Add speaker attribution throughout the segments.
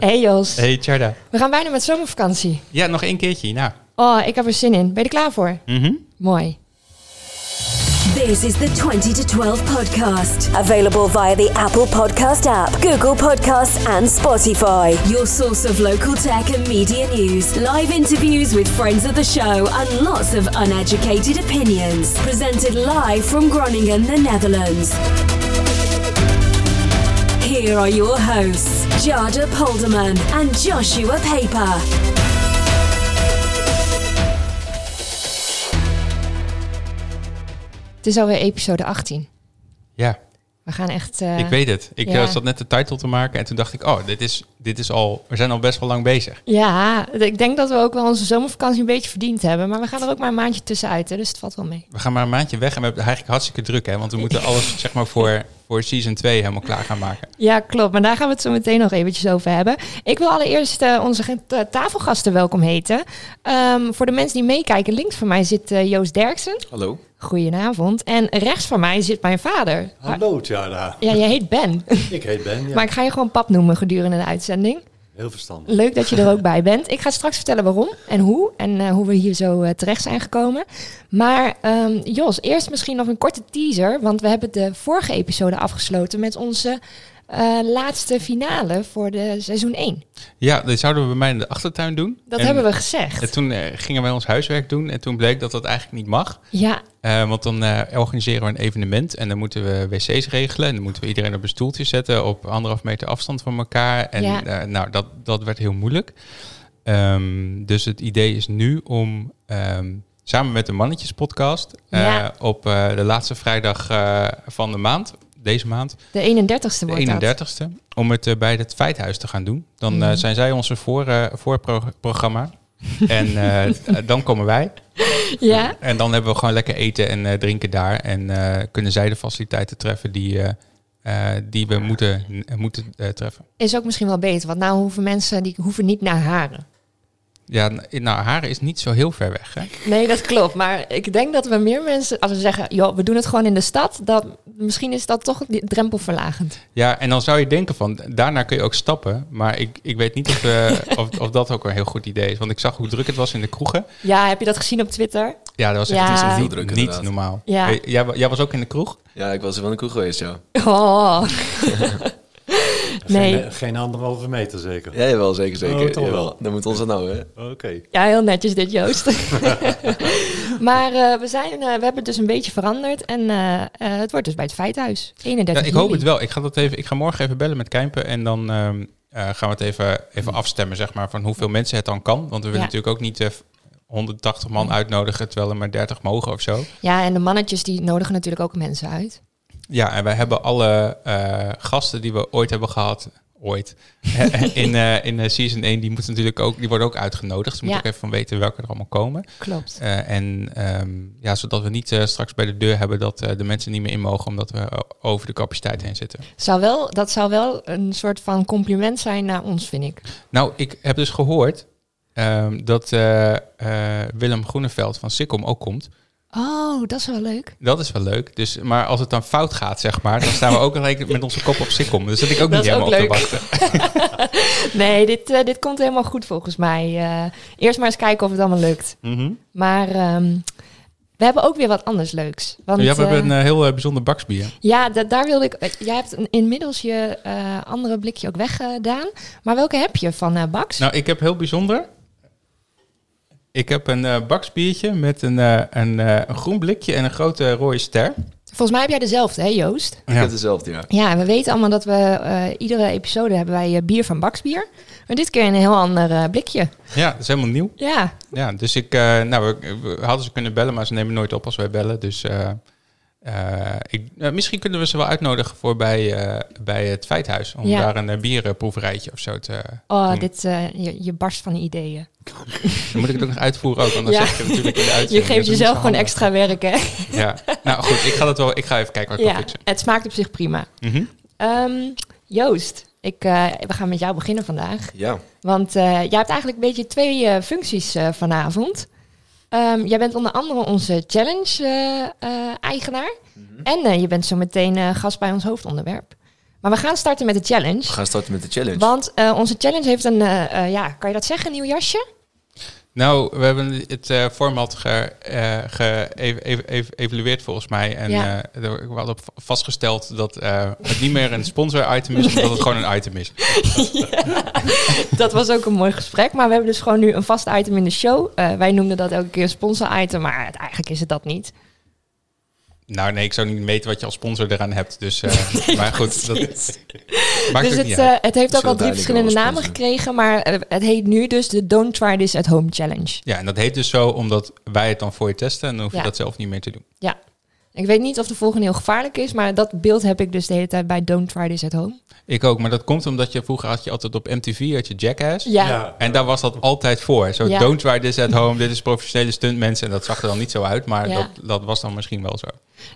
Speaker 1: Hey Jos,
Speaker 2: Hey Tjarda.
Speaker 1: we gaan bijna met zomervakantie.
Speaker 2: Ja, nog één keertje. Nou.
Speaker 1: Oh, ik heb er zin in. Ben je er klaar voor?
Speaker 2: Mhm.
Speaker 1: Mooi.
Speaker 3: This is the 20 to 12 podcast, available via the Apple Podcast app, Google Podcasts, and Spotify. Your source of local tech and media news, live interviews with friends of the show, and lots of uneducated opinions. Presented live from Groningen, the Netherlands. Here are your hosts, Jada Polderman and Joshua Paper.
Speaker 1: Het is alweer episode 18.
Speaker 2: Ja,
Speaker 1: We gaan echt... eh,
Speaker 2: ik weet het. Ik
Speaker 1: Ja.
Speaker 2: eh, zat net de titel te maken en toen dacht ik, oh, dit is, dit is al, we zijn al best wel lang bezig.
Speaker 1: Ja, ik denk dat we ook wel onze zomervakantie een beetje verdiend hebben. Maar we gaan er ook maar een maandje tussenuit, hè, dus het valt wel mee.
Speaker 2: We gaan maar een maandje weg en we hebben het eigenlijk hartstikke druk, hè? Want we moeten alles, zeg maar, voor, voor season 2 helemaal klaar gaan maken.
Speaker 1: Ja, klopt. Maar daar gaan we het zo meteen nog eventjes over hebben. Ik wil allereerst eh, onze ge- ta- tafelgasten welkom heten. Ehm, voor de mensen die meekijken, links van mij zit eh, Joost Derksen.
Speaker 4: Hallo.
Speaker 1: Goedenavond. En rechts van mij zit mijn vader.
Speaker 4: Hallo, Tjara.
Speaker 1: Ja, jij heet Ben.
Speaker 4: Ik heet Ben. Ja.
Speaker 1: Maar ik ga je gewoon pap noemen gedurende de uitzending.
Speaker 4: Heel verstandig.
Speaker 1: Leuk dat je er ook bij bent. Ik ga straks vertellen waarom en hoe en eh, hoe we hier zo eh, terecht zijn gekomen. Maar ehm, Jos, eerst misschien nog een korte teaser, want we hebben de vorige episode afgesloten met onze eh, laatste finale voor de seizoen 1.
Speaker 2: Ja, dit zouden we bij mij in de achtertuin doen.
Speaker 1: Dat
Speaker 2: En-
Speaker 1: hebben we gezegd.
Speaker 2: En toen eh, gingen wij ons huiswerk doen en toen bleek dat dat eigenlijk niet mag.
Speaker 1: Ja,
Speaker 2: Eh, want dan eh, organiseren we een evenement en dan moeten we wc's regelen. En dan moeten we iedereen op een stoeltje zetten op anderhalf meter afstand van elkaar. En
Speaker 1: Ja.
Speaker 2: eh, nou, dat, dat werd heel moeilijk. Ehm, dus het idee is nu om ehm, samen met de Mannetjespodcast eh,
Speaker 1: Ja.
Speaker 2: op eh, de laatste vrijdag eh, van de maand, deze maand,
Speaker 1: de 31ste wordt dat.
Speaker 2: de 31ste, om het eh, bij het Feithuis te gaan doen. Dan eh,
Speaker 1: Mhm.
Speaker 2: zijn zij onze voor, eh, voorprogramma. en eh, dan komen wij.
Speaker 1: Ja,
Speaker 2: En dan hebben we gewoon lekker eten en eh, drinken daar. En eh, kunnen zij de faciliteiten treffen die, eh, eh, die we moeten, eh, moeten eh, treffen.
Speaker 1: is ook misschien wel beter, want nou hoeven mensen die hoeven niet naar Haren.
Speaker 2: Ja, n- nou, Haren is niet zo heel ver weg. Hè?
Speaker 1: Nee, dat klopt. Maar ik denk dat we meer mensen, als we zeggen, joh, we doen het gewoon in de stad, dat, misschien is dat toch die- drempelverlagend.
Speaker 2: Ja, en dan zou je denken van, daarna kun je ook stappen. Maar ik, ik weet niet of, eh, of, of dat ook een heel goed idee is. Want ik zag hoe druk het was in de kroegen.
Speaker 1: Ja, heb je dat gezien op Twitter?
Speaker 2: Ja, dat was
Speaker 1: Ja.
Speaker 2: echt
Speaker 1: Het is
Speaker 4: heel
Speaker 2: niet,
Speaker 4: druk,
Speaker 2: niet
Speaker 4: inderdaad.
Speaker 2: normaal.
Speaker 1: Ja.
Speaker 2: Hey, jij, wa- jij was ook in de kroeg?
Speaker 4: Ja, ik was er wel een kroeg geweest, ja.
Speaker 1: Oh. nee,
Speaker 5: Geen, eh, geen anderhalve meter zeker.
Speaker 4: Ja, jawel, zeker, zeker.
Speaker 5: Oh, toch wel.
Speaker 4: Jawel. Dan moet ons dat nou, hè?
Speaker 5: Oké.
Speaker 1: ja, heel netjes dit Joost. maar eh, we, zijn, eh, we hebben het dus een beetje veranderd en eh, eh, het wordt dus bij het feithuis. 31
Speaker 2: Ja, ik hoop
Speaker 1: juli.
Speaker 2: het wel. Ik ga, dat even, ik ga morgen even bellen met Kijmpen en dan ehm, eh, gaan we het even, even afstemmen, zeg maar, van hoeveel mensen het dan kan. Want we willen
Speaker 1: Ja.
Speaker 2: natuurlijk ook niet eh, 180 man uitnodigen, terwijl er maar 30 mogen of zo.
Speaker 1: Ja, en de mannetjes die nodigen natuurlijk ook mensen uit.
Speaker 2: Ja, en wij hebben alle eh, gasten die we ooit hebben gehad, ooit, in, eh, in eh, season 1, die, moeten natuurlijk ook, die worden ook uitgenodigd. Ze moeten
Speaker 1: Ja.
Speaker 2: ook even van weten welke er allemaal komen.
Speaker 1: Klopt.
Speaker 2: Eh, en ehm, ja, zodat we niet eh, straks bij de deur hebben dat eh, de mensen niet meer in mogen, omdat we eh, over de capaciteit heen zitten.
Speaker 1: Zou wel, dat zou wel een soort van compliment zijn naar ons, vind ik.
Speaker 2: Nou, ik heb dus gehoord ehm, dat eh, eh, Willem Groeneveld van Sikkom ook komt.
Speaker 1: Oh, dat is wel leuk.
Speaker 2: Dat is wel leuk. Dus, maar als het dan fout gaat, zeg maar, dan staan we ook gelijk met onze kop op Sikkom. Dus dat ik ook
Speaker 1: Dat
Speaker 2: niet
Speaker 1: is ook
Speaker 2: helemaal op te
Speaker 1: leuk.
Speaker 2: wachten.
Speaker 1: Nee, dit, eh, dit komt helemaal goed volgens mij. Eh, eerst maar eens kijken of het allemaal lukt. Maar ehm, we hebben ook weer wat anders leuks. Want,
Speaker 2: ja, we hebben
Speaker 1: eh,
Speaker 2: een eh, heel eh, bijzonder baksbier.
Speaker 1: Ja, da- daar wilde ik. eh, Jij hebt een- inmiddels je eh, andere blikje ook weggedaan. Maar welke heb je van eh Bax?
Speaker 2: Nou, ik heb heel bijzonder. Ik heb een eh baksbiertje met een, eh, een, eh, een groen blikje en een grote rode ster.
Speaker 1: Volgens mij heb jij dezelfde, hè Joost?
Speaker 4: Ik
Speaker 2: Ja.
Speaker 4: heb dezelfde, ja.
Speaker 1: Ja, we weten allemaal dat we eh, iedere episode hebben wij eh, bier van Baksbier. Maar dit keer een heel ander eh, blikje.
Speaker 2: ja, dat is helemaal nieuw.
Speaker 1: Ja,
Speaker 2: Ja, dus ik, eh, nou, we, we hadden ze kunnen bellen, maar ze nemen nooit op als wij bellen. Dus eh, eh, ik, eh, misschien kunnen we ze wel uitnodigen voor bij, eh, bij het Feithuis. Om
Speaker 1: Ja.
Speaker 2: daar een eh, bierenproeverijtje of zo te
Speaker 1: oh,
Speaker 2: doen.
Speaker 1: dit, eh, je, je barst van de ideeën.
Speaker 2: Dan moet ik het ook nog uitvoeren ook, want dan
Speaker 1: Ja.
Speaker 2: zeg ik het natuurlijk in de
Speaker 1: Je
Speaker 2: uitzending.
Speaker 1: geeft
Speaker 2: Dus
Speaker 1: jezelf
Speaker 2: dat
Speaker 1: gewoon
Speaker 2: is
Speaker 1: extra werk, hè?
Speaker 2: wel handig. Ja, nou goed, ik ga, dat wel, ik ga even kijken wat ik
Speaker 1: Ja,
Speaker 2: kan fixen.
Speaker 1: het smaakt op zich prima.
Speaker 2: Mhm.
Speaker 1: Ehm, Joost, ik, eh, we gaan met jou beginnen vandaag.
Speaker 4: Ja.
Speaker 1: Want eh, jij hebt eigenlijk een beetje twee eh, functies eh, vanavond. Ehm, jij bent onder andere onze
Speaker 4: Mhm.
Speaker 1: eh, challenge-eigenaar. en eh, je bent zo meteen eh, gast bij ons hoofdonderwerp. Maar we gaan starten met de
Speaker 4: We
Speaker 1: challenge.
Speaker 4: gaan starten met de challenge.
Speaker 1: Want eh, onze challenge heeft een, eh, eh, ja, kan je dat zeggen, een nieuw jasje?
Speaker 2: Nou, we hebben het eh, format eh, geëvalueerd volgens mij. En
Speaker 1: Ja.
Speaker 2: eh, er- we hadden v- vastgesteld dat eh, het niet meer een sponsor-item is, maar dat het gewoon een item is.
Speaker 1: Dat was ook een mooi gesprek, maar we hebben dus gewoon nu een vast item in de show. Eh, wij noemden dat elke keer een sponsor-item, maar het- eigenlijk is het dat niet.
Speaker 2: Nou nee, ik zou niet weten wat je als sponsor eraan hebt. Dus, eh, maar goed, dat
Speaker 1: precies.
Speaker 2: maakt
Speaker 1: dus
Speaker 2: ook
Speaker 1: het,
Speaker 2: niet uit.
Speaker 1: eh, het heeft
Speaker 4: Dat
Speaker 1: ook
Speaker 4: is
Speaker 1: al
Speaker 4: wel
Speaker 1: drie verschillende
Speaker 4: duidelijk
Speaker 1: namen
Speaker 4: wel een
Speaker 1: gekregen, maar eh, het heet nu dus de Don't Try This at Home Challenge.
Speaker 2: Ja, en dat heet dus zo omdat wij het dan voor je testen en dan hoef je
Speaker 1: Ja.
Speaker 2: dat zelf niet meer te doen.
Speaker 1: Ja. Ik weet niet of de volgende heel gevaarlijk is, maar dat beeld heb ik dus de hele tijd bij Don't Try This at Home.
Speaker 2: Ik ook, maar dat komt omdat je vroeger had je altijd op MTV had je Jackass.
Speaker 1: Ja.
Speaker 2: En daar was dat altijd voor. Zo,
Speaker 1: Ja.
Speaker 2: don't try this at home. Dit is professionele stuntmensen. En dat zag er dan niet zo uit, maar
Speaker 1: Ja.
Speaker 2: dat, dat was dan misschien wel zo.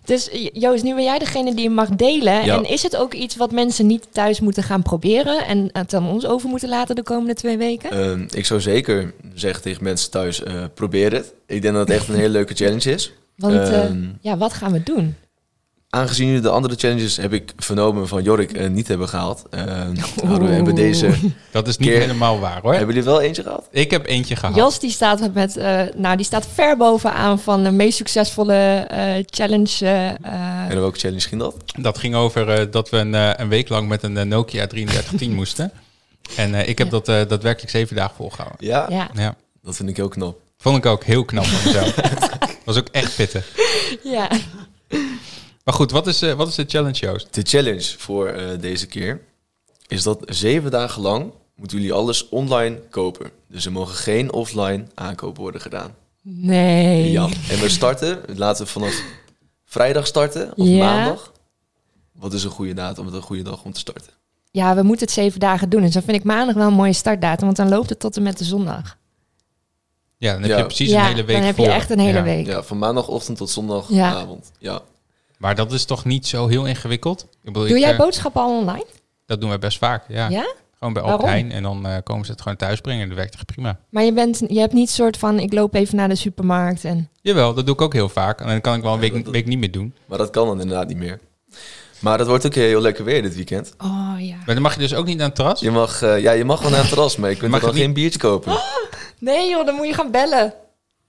Speaker 1: Dus eh, Joost, nu ben jij degene die hem mag delen.
Speaker 4: Ja.
Speaker 1: En is het ook iets wat mensen niet thuis moeten gaan proberen en het aan ons over moeten laten de komende twee weken?
Speaker 4: Ehm, ik zou zeker zeggen tegen mensen thuis, eh, probeer het. Ik denk dat het echt een hele leuke challenge is.
Speaker 1: Want eh,
Speaker 4: ehm.
Speaker 1: ja, wat gaan we doen?
Speaker 4: Aangezien jullie de andere challenges, heb ik vernomen, van Jorik eh, niet hebben gehaald. Ehm hadden we
Speaker 1: Oeh.
Speaker 4: hebben deze...
Speaker 2: Dat is niet
Speaker 4: Keer-
Speaker 2: helemaal waar hoor.
Speaker 4: Hebben jullie wel eentje gehad?
Speaker 2: Ik heb eentje gehaald.
Speaker 1: Jos die staat, met, eh, nou, die staat ver bovenaan van de meest succesvolle eh, challenge. eh, eh,
Speaker 4: En welke challenge ging dat?
Speaker 2: Dat ging over eh, dat we een, eh, een week lang met een eh, Nokia 3310 moesten. En eh, ik heb
Speaker 1: Ja.
Speaker 2: dat eh, daadwerkelijk zeven dagen volgehouden.
Speaker 4: Ja?
Speaker 1: ja.
Speaker 2: Ja.
Speaker 4: Dat vind ik heel knap.
Speaker 2: Vond ik ook heel knap van mezelf. was ook echt pittig.
Speaker 1: ja.
Speaker 2: Maar goed, wat is, eh, wat is de challenge, Joost?
Speaker 4: De challenge voor eh, deze keer is dat zeven dagen lang moeten jullie alles online kopen. Dus er mogen geen offline aankopen worden gedaan.
Speaker 1: Nee.
Speaker 4: Ja. En we starten, laten we vanaf vrijdag starten of
Speaker 1: Ja.
Speaker 4: maandag. Wat is een goede datum, wat een goede dag om te starten?
Speaker 1: Ja, we moeten het zeven dagen doen. En zo vind ik maandag wel een mooie startdatum, want dan loopt het tot en met de zondag.
Speaker 2: Ja, dan heb
Speaker 4: Ja.
Speaker 2: je precies
Speaker 1: ja,
Speaker 2: een hele week
Speaker 1: dan heb je
Speaker 2: voor.
Speaker 1: echt een hele
Speaker 2: Ja.
Speaker 1: week.
Speaker 4: Ja, van maandagochtend tot zondagavond. Ja.
Speaker 2: Maar dat is toch niet zo heel ingewikkeld? Ik bedoel,
Speaker 1: Doe
Speaker 2: ik,
Speaker 1: jij
Speaker 2: eh,
Speaker 1: boodschappen al online?
Speaker 2: Dat doen we best vaak, ja.
Speaker 1: Ja?
Speaker 2: Gewoon bij Albert
Speaker 1: Waarom?
Speaker 2: Heijn en dan eh, komen ze het gewoon thuis brengen. Dat werkt echt prima.
Speaker 1: Maar je, bent, je hebt niet soort van, ik loop even naar de supermarkt en...
Speaker 2: Jawel, dat doe ik ook heel vaak. En dan kan ik wel een week,
Speaker 4: dat- dat-
Speaker 2: week niet meer doen.
Speaker 4: Maar dat kan dan inderdaad niet meer. Maar dat wordt ook heel lekker weer dit weekend.
Speaker 1: Oh ja.
Speaker 2: Maar dan mag je dus ook niet naar het terras.
Speaker 4: Je mag, eh, ja, je mag wel naar het terras, maar je kunt
Speaker 2: Mag
Speaker 4: er dan
Speaker 2: het niet?
Speaker 4: geen biertje kopen.
Speaker 1: Nee joh, dan moet je gaan bellen.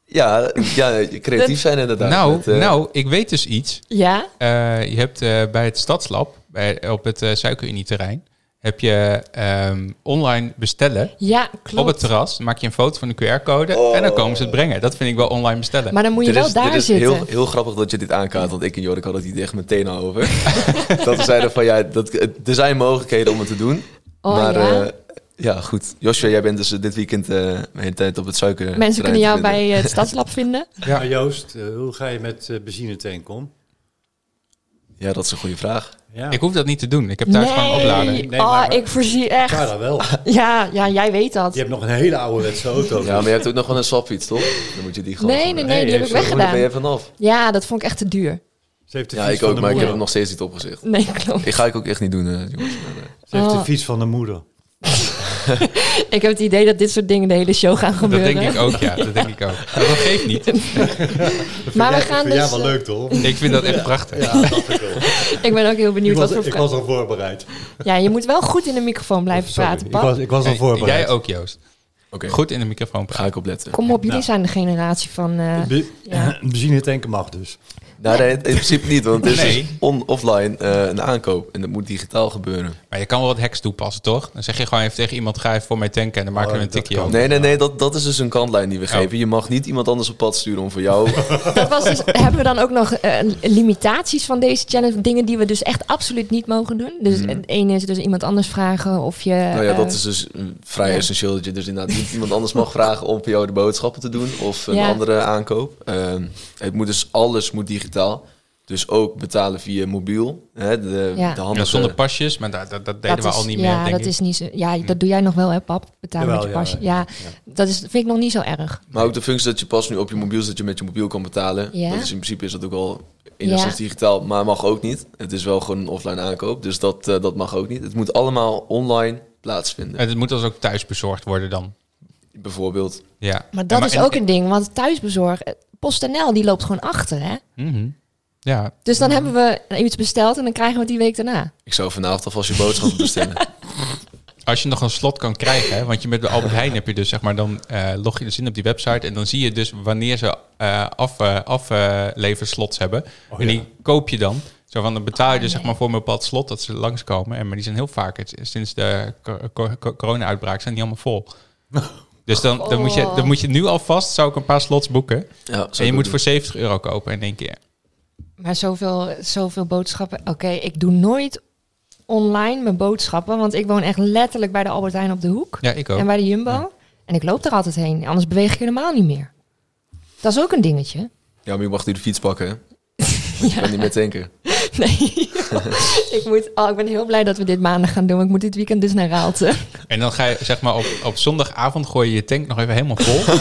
Speaker 4: Ja, ja, creatief zijn inderdaad.
Speaker 2: nou,
Speaker 4: Met, eh,
Speaker 2: nou, ik weet dus iets.
Speaker 1: Ja?
Speaker 2: Eh, je hebt eh, bij het Stadslab, bij, op het eh Suikerunie-terrein, heb je ehm, online bestellen
Speaker 1: Ja, klopt. Oh.
Speaker 2: op het terras. Dan maak je een foto van de QR-code en dan komen ze het brengen. Dat vind ik wel online bestellen.
Speaker 1: Maar dan moet je
Speaker 4: dit
Speaker 1: wel
Speaker 4: is,
Speaker 1: daar
Speaker 4: dit is
Speaker 1: zitten.
Speaker 4: Heel, heel grappig dat je dit aankaart, want ik en Jorik hadden het hier echt meteen al over. dat we zeiden van ja, dat, er zijn mogelijkheden om het te doen.
Speaker 1: Oh,
Speaker 4: maar
Speaker 1: ja?
Speaker 4: eh, ja, goed. Joshua, jij bent dus eh, dit weekend eh de hele tijd op het suiker.
Speaker 1: Mensen kunnen jou bij eh, het stadslab vinden.
Speaker 2: Ja.
Speaker 5: Maar Joost, eh, hoe ga je met eh, benzine tanken om?
Speaker 4: Ja, dat is een goede vraag.
Speaker 5: Ja,
Speaker 2: Ik hoef dat niet te doen. Ik heb thuis gewoon opladen.
Speaker 5: Nee,
Speaker 1: oh,
Speaker 5: maar-
Speaker 1: ik voorzie echt.
Speaker 5: Cara wel.
Speaker 1: Ja, ja, jij weet dat.
Speaker 5: Je hebt nog een hele ouderwetse auto.
Speaker 4: Ja, maar je hebt ook nog wel een swapfiets, toch? Dan moet je die gewoon...
Speaker 1: Nee, nee, nee, die
Speaker 5: Nee,
Speaker 1: heb ik
Speaker 5: zo-
Speaker 4: Hoe ben
Speaker 1: weggedaan.
Speaker 4: je vanaf?
Speaker 1: Ja, dat vond ik echt te duur.
Speaker 5: Ze heeft de
Speaker 4: Ja,
Speaker 5: fiets
Speaker 4: ik
Speaker 5: van
Speaker 4: ook,
Speaker 5: de
Speaker 4: maar ik
Speaker 5: moeder.
Speaker 4: heb hem nog steeds niet opgezicht.
Speaker 1: Nee, klopt.
Speaker 4: Ik ga ik ook echt niet doen, eh, jongens. Maar, eh,
Speaker 5: Ze heeft
Speaker 1: Oh.
Speaker 5: de fiets van de moeder.
Speaker 1: Ik heb het idee dat dit soort dingen de hele show gaan
Speaker 2: Dat
Speaker 1: gebeuren.
Speaker 2: denk ik ook, ja. Dat denk ik ook. Maar dat geeft niet.
Speaker 1: Maar we
Speaker 5: Vind
Speaker 1: gaan
Speaker 5: jij- vind
Speaker 1: dus...
Speaker 5: jij wel leuk, toch?
Speaker 2: Ik vind dat echt prachtig.
Speaker 5: Ja, dat ik wel.
Speaker 1: eh, Ik ben ook heel
Speaker 5: Ik
Speaker 1: benieuwd
Speaker 5: was,
Speaker 1: wat voor...
Speaker 5: ik was al voorbereid.
Speaker 1: Ja, je moet wel goed in de microfoon blijven
Speaker 5: Oh, Sorry,
Speaker 1: praten,
Speaker 5: ik
Speaker 1: Pap.
Speaker 5: was, ik was al
Speaker 2: Hey,
Speaker 5: voorbereid.
Speaker 2: Eh, Jij ook, Joost.
Speaker 4: Oké, goed.
Speaker 2: Goed in de microfoon praten.
Speaker 4: Ga ik opletten.
Speaker 1: Kom op, jullie
Speaker 5: Nou.
Speaker 1: zijn de generatie van... eh,
Speaker 5: Be-
Speaker 1: Ja.
Speaker 5: Benzine tanken mag dus.
Speaker 4: Nou, nee, in principe niet, want het is
Speaker 2: Nee.
Speaker 4: dus on offline eh, een aankoop. En dat moet digitaal gebeuren.
Speaker 2: Maar je kan wel wat hacks toepassen, toch? Dan zeg je gewoon even tegen iemand, ga even voor mij tanken en dan maken we
Speaker 5: Oh,
Speaker 2: een tikje over.
Speaker 4: Nee, nee, nee, dat, dat is dus een kantlijn die we
Speaker 2: Oh.
Speaker 4: geven. Je mag niet iemand anders op pad sturen om voor jou...
Speaker 1: Dat was dus, hebben we dan ook nog eh, limitaties van deze challenge? Dingen die we dus echt absoluut niet mogen doen. Dus
Speaker 5: Hmm.
Speaker 1: het ene is dus iemand anders vragen of je...
Speaker 4: nou ja,
Speaker 1: eh,
Speaker 4: dat is dus eh, vrij
Speaker 1: ja.
Speaker 4: essentieel. Dat je dus inderdaad niet iemand anders mag vragen om voor jou de boodschappen te doen. Of een
Speaker 1: Ja.
Speaker 4: andere aankoop. Ehm, het moet dus, alles moet digitaal. Dus ook betalen via mobiel. Hè, de,
Speaker 1: Ja.
Speaker 4: de
Speaker 2: Ja,
Speaker 4: handige...
Speaker 2: zonder
Speaker 5: eh,
Speaker 2: pasjes, maar dat, dat, dat deden
Speaker 1: dat
Speaker 2: we
Speaker 1: is-
Speaker 2: al niet
Speaker 1: ja,
Speaker 2: meer, denk
Speaker 1: dat
Speaker 2: ik.
Speaker 1: Is niet zo, ja, dat doe jij nog wel, hè, pap? Betalen met
Speaker 5: Hmm. Jawel,
Speaker 1: je
Speaker 5: ja,
Speaker 1: pasje.
Speaker 5: ja,
Speaker 1: Ja, dat is, vind ik nog niet zo erg.
Speaker 4: Maar ook de functie dat je pas nu op je mobiel, dat je met je mobiel kan betalen.
Speaker 1: Ja.
Speaker 4: Dat is in principe is dat ook al
Speaker 1: Ja.
Speaker 4: enigszins digitaal, maar mag ook niet. Het is wel gewoon een offline aankoop, dus dat, eh, dat mag ook niet. Het moet allemaal online plaatsvinden.
Speaker 2: En het moet dus ook thuis bezorgd worden dan.
Speaker 4: Bijvoorbeeld,
Speaker 2: Ja.
Speaker 1: Maar
Speaker 2: En
Speaker 1: dat is
Speaker 2: en-
Speaker 1: ook een ding, want thuisbezorg... eh, PostNL, die loopt gewoon achter, hè?
Speaker 2: Mhm. Ja,
Speaker 1: Dus dan
Speaker 5: Hmm.
Speaker 1: hebben we iets besteld en dan krijgen we het die week daarna.
Speaker 4: Ik zou vanavond alvast je boodschappen bestellen.
Speaker 2: Als je nog een slot kan krijgen, hè, want je met de Albert Heijn heb je dus zeg maar, dan eh, log je dus in op die website en dan zie je dus wanneer ze eh af, eh, af, eh, leverslots hebben. en die
Speaker 5: ja.
Speaker 2: koop je dan. Zo van, dan betaal je dus zeg maar voor een bepaald slot dat ze langskomen. En, maar die zijn heel vaak, het- sinds de co- co- co- corona-uitbraak, zijn die allemaal vol. Dus dan, dan, moet je, dan moet je nu alvast, zou ik een paar slots boeken.
Speaker 4: Ja, zou ik
Speaker 2: En je
Speaker 4: ook
Speaker 2: moet
Speaker 4: doen.
Speaker 2: voor 70 euro kopen in één keer.
Speaker 1: Maar zoveel, zoveel boodschappen. Oké, ik doe nooit online mijn boodschappen. Want ik woon echt letterlijk bij de Albert Heijn op de hoek.
Speaker 2: Ja, ik ook.
Speaker 1: En bij de Jumbo.
Speaker 2: Oh. Ja.
Speaker 1: En ik loop er altijd heen. Anders beweeg ik helemaal niet meer. Dat is ook een dingetje.
Speaker 4: Ja, maar je mag nu de fiets pakken, hè? Want je kan niet meer tanken.
Speaker 1: Nee. ik, moet, oh, ik ben heel blij dat we dit maandag gaan doen. want Ik moet dit weekend dus naar Raalte.
Speaker 2: En dan ga je zeg maar op, op zondagavond gooi je je tank nog even helemaal vol.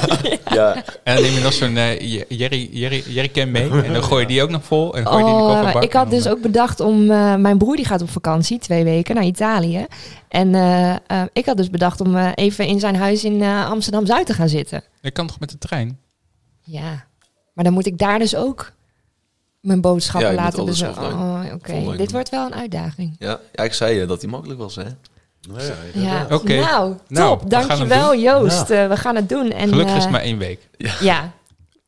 Speaker 4: Ja,
Speaker 2: En dan neem je nog zo'n eh, je- jerry, jerry, jerrycan mee. En dan gooi je die ook nog vol. En gooi je die in de
Speaker 1: Oh,
Speaker 2: kofferbak.
Speaker 1: ik had
Speaker 2: En dan,
Speaker 1: dus
Speaker 2: eh,
Speaker 1: ook bedacht om... eh, mijn broer die gaat op vakantie, twee weken, naar Italië. En eh, eh, ik had dus bedacht om eh, even in zijn huis in eh, Amsterdam-Zuid te gaan zitten.
Speaker 2: Je kan toch met de trein?
Speaker 1: Ja, maar dan moet ik daar dus ook mijn boodschappen
Speaker 4: Ja, je moet
Speaker 1: laten
Speaker 4: alles
Speaker 1: bezorgen.
Speaker 4: offline.
Speaker 1: Oh, oké.
Speaker 4: Online
Speaker 1: Dit
Speaker 4: doen.
Speaker 1: wordt wel een uitdaging.
Speaker 4: ja, ja, ik zei je dat die makkelijk was, hè?
Speaker 5: Nou ja,
Speaker 1: Ja,
Speaker 5: inderdaad.
Speaker 2: Oké.
Speaker 1: nou,
Speaker 2: Nou,
Speaker 1: top.
Speaker 2: we gaan hem
Speaker 1: Dankjewel,
Speaker 2: doen.
Speaker 1: Joost. Eh, we gaan het doen. En,
Speaker 2: Gelukkig is
Speaker 1: eh,
Speaker 2: het maar één week.
Speaker 1: Ja,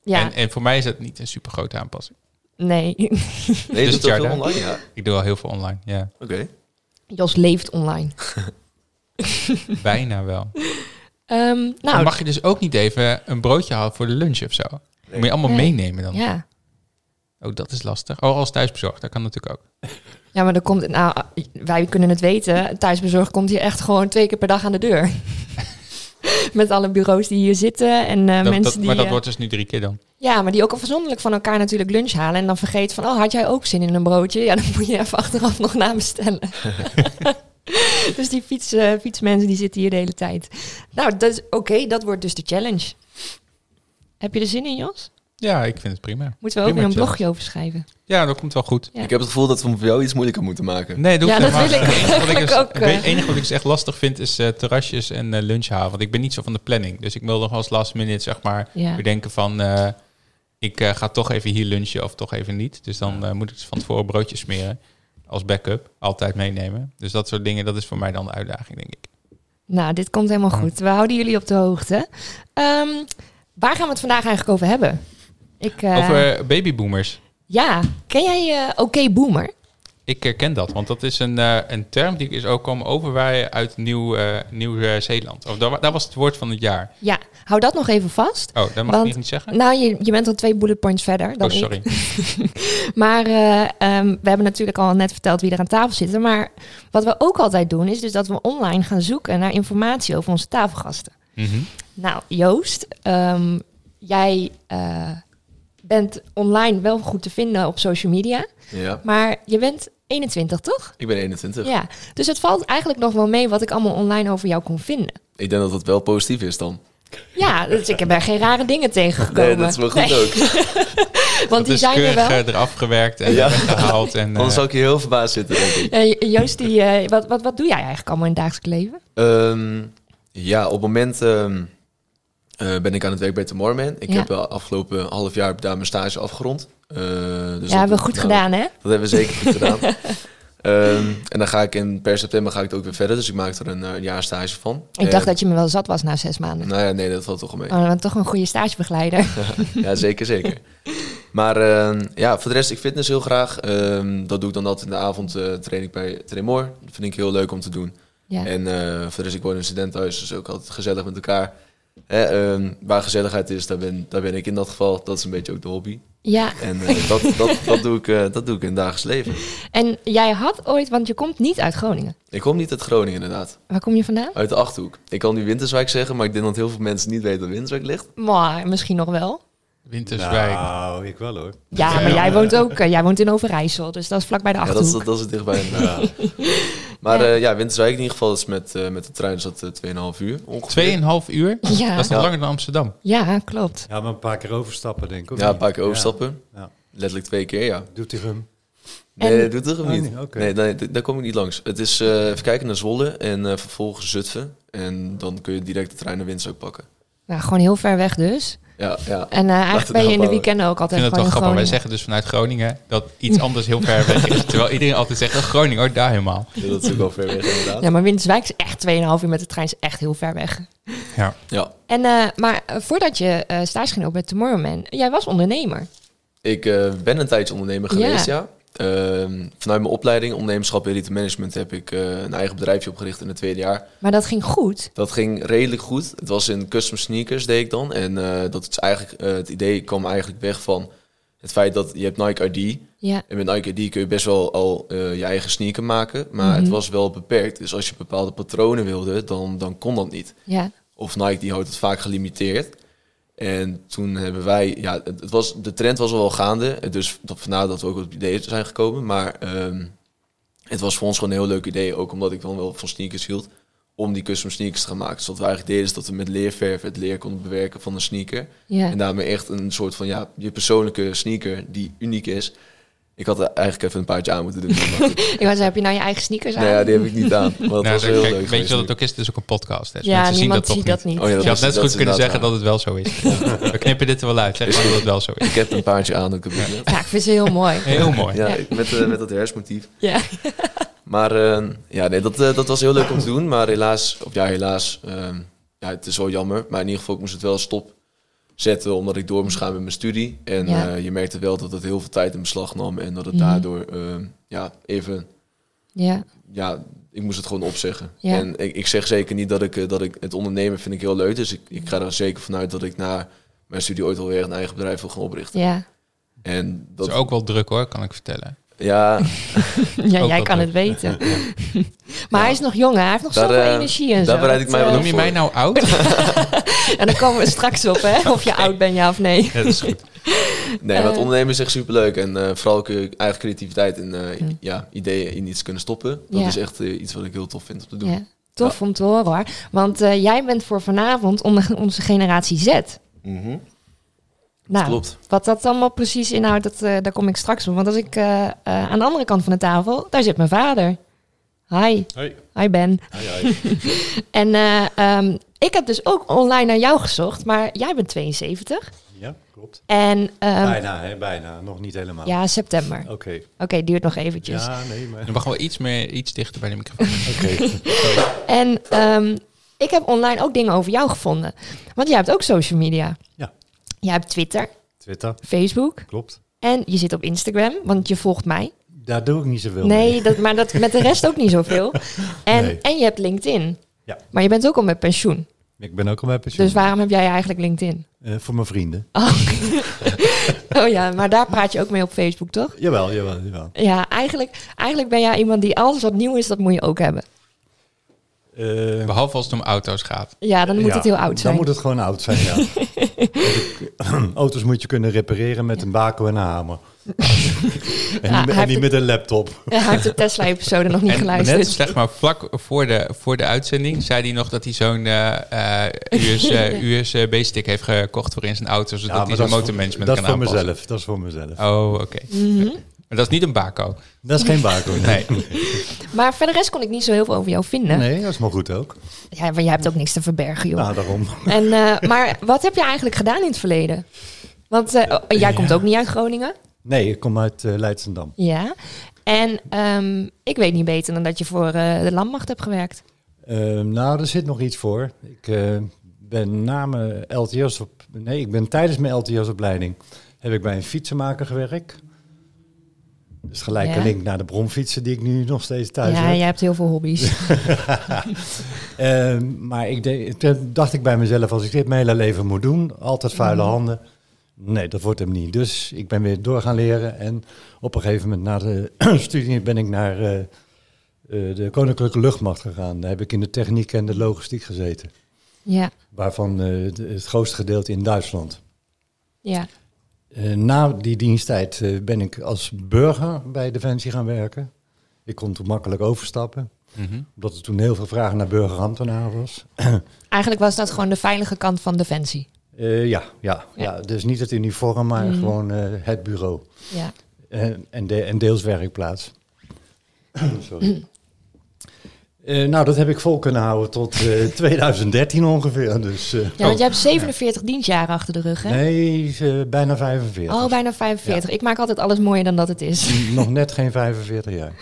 Speaker 1: ja
Speaker 2: En, en voor mij is dat niet een super grote aanpassing.
Speaker 1: nee.
Speaker 4: Nee,
Speaker 2: Dus
Speaker 4: dat is
Speaker 2: het
Speaker 4: veel
Speaker 2: jaar daar?
Speaker 4: online, ja.
Speaker 2: Ik doe al heel veel online. Ja,
Speaker 4: Oké.
Speaker 1: Jos leeft online.
Speaker 2: bijna wel.
Speaker 1: Ehm, nou,
Speaker 2: Dan mag je dus ook niet even een broodje halen voor de lunch of zo. Dat Moet je allemaal
Speaker 1: Nee.
Speaker 2: meenemen dan.
Speaker 1: ja.
Speaker 2: Oh, dat is lastig. Oh, als thuisbezorgd. Dat kan natuurlijk ook.
Speaker 1: Ja, maar dan komt, nou, wij kunnen het weten. Thuisbezorg komt hier echt gewoon twee keer per dag aan de deur. Met alle bureaus die hier zitten en eh,
Speaker 2: Dat-
Speaker 1: mensen
Speaker 2: dat-
Speaker 1: die.
Speaker 2: maar dat
Speaker 1: eh,
Speaker 2: wordt dus nu drie keer dan.
Speaker 1: Ja, maar die ook afzonderlijk van elkaar natuurlijk lunch halen. En dan vergeet van, oh, had jij ook zin in een broodje? Ja, dan moet je even achteraf nog nabestellen. dus die fiets, eh, fietsmensen die zitten hier de hele tijd. Nou, dat is- oké, dat wordt dus de challenge. Heb je er zin in, Jos?
Speaker 2: Ja, ik vind het prima.
Speaker 1: Moeten we ook weer
Speaker 2: Prima
Speaker 1: een
Speaker 2: challenge.
Speaker 1: blogje over schrijven?
Speaker 2: Ja, dat komt wel goed.
Speaker 1: Ja.
Speaker 4: Ik heb het gevoel dat we voor jou iets moeilijker moeten maken.
Speaker 2: Nee, doe
Speaker 1: Ja, dat wil ik
Speaker 2: Het
Speaker 1: eigenlijk
Speaker 2: enige wat
Speaker 1: ook,
Speaker 2: ik dus- ik weet-
Speaker 1: eh.
Speaker 2: enige wat ik dus echt lastig vind is eh, terrasjes en lunch lunchhalen. Want ik ben niet zo van de planning. Dus ik wil nog als last minute zeg maar
Speaker 1: Ja.
Speaker 2: bedenken van... eh, ik eh, ga toch even hier lunchen of toch even niet. Dus dan eh, moet ik dus van tevoren broodjes smeren. Als backup. Altijd meenemen. Dus dat soort dingen, dat is voor mij dan de uitdaging, denk ik.
Speaker 1: Nou, dit komt helemaal goed. We houden jullie op de hoogte. Ehm, waar gaan we het vandaag eigenlijk over hebben? Ik, eh,
Speaker 2: Over babyboomers.
Speaker 1: Ja, ken jij eh, Oké Boomer?
Speaker 2: Ik herken dat, want dat is een, eh, een term die is ook komen overwaaien uit Nieuw, eh, Nieuw-Zeeland. of daar, daar was het woord van het jaar.
Speaker 1: Ja, hou dat nog even vast.
Speaker 2: Oh, dat mag
Speaker 1: Want-
Speaker 2: ik niet zeggen?
Speaker 1: Nou, je, je bent al twee bullet points verder dan
Speaker 2: oh, sorry.
Speaker 1: ik. Maar eh, ehm, we hebben natuurlijk al net verteld wie er aan tafel zitten. Maar wat we ook altijd doen, is dus dat we online gaan zoeken naar informatie over onze tafelgasten.
Speaker 2: Mhm.
Speaker 1: Nou, Joost, ehm, jij eh, bent online wel goed te vinden op social media.
Speaker 4: Ja,
Speaker 1: Maar je bent 21, toch?
Speaker 4: ik ben 21.
Speaker 1: Ja. Dus het valt eigenlijk nog wel mee wat ik allemaal online over jou kon vinden.
Speaker 4: Ik denk dat dat wel positief is dan.
Speaker 1: Ja, dus ik heb er geen rare dingen tegengekomen.
Speaker 4: Nee, dat is wel goed
Speaker 1: Nee,
Speaker 4: ook.
Speaker 1: Want die
Speaker 2: Dus
Speaker 1: zijn er
Speaker 2: keurig
Speaker 1: wel.
Speaker 2: eh, eraf gewerkt en
Speaker 4: Ja.
Speaker 2: weggehaald. En, eh,
Speaker 4: Anders zou ik hier heel verbaasd zitten, denk ik.
Speaker 1: Eh, Joost, die, eh, wat, wat, wat doe jij eigenlijk allemaal in het dagelijks leven?
Speaker 4: Ehm, ja, op het moment ehm, eh, ben ik aan het werk bij Tomorrowman. Ik
Speaker 1: Ja.
Speaker 4: heb de afgelopen half jaar daar mijn stage afgerond. Eh, dus
Speaker 1: ja,
Speaker 4: dat
Speaker 1: hebben
Speaker 4: doe
Speaker 1: we
Speaker 4: ik
Speaker 1: goed
Speaker 4: voornamelijk-
Speaker 1: gedaan, hè?
Speaker 4: Dat hebben we zeker goed gedaan. Ehm, en dan ga ik in, per september ga ik het ook weer verder. Dus ik maak er een, eh, een jaar stage van.
Speaker 1: Ik dacht dat je me wel zat was na zes maanden.
Speaker 4: Nou ja, eh, nee, dat valt toch wel mee.
Speaker 1: Oh, dan toch een goede stagebegeleider.
Speaker 4: Ja, zeker, zeker. Maar ehm, ja, voor de rest, ik fitness heel graag. Ehm, dat doe ik dan altijd in de avond eh, train ik bij Tremor. Dat vind ik heel leuk om te doen.
Speaker 1: Ja.
Speaker 4: En eh, voor de rest, ik woon in een studentenhuis, dus ook altijd gezellig met elkaar. Hè, ehm, waar gezelligheid is, daar ben, daar ben ik in dat geval. Dat is een beetje ook de hobby.
Speaker 1: ja,
Speaker 4: En eh, dat, dat, dat, doe ik, eh, dat doe ik in het dagelijks leven.
Speaker 1: en jij had ooit, want je komt niet uit Groningen.
Speaker 4: Ik kom niet uit Groningen inderdaad,
Speaker 1: Waar kom je vandaan?
Speaker 4: uit de Achterhoek. Ik kan nu Winterswijk zeggen, maar ik denk dat heel veel mensen niet weten dat Winterswijk ligt.
Speaker 1: Maar misschien nog wel.
Speaker 2: Winterswijk.
Speaker 5: Nou, ik wel hoor.
Speaker 1: Ja, maar
Speaker 2: Ja.
Speaker 1: jij woont ook, eh, jij woont in Overijssel, dus dat is vlakbij de
Speaker 4: Ja, dat
Speaker 1: Achterhoek.
Speaker 4: is, dat is het dichtbij. inderdaad. Maar
Speaker 1: Ja.
Speaker 4: ja, ja Winterswijk in ieder geval is met, eh, met de trein is dat eh, 2,5 uur ongeveer.
Speaker 2: Tweeënhalf uur?
Speaker 1: Ja.
Speaker 2: Dat is nog
Speaker 4: Ja.
Speaker 2: langer dan Amsterdam.
Speaker 1: Ja, klopt.
Speaker 5: Ja, maar een paar keer overstappen denk ik. of
Speaker 4: Ja, een
Speaker 5: niet?
Speaker 4: paar keer overstappen.
Speaker 5: Ja.
Speaker 4: Letterlijk twee keer, ja.
Speaker 5: Doet hij hem.
Speaker 4: Nee,
Speaker 1: En-
Speaker 4: dat doet er hem
Speaker 5: Oh,
Speaker 4: niet.
Speaker 5: nee, oké.
Speaker 4: Nee, nee, d- daar kom ik niet langs. Het is eh, even kijken naar Zwolle en eh, vervolgens Zutphen. En dan kun je direct de trein naar Winterswijk pakken.
Speaker 1: Nou, gewoon heel ver weg dus.
Speaker 4: Ja, ja.
Speaker 1: En eh, eigenlijk
Speaker 4: het
Speaker 1: ben je in de
Speaker 4: houden.
Speaker 1: weekenden ook
Speaker 2: Ik
Speaker 1: altijd
Speaker 2: vind het
Speaker 1: gewoon in
Speaker 2: wel grappig. Wij
Speaker 1: Groningen.
Speaker 2: zeggen dus vanuit Groningen dat iets anders heel ver weg is. Terwijl iedereen altijd zegt, oh, Groningen, hoor, daar helemaal.
Speaker 4: Dat is natuurlijk wel ver weg inderdaad.
Speaker 1: Ja, maar Winterswijk is echt 2,5 uur met de trein, is echt heel ver weg.
Speaker 2: Ja.
Speaker 4: Ja,
Speaker 1: En, eh, maar eh, voordat je eh stage ging op bij Tomorrowman, jij was ondernemer.
Speaker 4: ik eh, ben een tijdje ondernemer
Speaker 1: Ja.
Speaker 4: geweest, ja. Ehm, vanuit mijn opleiding ondernemerschap en elite management heb ik eh, een eigen bedrijfje opgericht in het tweede jaar.
Speaker 1: Maar dat ging goed.
Speaker 4: Dat ging redelijk goed. Het was in custom sneakers deed ik dan. En eh, dat is eigenlijk, eh, het idee kwam eigenlijk weg van het feit dat je hebt Nike ID.
Speaker 1: Ja,
Speaker 4: En met Nike ID kun je best wel al eh, je eigen sneaker maken. Maar het was wel beperkt. Dus als je bepaalde patronen wilde, dan, dan kon dat niet.
Speaker 1: ja.
Speaker 4: Of Nike die houdt het vaak gelimiteerd. En toen hebben wij, ja, het, het was, de trend was al wel gaande. Eh, Dus dat, vandaar dat we ook op het idee zijn gekomen. Maar ehm, het was voor ons gewoon een heel leuk idee. Ook omdat ik dan wel van sneakers hield. Om die custom sneakers te gaan maken. Dus wat we eigenlijk deden is dat we met leerverf het leer konden bewerken van een sneaker.
Speaker 1: ja.
Speaker 4: En daarmee echt een soort van, ja, je persoonlijke sneaker die uniek is. Ik had er eigenlijk even een paardje aan moeten doen. maar goed.
Speaker 1: Ik wou zeggen, heb je nou je eigen sneakers aan?
Speaker 4: nou ja, die heb ik niet aan. Maar
Speaker 2: Nou,
Speaker 4: dat was
Speaker 2: kijk,
Speaker 4: heel
Speaker 2: kijk,
Speaker 4: leuk.
Speaker 2: weet
Speaker 4: geweest
Speaker 2: je wat
Speaker 4: nu.
Speaker 2: het ook is? Het is ook een podcast. hè. Dus
Speaker 1: Ja,
Speaker 2: mensen zien
Speaker 1: niemand
Speaker 2: dat toch
Speaker 1: ziet dat
Speaker 2: niet.
Speaker 1: niet.
Speaker 4: Oh
Speaker 2: Je
Speaker 4: ja, dat
Speaker 2: had
Speaker 4: is-
Speaker 2: net zo
Speaker 4: dat
Speaker 2: goed
Speaker 4: is
Speaker 2: kunnen zeggen
Speaker 4: inderdaad
Speaker 2: dat het wel zo is. We knippen dit er wel uit. Zeg maar dat het wel zo is.
Speaker 4: Ik heb een paardje aan, dat ik het niet heb.
Speaker 1: Ja, ik vind ze heel mooi.
Speaker 2: Heel mooi.
Speaker 4: Ja, met, eh, met dat hersmotief.
Speaker 1: Ja.
Speaker 4: Maar eh, ja, nee, dat, eh, dat was heel leuk om te doen. Maar helaas, of ja, helaas, eh, ja, het is wel jammer. Maar in ieder geval, ik moest het wel stopzetten, omdat ik door moest gaan met mijn studie. En
Speaker 1: Ja.
Speaker 4: eh, je merkte wel dat het heel veel tijd in beslag nam. En dat het
Speaker 1: Mhm.
Speaker 4: daardoor, eh, ja, even,
Speaker 1: Ja,
Speaker 4: ja, ik moest het gewoon opzeggen.
Speaker 1: Ja.
Speaker 4: En ik, ik zeg zeker niet dat ik, eh, dat ik, het ondernemen vind ik heel leuk. Dus ik, ik ga er zeker vanuit dat ik na mijn studie ooit alweer een eigen bedrijf wil gaan oprichten.
Speaker 1: ja.
Speaker 4: En
Speaker 2: Dat
Speaker 4: dat,
Speaker 2: is ook wel druk hoor, kan ik vertellen.
Speaker 4: ja,
Speaker 1: ja
Speaker 2: Ook
Speaker 1: jij
Speaker 2: dat
Speaker 1: kan
Speaker 2: leuk.
Speaker 1: het weten. Maar hij is nog jong, hè? hij heeft nog
Speaker 4: Daar,
Speaker 1: zoveel
Speaker 4: eh,
Speaker 1: energie en
Speaker 4: daar
Speaker 1: zo.
Speaker 4: bereid ik
Speaker 1: Dat,
Speaker 4: mij wel
Speaker 1: eh,
Speaker 2: Noem je mij nou oud?
Speaker 1: En dan komen we straks op, hè? Of je oud bent, ja of nee.
Speaker 2: Ja, dat is goed.
Speaker 4: Nee, maar het
Speaker 1: Eh.
Speaker 4: ondernemen is echt superleuk. En eh, vooral ook je eigen creativiteit en eh,
Speaker 1: Hm.
Speaker 4: ja, ideeën in iets kunnen stoppen. Dat
Speaker 1: Ja.
Speaker 4: is echt eh, iets wat ik heel tof vind om te doen.
Speaker 1: Ja. Tof om te horen hoor. Want eh, jij bent voor vanavond onder onze generatie Z. Nou,
Speaker 4: Klopt.
Speaker 1: wat dat allemaal precies inhoudt, dat, eh, daar kom ik straks op. Want als ik eh, eh, aan de andere kant van de tafel, daar zit mijn vader. Hi,
Speaker 5: Hoi.
Speaker 1: hi Ben.
Speaker 5: Hoi, hoi.
Speaker 1: En eh, ehm, ik heb dus ook online naar jou gezocht, maar jij bent 72.
Speaker 5: Ja, klopt.
Speaker 1: En ehm,
Speaker 5: bijna, hè? Bijna. Nog niet helemaal.
Speaker 1: ja, dus- september.
Speaker 5: Oké.
Speaker 1: Oké, duurt nog eventjes.
Speaker 5: Ja, nee, maar...
Speaker 2: Dan
Speaker 5: Oké.
Speaker 2: mag wel iets, meer, iets dichter bij de microfoon.
Speaker 1: En ehm, ik heb online ook dingen over jou gevonden. Want jij hebt ook social media.
Speaker 5: Ja.
Speaker 1: Jij hebt Twitter,
Speaker 5: Twitter,
Speaker 1: Facebook
Speaker 5: klopt.
Speaker 1: en je zit op Instagram, want je volgt mij.
Speaker 5: Daar doe ik niet zoveel mee.
Speaker 1: Nee, dat, maar dat met de rest ook niet zoveel. En,
Speaker 5: Nee.
Speaker 1: en je hebt LinkedIn.
Speaker 5: Ja.
Speaker 1: Maar je bent ook al met pensioen.
Speaker 5: Ik ben ook al met pensioen.
Speaker 1: Dus waarom heb jij eigenlijk LinkedIn?
Speaker 5: Eh, voor mijn vrienden.
Speaker 1: Oh ja, maar daar praat je ook mee op Facebook, toch?
Speaker 5: Jawel, jawel, jawel.
Speaker 1: Ja, eigenlijk, eigenlijk ben jij iemand die alles wat nieuw is, dat moet je ook hebben.
Speaker 5: Eh,
Speaker 2: Behalve als het om auto's gaat.
Speaker 1: Ja, dan moet
Speaker 5: ja,
Speaker 1: het heel oud zijn.
Speaker 5: Dan moet het gewoon oud zijn, ja. Want ik- auto's moet je kunnen repareren met een bako en een hamer. en
Speaker 1: Ah, hij
Speaker 5: niet, met- en
Speaker 1: heeft
Speaker 5: niet
Speaker 1: het-
Speaker 5: met een laptop.
Speaker 1: Ja, hij heeft de Tesla-episode nog niet
Speaker 2: En net
Speaker 1: geluisterd.
Speaker 2: zeg maar vlak voor de, voor de uitzending zei hij nog dat hij zo'n eh, eh, US, eh, USB-stick heeft gekocht voor in zijn auto. Zodat hij zijn
Speaker 5: is voor-
Speaker 2: motormanagement
Speaker 5: dat is
Speaker 2: kan
Speaker 5: voor
Speaker 2: aanpassen.
Speaker 5: mezelf. Dat is voor mezelf.
Speaker 2: Oh, oké.
Speaker 1: Mhm.
Speaker 2: Maar dat is niet een bako.
Speaker 5: Dat is geen bako.
Speaker 2: Nee. Mhm.
Speaker 5: Nee.
Speaker 1: Maar verder rest kon ik niet zo heel veel over jou vinden.
Speaker 5: nee, dat is maar goed ook.
Speaker 1: Ja, maar jij hebt ook niks te verbergen, joh.
Speaker 5: Nou, daarom.
Speaker 1: En, eh, maar wat heb je eigenlijk gedaan in het verleden? Want eh, oh, jij komt ook niet uit Groningen.
Speaker 5: Nee, ik kom uit eh, Leidsendam.
Speaker 1: Ja. En ehm, ik weet niet beter dan dat je voor eh, de landmacht hebt gewerkt.
Speaker 5: Eh, nou, er zit nog iets voor. Ik eh, ben na mijn LTS op. Nee, ik ben tijdens mijn LTS-opleiding heb ik bij een fietsenmaker gewerkt. Dus gelijk
Speaker 1: Ja.
Speaker 5: een link naar de bronfietsen die ik nu nog steeds thuis
Speaker 1: ja,
Speaker 5: heb.
Speaker 1: jij hebt heel veel hobby's.
Speaker 5: Eh, maar ik deed- toen dacht ik bij mezelf, als ik dit mijn hele leven moet doen, altijd vuile
Speaker 1: Mhm.
Speaker 5: handen. Nee, dat wordt hem niet. Dus ik ben weer door gaan leren. En op een gegeven moment na de studie ben ik naar eh, eh, de Koninklijke Luchtmacht gegaan. Daar heb ik in de techniek en de logistiek gezeten.
Speaker 1: ja,
Speaker 5: Waarvan eh, het- het grootste gedeelte in Duitsland.
Speaker 1: ja,
Speaker 5: Eh, na die diensttijd eh, ben ik als burger bij Defensie gaan werken. Ik kon toen makkelijk overstappen.
Speaker 2: Mhm.
Speaker 5: Omdat er toen heel veel vragen naar burgerambtenaren was.
Speaker 1: Eigenlijk was dat gewoon de veilige kant van Defensie.
Speaker 5: Eh, ja, ja, ja. dus niet het uniform, maar
Speaker 1: Mhm.
Speaker 5: gewoon eh, het bureau.
Speaker 1: Ja.
Speaker 5: En, en, de, en deels werkplaats. Sorry. Eh, nou, dat heb ik vol kunnen houden tot eh, 2013 ongeveer. Dus, eh,
Speaker 1: Ja, want jij hebt 47 dienstjaren achter de rug, hè?
Speaker 5: nee, eh, bijna 45.
Speaker 1: Oh, bijna 45. Ik maak altijd alles mooier dan dat het is.
Speaker 5: Nog net geen 45 jaar.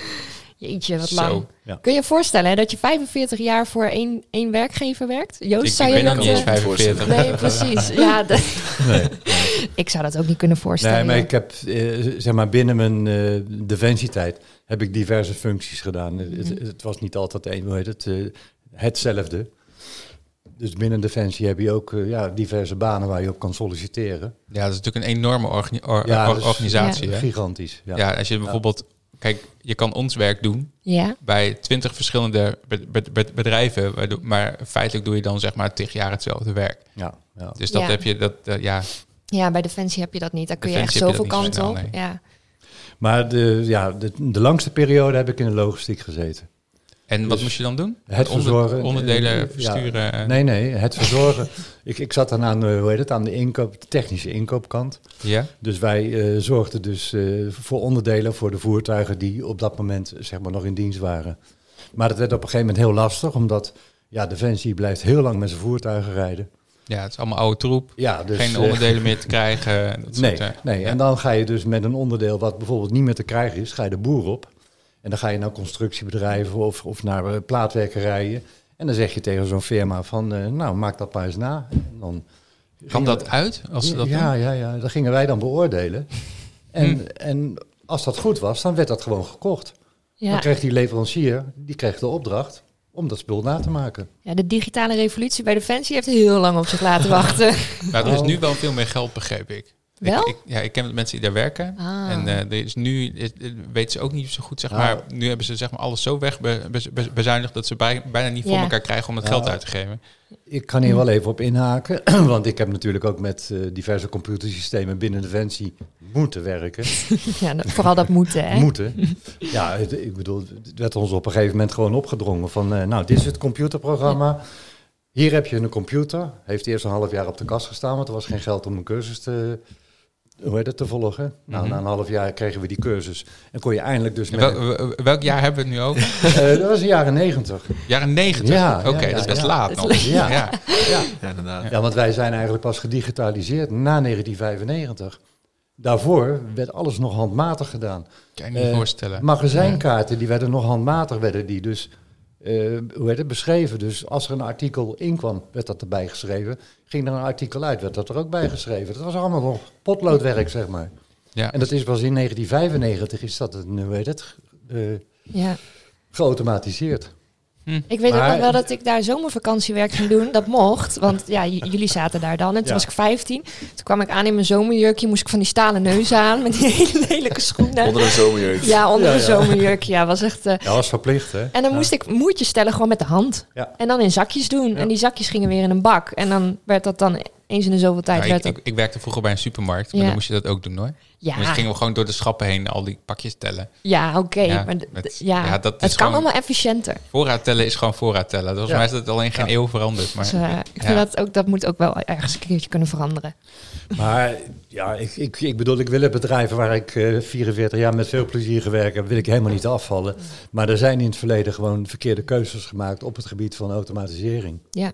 Speaker 1: Jeetje, wat
Speaker 2: Zo.
Speaker 1: lang.
Speaker 5: Ja.
Speaker 1: Kun je je voorstellen hè, dat je 45 jaar voor één, één werkgever werkt? Joost,
Speaker 2: Ik, ik
Speaker 1: zou je
Speaker 2: ben nog
Speaker 1: dat,
Speaker 2: niet eens
Speaker 1: eh,
Speaker 2: 45.
Speaker 1: Nee, precies. Ja, de-
Speaker 5: Nee.
Speaker 1: ik zou dat ook niet kunnen voorstellen.
Speaker 5: Nee, maar ik heb, eh, zeg maar, binnen mijn eh, defensietijd heb ik diverse functies gedaan. Het-
Speaker 1: Mhm.
Speaker 5: Het, het was niet altijd een, hoe heet het, eh, hetzelfde. Dus binnen defensie heb je ook eh, ja, diverse banen waar je op kan solliciteren.
Speaker 2: Ja, dat is natuurlijk een enorme organi- or-
Speaker 5: Ja,
Speaker 2: or-
Speaker 5: dat is-
Speaker 2: organisatie. hè?
Speaker 5: Gigantisch. Ja.
Speaker 2: Ja, als je bijvoorbeeld... Kijk, je kan ons werk doen
Speaker 1: Ja,
Speaker 2: bij twintig verschillende be- be- be- bedrijven. waardoor- Maar feitelijk doe je dan zeg maar tig jaar hetzelfde werk.
Speaker 5: Ja, ja.
Speaker 2: Dus dat
Speaker 1: Ja.
Speaker 2: heb je... Dat, eh, ja,
Speaker 1: ja, bij Defensie heb je dat niet. Daar kun je
Speaker 2: Defensie
Speaker 1: echt
Speaker 2: heb je
Speaker 1: zoveel
Speaker 2: dat niet zo
Speaker 1: kanten op.
Speaker 2: snel,
Speaker 1: Ja.
Speaker 5: Maar de, ja, de, de langste periode heb ik in de logistiek gezeten.
Speaker 2: en wat
Speaker 5: Dus
Speaker 2: moest je dan doen?
Speaker 5: het verzorgen, eh,
Speaker 2: onderdelen
Speaker 5: ja.
Speaker 2: versturen? eh,
Speaker 5: Nee, nee, het verzorgen. ik, ik zat dan aan, eh, hoe heet het, aan de, inkoop, de technische inkoopkant.
Speaker 2: Ja?
Speaker 5: Dus wij eh, zorgden dus eh, voor onderdelen voor de voertuigen die op dat moment zeg maar, nog in dienst waren. Maar dat werd op een gegeven moment heel lastig, omdat ja, Defensie blijft heel lang met zijn voertuigen rijden.
Speaker 2: ja, het is allemaal oude troep.
Speaker 5: Ja, dus,
Speaker 2: Geen
Speaker 5: eh,
Speaker 2: onderdelen meer te krijgen. Dat
Speaker 5: Nee,
Speaker 2: soort, eh,
Speaker 5: nee.
Speaker 2: ja.
Speaker 5: en dan ga je dus met een onderdeel wat bijvoorbeeld niet meer te krijgen is, ga je de boer op. En dan ga je naar constructiebedrijven of, of naar eh, plaatwerkerijen. En dan zeg je tegen zo'n firma van, eh, nou maak dat maar eens na. En dan
Speaker 2: Kwam
Speaker 5: gingen
Speaker 2: dat uit als ze dat
Speaker 5: ja,
Speaker 2: doen? Hm.
Speaker 5: ja, ja, dat gingen wij dan beoordelen. En, en als dat goed was, dan werd dat gewoon gekocht. Dan
Speaker 1: Ja.
Speaker 5: kreeg die leverancier, die kreeg de opdracht om dat spul na te maken.
Speaker 1: ja, de digitale revolutie bij Defensie heeft heel lang op zich laten wachten.
Speaker 2: Maar er is
Speaker 5: Oh.
Speaker 2: nu wel veel meer geld, begreep ik.
Speaker 1: Wel?
Speaker 2: Ik, ik- ja, ik ken mensen die daar werken.
Speaker 1: Ah.
Speaker 2: En eh, er is nu is- eh, weten ze ook niet zo goed, zeg
Speaker 5: Ah.
Speaker 2: maar. Nu hebben ze zeg maar alles zo wegbezuinigd dat ze bij- bijna niet voor
Speaker 1: Ja.
Speaker 2: elkaar krijgen om het
Speaker 5: Ja.
Speaker 2: geld uit te geven.
Speaker 5: Ik kan
Speaker 2: Hm.
Speaker 5: hier wel even op inhaken, want ik heb natuurlijk ook met eh, diverse computersystemen binnen Defensie moeten werken.
Speaker 1: ja, dat- vooral dat moeten, hè?
Speaker 5: Moeten. Ja, het- ik bedoel, het werd ons op een gegeven moment gewoon opgedrongen van, eh, nou, dit is het computerprogramma. Hier heb je een computer. Heeft eerst een half jaar op de kast gestaan, want er was geen geld om een cursus te, hoe heet het, te volgen. Nou, na een half jaar kregen we die cursus en kon je eindelijk dus met...
Speaker 2: Wel- wel- welk jaar hebben we het nu over?
Speaker 5: Eh, dat was de jaren negentig.
Speaker 2: Jaren 90.
Speaker 5: Ja,
Speaker 2: Oké, dus
Speaker 5: ja, ja,
Speaker 2: dat is best
Speaker 5: ja.
Speaker 2: laat nog.
Speaker 5: Ja.
Speaker 2: Ja.
Speaker 5: Ja.
Speaker 4: Ja, inderdaad.
Speaker 5: ja, want wij zijn eigenlijk pas gedigitaliseerd na 1995. Daarvoor werd alles nog handmatig gedaan.
Speaker 2: Kan je niet
Speaker 5: Eh,
Speaker 2: voorstellen.
Speaker 5: Magazijnkaarten die werden nog handmatig werden die dus eh, hoe heet het, beschreven. Dus als er een artikel inkwam, werd dat erbij geschreven. Ging er een artikel uit, werd dat er ook bij geschreven. Dat was allemaal nog potloodwerk, zeg maar.
Speaker 2: ja.
Speaker 5: En dat is pas in 1995 is dat een, hoe heet het, eh,
Speaker 1: Ja.
Speaker 5: geautomatiseerd.
Speaker 1: Ik weet ook
Speaker 5: Maar-
Speaker 1: nog wel dat ik daar zomervakantiewerk ging doen. Dat mocht, want ja, j- jullie zaten daar dan. En toen
Speaker 5: Ja.
Speaker 1: was ik 15. Toen kwam ik aan in mijn zomerjurkje. Moest ik van die stalen neus aan met die hele lelijke schoenen.
Speaker 4: Onder een zomerjurk.
Speaker 1: Ja, onder
Speaker 5: Ja,
Speaker 1: een
Speaker 5: ja.
Speaker 1: zomerjurkje. Ja, was echt... eh,
Speaker 5: Ja, was verplicht, hè?
Speaker 1: en dan moest ik moertjes stellen gewoon met de hand.
Speaker 5: Ja.
Speaker 1: En dan in zakjes doen. En die zakjes gingen weer in een bak. En dan werd dat dan eens in de zoveel tijd.
Speaker 2: Nou, ik,
Speaker 1: werd dat-
Speaker 2: ik, ik werkte vroeger bij een supermarkt, maar
Speaker 1: Ja.
Speaker 2: dan moest je dat ook doen hoor.
Speaker 1: Ja.
Speaker 2: Dus gingen we gewoon door de schappen heen al die pakjes tellen.
Speaker 1: ja, oké.
Speaker 2: Ja,
Speaker 1: maar d-
Speaker 2: met-
Speaker 1: d- ja,
Speaker 2: ja, dat
Speaker 1: het
Speaker 2: is
Speaker 1: kan
Speaker 2: gewoon-
Speaker 1: allemaal efficiënter.
Speaker 2: Voorraad tellen is gewoon voorraad tellen. Volgens
Speaker 5: Ja.
Speaker 2: mij is dat alleen geen eeuw veranderd. Maar,
Speaker 1: Dus, eh, ik vind
Speaker 2: ja.
Speaker 1: dat, ook, dat moet ook wel ergens een keertje kunnen veranderen.
Speaker 5: Maar ja, ik, ik, ik bedoel, ik wil het bedrijf waar ik eh, 44 jaar met veel plezier gewerkt heb, wil ik helemaal niet afvallen. Maar er zijn in het verleden gewoon verkeerde keuzes gemaakt op het gebied van automatisering.
Speaker 1: Ja,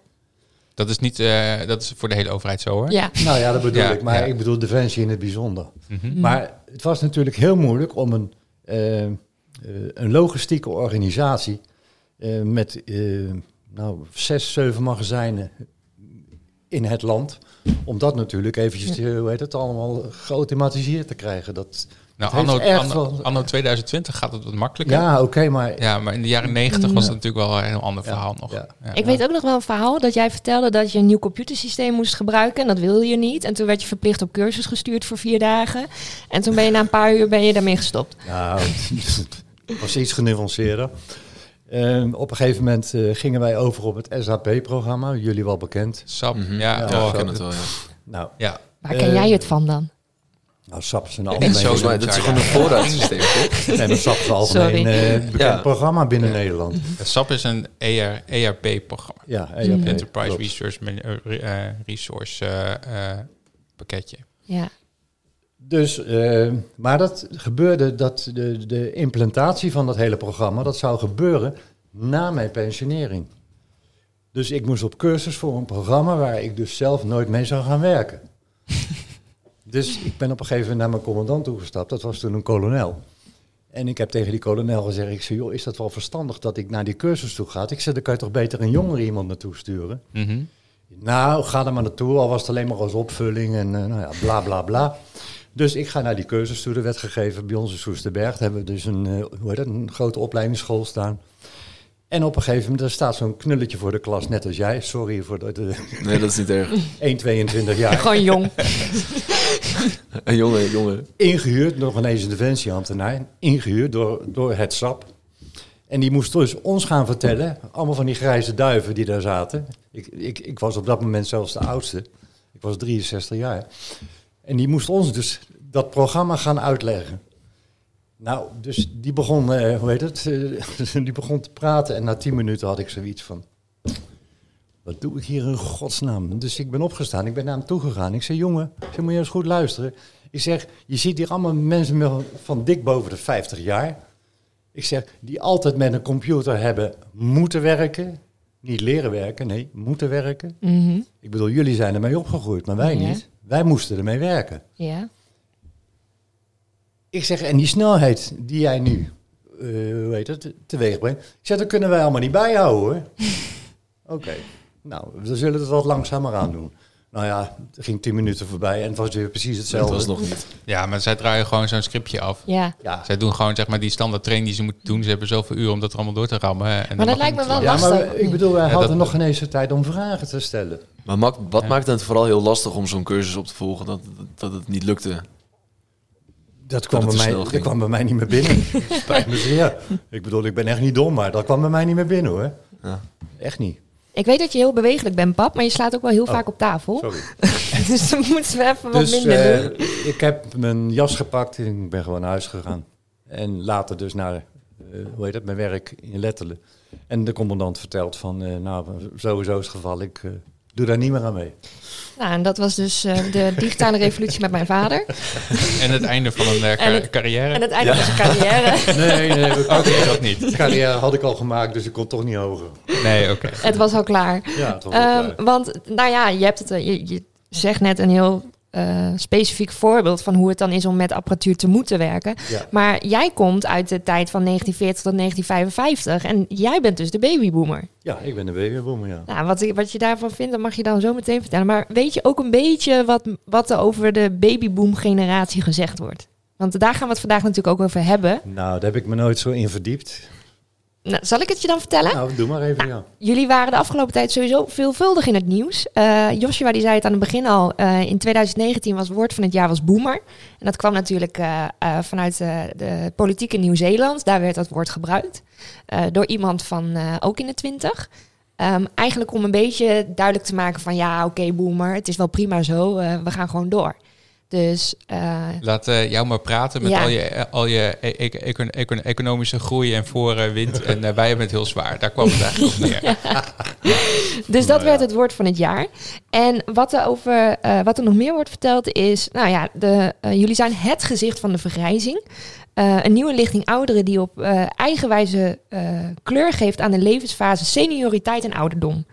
Speaker 2: Dat is niet, eh, dat is voor de hele overheid zo hoor.
Speaker 1: ja.
Speaker 5: Nou ja, dat bedoel
Speaker 2: Ja,
Speaker 5: ik. Maar
Speaker 2: ja. Mhm.
Speaker 5: ik bedoel Defensie in het bijzonder. Maar het was natuurlijk heel moeilijk om een, eh, eh, een logistieke organisatie eh, met eh, nou, zes, zeven magazijnen in het land, om dat natuurlijk eventjes, eh, hoe heet het, allemaal geautomatiseerd te krijgen. Dat,
Speaker 2: Nou,
Speaker 5: Het
Speaker 2: anno,
Speaker 5: heeft echt
Speaker 2: anno,
Speaker 5: wel-
Speaker 2: anno 2020 gaat het wat makkelijker.
Speaker 5: ja, oké, maar
Speaker 2: Ja, maar in de jaren 90 was dat natuurlijk wel een heel ander
Speaker 5: Ja,
Speaker 2: verhaal nog.
Speaker 5: ja.
Speaker 2: Ja.
Speaker 1: Ik weet ook nog wel een verhaal dat jij vertelde dat je een nieuw computersysteem moest gebruiken. En dat wilde je niet. En toen werd je verplicht op cursus gestuurd voor vier dagen. En toen ben je na een paar uur ben je daarmee gestopt.
Speaker 5: Nou, het was iets genuanceerder. Ehm, op een gegeven moment eh, gingen wij over op het SAP-programma, jullie wel bekend.
Speaker 2: Sap, ja.
Speaker 5: Ja,
Speaker 2: oh,
Speaker 4: Mhm. Ja,
Speaker 2: Ja,
Speaker 4: ik ken het wel, ja.
Speaker 5: Nou,
Speaker 2: ja.
Speaker 1: Waar ken
Speaker 5: Eh,
Speaker 1: jij het van dan?
Speaker 5: nou SAP is een
Speaker 2: En
Speaker 5: algemeen,
Speaker 2: zo
Speaker 4: Volgens mij, dat is gewoon een voorraadsysteem, toch?
Speaker 5: nee, maar SAP is een algemeen
Speaker 1: Sorry.
Speaker 5: eh, bekend
Speaker 4: Ja.
Speaker 5: programma binnen Nederland.
Speaker 2: SAP is een E ER, ERP-programma.
Speaker 5: Ja, ERP,
Speaker 2: Enterprise
Speaker 5: klopt.
Speaker 2: Research Man- eh, re- eh, Resource eh, eh, pakketje.
Speaker 1: Ja.
Speaker 5: Dus, eh, maar dat gebeurde, dat de, de implantatie van dat hele programma, dat zou gebeuren na mijn pensionering. Dus ik moest op cursus voor een programma waar ik dus zelf nooit mee zou gaan werken. dus ik ben op een gegeven moment naar mijn commandant toegestapt. Dat was toen een kolonel. En ik heb tegen die kolonel gezegd, ik zei, joh, is dat wel verstandig dat ik naar die cursus toe ga? Ik zei, dan kan je toch beter een jongere iemand naartoe sturen?
Speaker 2: Mhm.
Speaker 5: Nou, ga er maar naartoe, al was het alleen maar als opvulling en eh, nou ja, bla bla bla. Dus ik ga naar die cursus toe, er werd gegeven bij ons in Soesterberg. Daar hebben we dus een, eh, hoe heet dat, een grote opleidingsschool staan. En op een gegeven moment daar staat zo'n knulletje voor de klas, net als jij. Sorry voor de, de
Speaker 4: Nee, dat is niet erg.
Speaker 5: 1,22 jaar.
Speaker 1: Gewoon jong.
Speaker 4: Een jongen, jongen.
Speaker 5: Ingehuurd door ineens een defensieambtenaar. Ingehuurd door, door het SAP. En die moest dus ons gaan vertellen, allemaal van die grijze duiven die daar zaten. Ik, ik, ik was op dat moment zelfs de oudste. Ik was 63 jaar. En die moest ons dus dat programma gaan uitleggen. Nou, dus die begon, eh, hoe heet het, eh, die begon te praten. En na 10 minuten had ik zoiets van, wat doe ik hier in godsnaam? Dus ik ben opgestaan, ik ben naar hem toegegaan. Ik zei, jongen, ik zeg, moet je eens goed luisteren. Ik zeg, je ziet hier allemaal mensen met- van dik boven de 50 jaar. Ik zeg, die altijd met een computer hebben moeten werken. Niet leren werken, nee, moeten werken.
Speaker 1: Mhm.
Speaker 5: Ik bedoel, jullie zijn ermee opgegroeid, maar wij
Speaker 1: Ja.
Speaker 5: niet. Wij moesten ermee werken.
Speaker 1: Ja.
Speaker 5: Ik zeg, en die snelheid die jij nu eh, hoe heet het, teweeg brengt, ik zeg, dat kunnen wij allemaal niet bijhouden hoor. Oké, nou, we zullen het wat langzamer aan doen. Nou ja, er ging tien minuten voorbij en het was weer precies
Speaker 4: Dat
Speaker 5: hetzelfde.
Speaker 4: was nog niet.
Speaker 2: Ja, maar zij draaien gewoon zo'n scriptje af.
Speaker 1: Ja.
Speaker 5: Ja,
Speaker 2: Zij doen gewoon zeg maar die standaard training die ze moeten doen. Ze hebben zoveel uren om dat er allemaal door te rammen. hè, En
Speaker 1: Maar dat
Speaker 2: dan mag
Speaker 1: lijkt me
Speaker 2: het
Speaker 1: wel
Speaker 2: niet.
Speaker 5: ja
Speaker 1: lastig.
Speaker 5: maar ik bedoel, wij
Speaker 2: Ja,
Speaker 5: hadden
Speaker 2: dat-
Speaker 5: nog geen eens de tijd om vragen te stellen.
Speaker 4: Maar Mak, wat
Speaker 2: Ja.
Speaker 4: maakte het vooral heel lastig om zo'n cursus op te volgen? Dat, dat het niet lukte.
Speaker 5: Dat kwam,
Speaker 4: het
Speaker 5: bij
Speaker 4: te
Speaker 5: mij,
Speaker 4: snel
Speaker 5: dat
Speaker 4: ging.
Speaker 5: kwam bij mij niet meer binnen. Spijt me zeer. Ik bedoel, ik ben echt niet dom, maar dat kwam bij mij niet meer binnen hoor.
Speaker 4: Ja.
Speaker 5: Echt niet.
Speaker 1: Ik weet dat je heel bewegelijk bent, pap, maar je slaat ook wel heel
Speaker 5: Oh.
Speaker 1: vaak op tafel.
Speaker 5: Sorry.
Speaker 1: dus dan moeten we even wat
Speaker 5: Dus
Speaker 1: minder
Speaker 5: eh,
Speaker 1: doen.
Speaker 5: ik heb mijn jas gepakt en ik ben gewoon naar huis gegaan. En later dus naar, eh, hoe heet dat, mijn werk in Letterlijk. En de commandant vertelt van, eh, nou, sowieso is het geval, ik eh, doe daar niet meer aan mee.
Speaker 1: Nou, en dat was dus eh, de digitale revolutie met mijn vader.
Speaker 2: En het einde van een eh,
Speaker 1: En
Speaker 2: ca-
Speaker 1: het-
Speaker 2: carrière.
Speaker 1: En het einde van zijn carrière.
Speaker 5: Nee, nee, we-
Speaker 2: Oké, dat niet.
Speaker 5: de carrière had ik al gemaakt, dus ik kon toch niet hoger.
Speaker 2: Nee, oké.
Speaker 1: het was al klaar.
Speaker 5: Ja, het was wel
Speaker 1: Ehm,
Speaker 5: klaar.
Speaker 1: want, nou ja, je, hebt het, eh, je, je zegt net een heel eh, specifiek voorbeeld van hoe het dan is om met apparatuur te moeten werken.
Speaker 5: Ja.
Speaker 1: Maar jij komt uit de tijd van 1940 tot 1955 en jij bent dus de babyboomer.
Speaker 5: ja, ik ben de babyboomer, ja.
Speaker 1: Nou, wat, wat je daarvan vindt, dat mag je dan zo meteen vertellen. Maar weet je ook een beetje wat, wat er over de babyboom-generatie gezegd wordt? Want daar gaan we het vandaag natuurlijk ook over hebben.
Speaker 5: Nou, daar heb ik me nooit zo in verdiept.
Speaker 1: Nou, zal ik het je dan vertellen?
Speaker 5: Nou, doe maar even, ja.
Speaker 1: Jullie waren de afgelopen tijd sowieso veelvuldig in het nieuws. Eh Joshua die zei het aan het begin al. eh, in 2019 was woord van het jaar was boomer. En dat kwam natuurlijk eh, eh, vanuit eh, de politiek in Nieuw-Zeeland. Daar werd dat woord gebruikt. eh, door iemand van eh, ook in de twintig. Ehm, eigenlijk om een beetje duidelijk te maken van... ja, oké, boomer, het is wel prima zo. eh, we gaan gewoon door. Dus eh,
Speaker 2: Laat eh, jou maar praten met
Speaker 1: Ja.
Speaker 2: al je, eh, al je e- e- econ- econ- economische groei en voorwind. En eh, wij hebben het heel zwaar. Daar kwam het eigenlijk op neer.
Speaker 1: Dus dat werd het woord van het jaar. En wat er, over, eh, wat er nog meer wordt verteld is... Nou ja, de, eh, jullie zijn het gezicht van de vergrijzing. Eh, een nieuwe lichting ouderen die op eh eigen wijze eh, kleur geeft aan de levensfase senioriteit en ouderdom.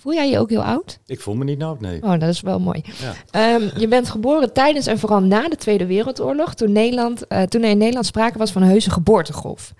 Speaker 1: Voel jij je ook heel oud?
Speaker 5: Ik voel me niet oud, nee.
Speaker 1: Oh, dat is wel mooi.
Speaker 5: Ja.
Speaker 1: Ehm, je bent geboren tijdens en vooral na de Tweede Wereldoorlog, toen, Nederland, eh, toen er in Nederland sprake was van een heuse geboortegolf.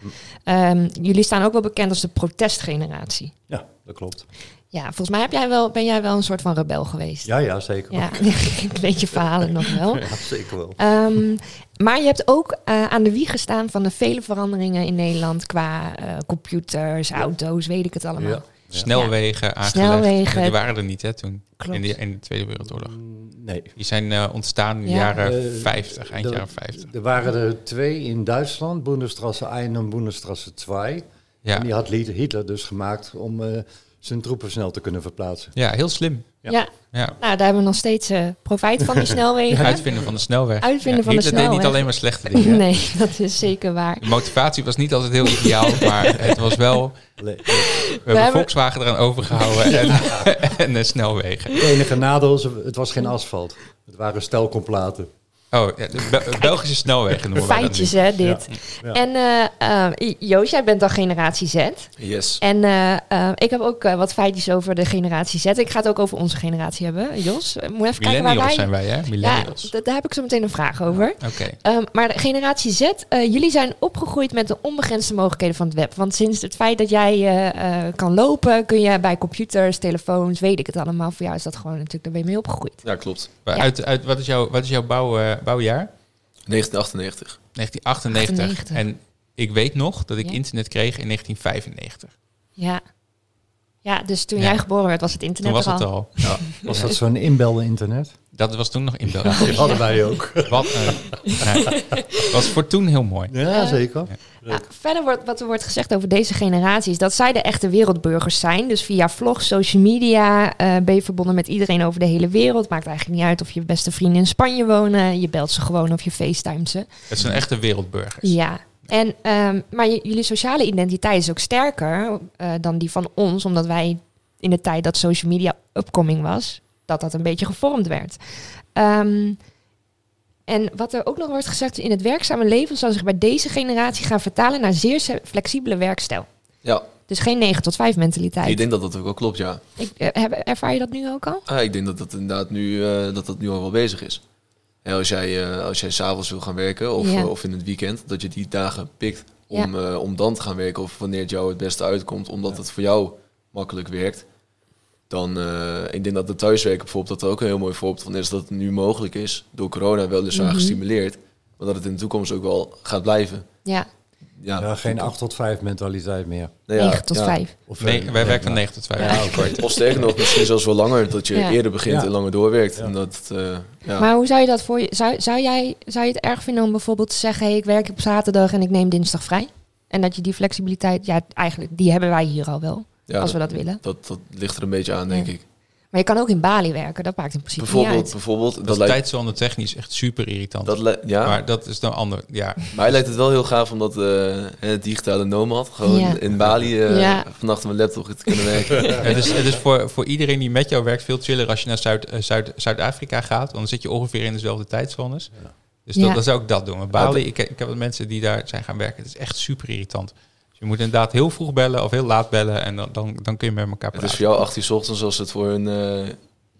Speaker 1: Ehm, jullie staan ook wel bekend als de protestgeneratie.
Speaker 5: Ja, dat klopt.
Speaker 1: Ja, volgens mij heb jij wel, ben jij wel een soort van rebel geweest.
Speaker 5: Ja, ja, zeker. wel.
Speaker 1: Ja, ik weet je verhalen nog wel.
Speaker 5: ja zeker wel.
Speaker 1: Ehm, maar je hebt ook eh, aan de wieg gestaan van de vele veranderingen in Nederland qua eh, computers, auto's, weet ik het allemaal.
Speaker 5: Ja.
Speaker 2: Snelwegen aangelegd.
Speaker 1: Snelwegen.
Speaker 2: Die waren er niet hè, toen.
Speaker 1: Klopt.
Speaker 2: In, de- in de Tweede Wereldoorlog.
Speaker 5: Nee,
Speaker 2: Die zijn eh, ontstaan in de
Speaker 1: Ja.
Speaker 2: jaren
Speaker 5: Eh,
Speaker 2: 50, eind
Speaker 5: er-
Speaker 2: jaren 50.
Speaker 5: Er waren er twee in Duitsland, Bundesstraße 1 en Bundesstraße 2. En die
Speaker 2: Ja.
Speaker 5: had Lied- Hitler dus gemaakt om eh, zijn troepen snel te kunnen verplaatsen.
Speaker 2: ja, heel slim.
Speaker 1: Ja.
Speaker 5: Ja.
Speaker 2: Ja.
Speaker 1: nou daar hebben we nog steeds eh, profijt van, die snelwegen.
Speaker 2: Uitvinden van de snelweg.
Speaker 1: Uitvinden van de
Speaker 2: Hitler deed
Speaker 1: snelweg.
Speaker 2: niet alleen maar slechte dingen.
Speaker 1: Nee, dat is zeker waar.
Speaker 2: De motivatie was niet altijd heel ideaal, maar het was wel...
Speaker 5: Allee,
Speaker 2: We hebben
Speaker 1: hebben-
Speaker 2: Volkswagen eraan overgehouden en, en de snelwegen.
Speaker 5: Het enige nadeel, ze- het was geen asfalt. Het waren stelkomplaten.
Speaker 2: Oh, ja, de Bel- Belgische snelwegen noemen we dat
Speaker 1: Feitjes,
Speaker 2: nu.
Speaker 1: hè, dit.
Speaker 5: Ja.
Speaker 1: En eh, eh, Joost, jij bent dan generatie Z.
Speaker 4: Yes.
Speaker 1: En eh, eh, ik heb ook eh, wat feitjes over de generatie Z. Ik ga het ook over onze generatie hebben, Jos. eh, Moet even kijken waar
Speaker 2: Millennials
Speaker 1: wij...
Speaker 2: zijn wij, hè?
Speaker 1: ja,
Speaker 2: Millennials.
Speaker 1: d- daar heb ik zo meteen een vraag over.
Speaker 2: Oké.
Speaker 1: Ehm, maar de generatie Z, eh, jullie zijn opgegroeid met de onbegrensde mogelijkheden van het web. Want sinds het feit dat jij eh, eh, kan lopen, kun je bij computers, telefoons, weet ik het allemaal. Voor jou is dat gewoon natuurlijk, daar ben je mee opgegroeid.
Speaker 4: Ja, klopt.
Speaker 2: Maar
Speaker 1: Ja.
Speaker 2: Uit, uit, wat is jouw, wat is jouw bouw, eh, bouwjaar?
Speaker 4: 1998.
Speaker 2: 1998.
Speaker 1: 98.
Speaker 2: En ik weet nog dat ik
Speaker 1: Ja.
Speaker 2: internet kreeg in 1995.
Speaker 1: Ja, ja dus toen
Speaker 2: Ja.
Speaker 1: jij geboren werd, was het
Speaker 2: Toen
Speaker 1: internet
Speaker 2: was
Speaker 1: er al.
Speaker 2: het al.
Speaker 5: Was dat zo'n inbellen internet?
Speaker 2: Dat was toen nog in België.
Speaker 5: Dat hadden wij ook.
Speaker 2: Wat eh, nee. was voor toen heel mooi.
Speaker 5: Ja, zeker.
Speaker 1: Nou, verder wordt, wat er wordt gezegd over deze generatie is dat zij de echte wereldburgers zijn. Dus via vlogs, social media eh, ben je verbonden met iedereen over de hele wereld. Maakt eigenlijk niet uit of je beste vrienden in Spanje wonen. Je belt ze gewoon of je facetimet ze.
Speaker 2: Het zijn echte wereldburgers.
Speaker 1: Ja. En, ehm, maar j- jullie sociale identiteit is ook sterker eh, dan die van ons, omdat wij in de tijd dat social media upcoming was, dat dat een beetje gevormd werd. Ehm, en wat er ook nog wordt gezegd, in het werkzame leven zal zich bij deze generatie gaan vertalen naar zeer se- flexibele werkstijl.
Speaker 4: Ja,
Speaker 1: Dus geen 9 tot 5 mentaliteit.
Speaker 4: ik denk dat dat ook wel klopt, ja.
Speaker 1: Ik, eh, heb- ervaar je dat nu ook al?
Speaker 4: Ah, ik denk dat dat inderdaad nu, eh, dat dat nu al wel bezig is. Hè, als jij, eh, als jij s'avonds wil gaan werken of,
Speaker 1: Ja.
Speaker 4: eh, of in het weekend, dat je die dagen pikt om, eh, om dan te gaan werken of wanneer het jou het beste uitkomt, omdat het voor jou makkelijk werkt. Dan, eh, ik denk dat de thuiswerken bijvoorbeeld, dat er ook een heel mooi voorbeeld van is, dat het nu mogelijk is, door corona wel dus
Speaker 1: Mhm.
Speaker 4: aan gestimuleerd, maar dat het in de toekomst ook wel gaat blijven.
Speaker 1: Ja,
Speaker 4: Ja,
Speaker 5: Ja, geen 8 tot 5 mentaliteit meer.
Speaker 4: Nou ja,
Speaker 1: 9 tot
Speaker 4: ja.
Speaker 1: 5.
Speaker 5: Of,
Speaker 2: Nee,
Speaker 5: eh,
Speaker 2: wij
Speaker 5: nee,
Speaker 2: werken van
Speaker 5: maar-
Speaker 2: 9 tot 5.
Speaker 4: Of sterker nog, misschien zelfs wel langer, dat je
Speaker 1: Ja.
Speaker 4: eerder begint
Speaker 5: Ja.
Speaker 4: en langer doorwerkt.
Speaker 5: Ja.
Speaker 4: En dat, eh, ja.
Speaker 1: Maar hoe zou je dat voor je... Zou, zou, jij, zou je het erg vinden om bijvoorbeeld te zeggen... Hey, ik werk op zaterdag en ik neem dinsdag vrij? En dat je die flexibiliteit... Ja, eigenlijk, die hebben wij hier al wel.
Speaker 4: ja,
Speaker 1: als we dat willen.
Speaker 4: Dat, dat ligt er een beetje aan, denk
Speaker 1: Ja.
Speaker 4: ik.
Speaker 1: Maar je kan ook in Bali werken. Dat maakt in principe niet
Speaker 4: Bijvoorbeeld,
Speaker 1: uit.
Speaker 4: bijvoorbeeld dat,
Speaker 2: Dat is
Speaker 4: lijkt,
Speaker 2: tijdzone technisch echt super irritant.
Speaker 4: dat li- ja, maar,
Speaker 2: Maar dat is dan ander. Ja,
Speaker 4: mij lijkt het wel heel gaaf omdat eh het digitale nomad gewoon
Speaker 1: Ja.
Speaker 4: in Bali eh
Speaker 1: Ja.
Speaker 4: vannacht op mijn laptop te kunnen werken.
Speaker 2: het is, het is voor, voor iedereen die met jou werkt veel chiller als je naar Zuid, eh, Zuid, Zuid-Afrika gaat. Want dan zit je ongeveer in dezelfde tijdzones. Dus dat,
Speaker 1: Ja.
Speaker 2: dan zou ik dat doen. Maar Bali, ik, ik heb wat mensen die daar zijn gaan werken. Het is echt super irritant. Dus je moet inderdaad heel vroeg bellen of heel laat bellen. En dan, dan, dan kun je met elkaar
Speaker 4: het is
Speaker 2: praten.
Speaker 4: voor jou 8 uur 's ochtends als het voor hun... eh,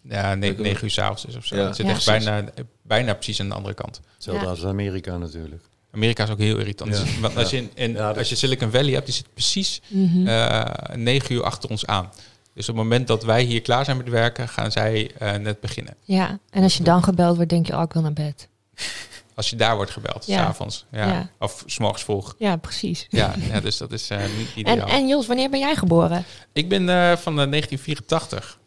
Speaker 2: Ja, ne- negen uur s'avonds is of zo.
Speaker 4: Ja.
Speaker 2: Het zit
Speaker 1: Ja,
Speaker 2: echt
Speaker 4: precies.
Speaker 2: bijna, bijna precies aan de andere kant.
Speaker 5: Hetzelfde
Speaker 1: Ja.
Speaker 5: als Amerika natuurlijk.
Speaker 2: Amerika is ook heel irritant.
Speaker 5: Ja.
Speaker 2: Dus, want als, je in, in-
Speaker 5: Ja, dat-
Speaker 2: als je Silicon Valley hebt, die zit precies
Speaker 1: Mhm.
Speaker 2: eh, negen uur achter ons aan. Dus op het moment dat wij hier klaar zijn met werken, gaan zij eh, net beginnen.
Speaker 1: Ja, en als je dan gebeld wordt, denk je... Oh, ik wil naar bed.
Speaker 2: Als je daar wordt gebeld,
Speaker 1: Ja.
Speaker 2: s'avonds. Ja.
Speaker 1: Ja.
Speaker 2: Of s'morgens vroeg.
Speaker 1: Ja, precies.
Speaker 2: Ja, ja, dus dat is eh, niet
Speaker 1: En,
Speaker 2: ideaal.
Speaker 1: en Jos, wanneer ben jij geboren?
Speaker 2: Ik ben eh, van de 1984.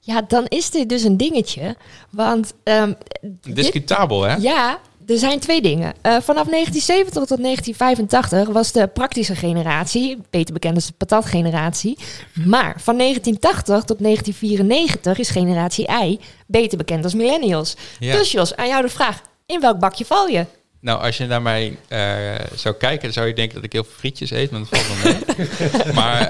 Speaker 1: Ja, dan is dit dus een dingetje. Want ehm, dit
Speaker 2: Discutabel, hè?
Speaker 1: Ja, er zijn twee dingen. Eh, vanaf 1970 tot 1985 was de praktische generatie, beter bekend als de patatgeneratie. Maar van 1980 tot 1994 is generatie I, beter bekend als millennials.
Speaker 2: Ja.
Speaker 1: Dus Jos, aan jou de vraag, in welk bakje val je?
Speaker 2: Nou, als je naar mij eh, zou kijken, dan zou je denken dat ik heel veel frietjes eet, maar dat valt wel mee. maar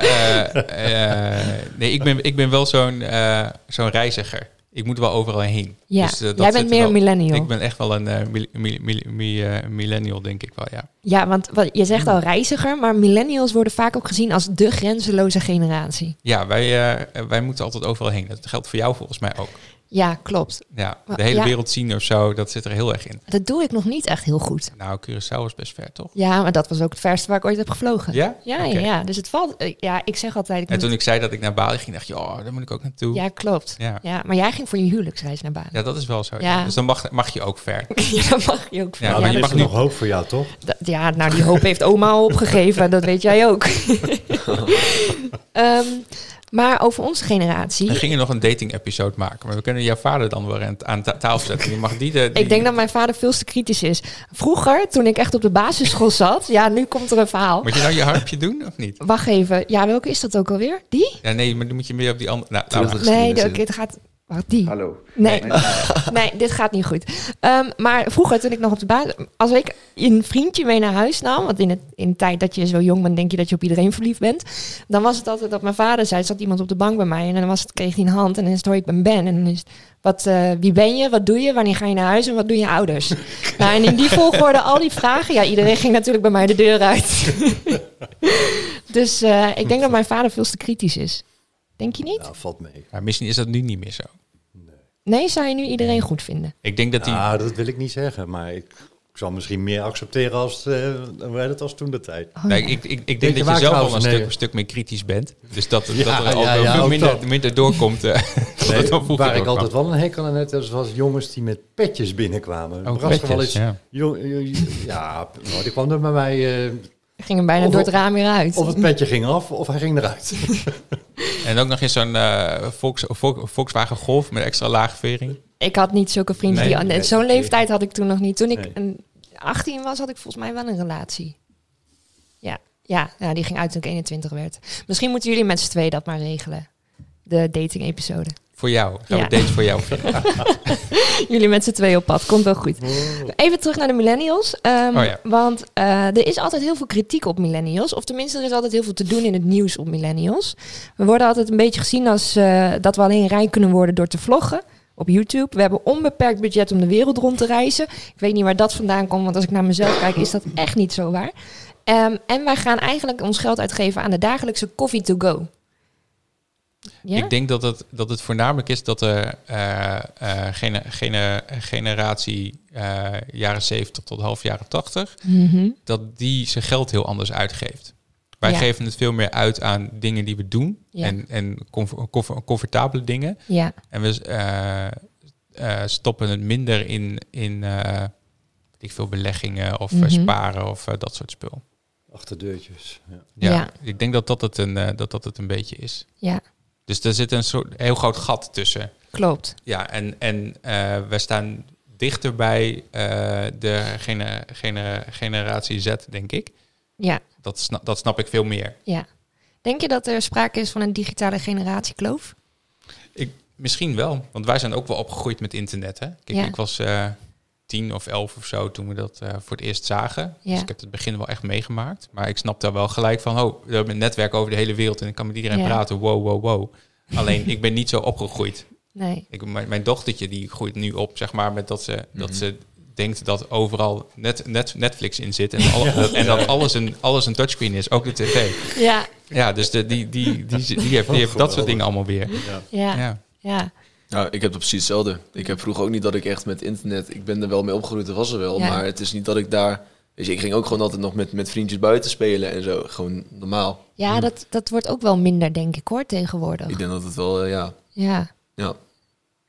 Speaker 2: eh, eh, nee, ik ben, ik ben wel zo'n eh, zo'n reiziger. Ik moet wel overal heen.
Speaker 1: Ja,
Speaker 2: eh, dat
Speaker 1: jij bent
Speaker 2: zit er
Speaker 1: meer een millennial.
Speaker 2: Ik ben echt wel een eh, mil- mil- mil- mi- eh, millennial, denk ik wel, ja.
Speaker 1: Ja, want wat, je zegt al reiziger, maar millennials worden vaak ook gezien als de grenzeloze generatie.
Speaker 2: Ja, wij, eh, wij moeten altijd overal heen. Dat geldt voor jou volgens mij ook.
Speaker 1: Ja, klopt.
Speaker 2: Ja,
Speaker 1: Maar-
Speaker 2: de hele
Speaker 1: ja.
Speaker 2: wereld zien of zo, dat zit er heel erg in.
Speaker 1: Dat doe ik nog niet echt heel goed.
Speaker 2: Nou, Curaçao is best ver, toch?
Speaker 1: Ja, maar dat was ook het verste waar ik ooit heb gevlogen.
Speaker 2: Ja?
Speaker 1: Ja,
Speaker 2: Oké.
Speaker 1: ja, ja. Dus het valt... eh, Ja, ik zeg altijd... Ik
Speaker 2: En
Speaker 1: moet-
Speaker 2: toen ik zei dat ik naar Bali ging, dacht je, oh, daar moet ik ook naartoe.
Speaker 1: Ja, klopt.
Speaker 2: Ja.
Speaker 1: Ja. maar jij ging voor je huwelijksreis naar Bali.
Speaker 2: Ja, dat is wel zo.
Speaker 1: Ja.
Speaker 2: ja. Dus dan mag, mag je ook ver.
Speaker 1: Ja, dat mag je ook.
Speaker 2: Ja,
Speaker 1: Ja, ja,
Speaker 2: maar
Speaker 5: Nou, dan
Speaker 2: je
Speaker 5: is
Speaker 2: mag
Speaker 5: er
Speaker 2: nu-
Speaker 5: nog hoop voor jou, toch?
Speaker 1: dat- ja, nou die hoop heeft oma al opgegeven, dat weet jij ook. Ehm, maar over onze generatie.
Speaker 2: We gingen nog een dating-episode maken, maar we kunnen jouw vader dan weer aan, aan ta- tafel zetten. Je mag die de. die-
Speaker 1: Ik denk dat mijn vader veel te kritisch is. Vroeger, toen ik echt op de basisschool zat, ja, nu komt er een verhaal.
Speaker 2: Moet je nou je harpje doen of niet?
Speaker 1: Wacht even, ja, welke is dat ook alweer? Die?
Speaker 2: Ja, nee, maar dan moet je meer op die andere. Nou, laat
Speaker 4: Terug
Speaker 2: maar.
Speaker 4: de geschiedenis
Speaker 1: Nee, de-
Speaker 4: in.
Speaker 1: oké, het gaat. Wacht, die.
Speaker 6: Hallo.
Speaker 1: Nee, nee, dit gaat niet goed. Ehm, maar vroeger, toen ik nog op de baas... Als ik een vriendje mee naar huis nam... Want in, het, in de tijd dat je zo jong bent, denk je dat je op iedereen verliefd bent. Dan was het altijd dat mijn vader zei... Zat iemand op de bank bij mij en dan was het, kreeg hij een hand. En dan is het, hoi, ik ben Ben. En dan is het, wat, eh, wie ben je? Wat doe je? Wanneer ga je naar huis? En wat doen je ouders? nou, en in die volgorde al die vragen... Ja, iedereen ging natuurlijk bij mij de deur uit. dus eh, ik denk dat mijn vader veel te kritisch is. Denk je niet?
Speaker 5: Nou, valt mee.
Speaker 2: Maar misschien is dat nu niet meer zo.
Speaker 1: Nee, zou je nu iedereen goed vinden?
Speaker 2: Ik denk dat die...
Speaker 5: Ah, dat wil ik niet zeggen, maar ik, ik zal misschien meer accepteren als, eh, hoe heet het, als toen de tijd.
Speaker 1: Oh,
Speaker 2: Nee,
Speaker 1: ja.
Speaker 2: ik, ik, ik denk
Speaker 5: Weet je
Speaker 2: dat je
Speaker 5: waar
Speaker 2: zelf al
Speaker 5: trouwens?
Speaker 2: een
Speaker 5: Nee.
Speaker 2: stuk, een stuk meer kritisch bent. Dus dat, dat
Speaker 5: Ja,
Speaker 2: er ook
Speaker 5: ja,
Speaker 2: wel
Speaker 5: ja,
Speaker 2: veel
Speaker 5: ook
Speaker 2: minder,
Speaker 5: dat.
Speaker 2: minder doorkomt. eh, dan
Speaker 5: Nee,
Speaker 2: vroeger
Speaker 5: waar ik
Speaker 2: doorkwam.
Speaker 5: altijd wel een hekel aan heb, dat was jongens die met petjes binnenkwamen.
Speaker 2: Ook
Speaker 5: Er was er wel
Speaker 2: Oh, petjes,
Speaker 5: eens-
Speaker 2: ja.
Speaker 5: jong- jong- ja, nou, die kwam er bij mij, eh,
Speaker 1: ging hem bijna
Speaker 5: Of-
Speaker 1: door het raam weer uit.
Speaker 5: of het petje ging af of hij ging eruit.
Speaker 2: En ook nog eens zo'n eh, Volks, Vol- Volkswagen Golf met extra laagvering.
Speaker 1: Ik had niet zulke vrienden
Speaker 2: Nee,
Speaker 1: die...
Speaker 5: nee,
Speaker 1: Zo'n
Speaker 5: nee.
Speaker 1: leeftijd had ik toen nog niet. Toen ik
Speaker 5: Nee.
Speaker 1: een 18 was, had ik volgens mij wel een relatie. Ja, ja, ja die ging uit toen ik 21 werd. Misschien moeten jullie met z'n twee dat maar regelen. De dating episode.
Speaker 2: Voor jou. Gaan
Speaker 1: Ja.
Speaker 2: we dates voor jou vinden.
Speaker 1: jullie met z'n twee op pad. Komt wel goed. Even terug naar de millennials. Ehm,
Speaker 2: Oh ja.
Speaker 1: Want eh, er is altijd heel veel kritiek op millennials. Of tenminste, er is altijd heel veel te doen in het nieuws op millennials. We worden altijd een beetje gezien als eh, dat we alleen rijk kunnen worden door te vloggen. Op YouTube. We hebben onbeperkt budget om de wereld rond te reizen. Ik weet niet waar dat vandaan komt, want als ik naar mezelf kijk, is dat echt niet zo waar. Ehm, en wij gaan eigenlijk ons geld uitgeven aan de dagelijkse coffee to go. Ja?
Speaker 2: Ik denk dat het, dat het voornamelijk is dat de eh, eh, gene- gene- generatie eh, jaren 70 tot half jaren 80,
Speaker 1: Mhm.
Speaker 2: dat die zijn geld heel anders uitgeeft. Wij
Speaker 1: Ja.
Speaker 2: geven het veel meer uit aan dingen die we doen
Speaker 1: Ja.
Speaker 2: en, en comfort- comfort- comfortabele dingen.
Speaker 1: Ja.
Speaker 2: En we eh, eh, stoppen het minder in, in eh, weet ik veel beleggingen of eh,
Speaker 1: Mhm.
Speaker 2: sparen of eh, dat soort spul.
Speaker 5: Achterdeurtjes. Ja.
Speaker 2: Ja,
Speaker 1: Ja.
Speaker 2: Ik denk dat dat het, een, eh, dat dat het een beetje is.
Speaker 1: ja,
Speaker 2: Dus er zit een soort heel groot gat tussen.
Speaker 1: klopt.
Speaker 2: Ja, en, en eh, we staan dichter bij eh, de gene- gene- generatie Z, denk ik.
Speaker 1: Ja.
Speaker 2: Dat, sna- dat snap ik veel meer.
Speaker 1: Ja. Denk je dat er sprake is van een digitale generatiekloof?
Speaker 2: Ik, misschien wel, want wij zijn ook wel opgegroeid met internet. Hè? Kijk,
Speaker 1: Ja.
Speaker 2: ik was eh, tien of elf of zo toen we dat eh, voor het eerst zagen.
Speaker 1: Ja.
Speaker 2: Dus ik heb het begin wel echt meegemaakt. Maar ik snap daar wel gelijk van, oh, we hebben een netwerk over de hele wereld en ik kan met iedereen
Speaker 1: Ja.
Speaker 2: praten. Wow, wow, wow. Alleen, ik ben niet zo opgegroeid.
Speaker 1: Nee.
Speaker 2: Ik, mijn, mijn dochtertje die groeit nu op, zeg maar, met dat ze, dat
Speaker 5: Mhm.
Speaker 2: ze denkt dat overal net, net, Netflix in zit en, al- en dat alles een, alles een touchscreen is, ook de tv.
Speaker 1: Ja,
Speaker 2: Ja, dus de, die, die, die, die, die heeft, die heeft dat soort dingen allemaal weer.
Speaker 1: ja, ja.
Speaker 2: Ja.
Speaker 4: Nou, ik heb dat precies hetzelfde. Ik heb vroeger ook niet dat ik echt met internet... Ik ben er wel mee opgegroeid, dat was er wel.
Speaker 1: Ja.
Speaker 4: Maar het is niet dat ik daar... Weet je, ik ging ook gewoon altijd nog met, met vriendjes buiten spelen en zo. Gewoon normaal.
Speaker 1: dat, dat wordt ook wel minder, denk ik hoor, tegenwoordig.
Speaker 4: Ik denk dat het wel, eh, ja...
Speaker 1: Ja,
Speaker 4: ja.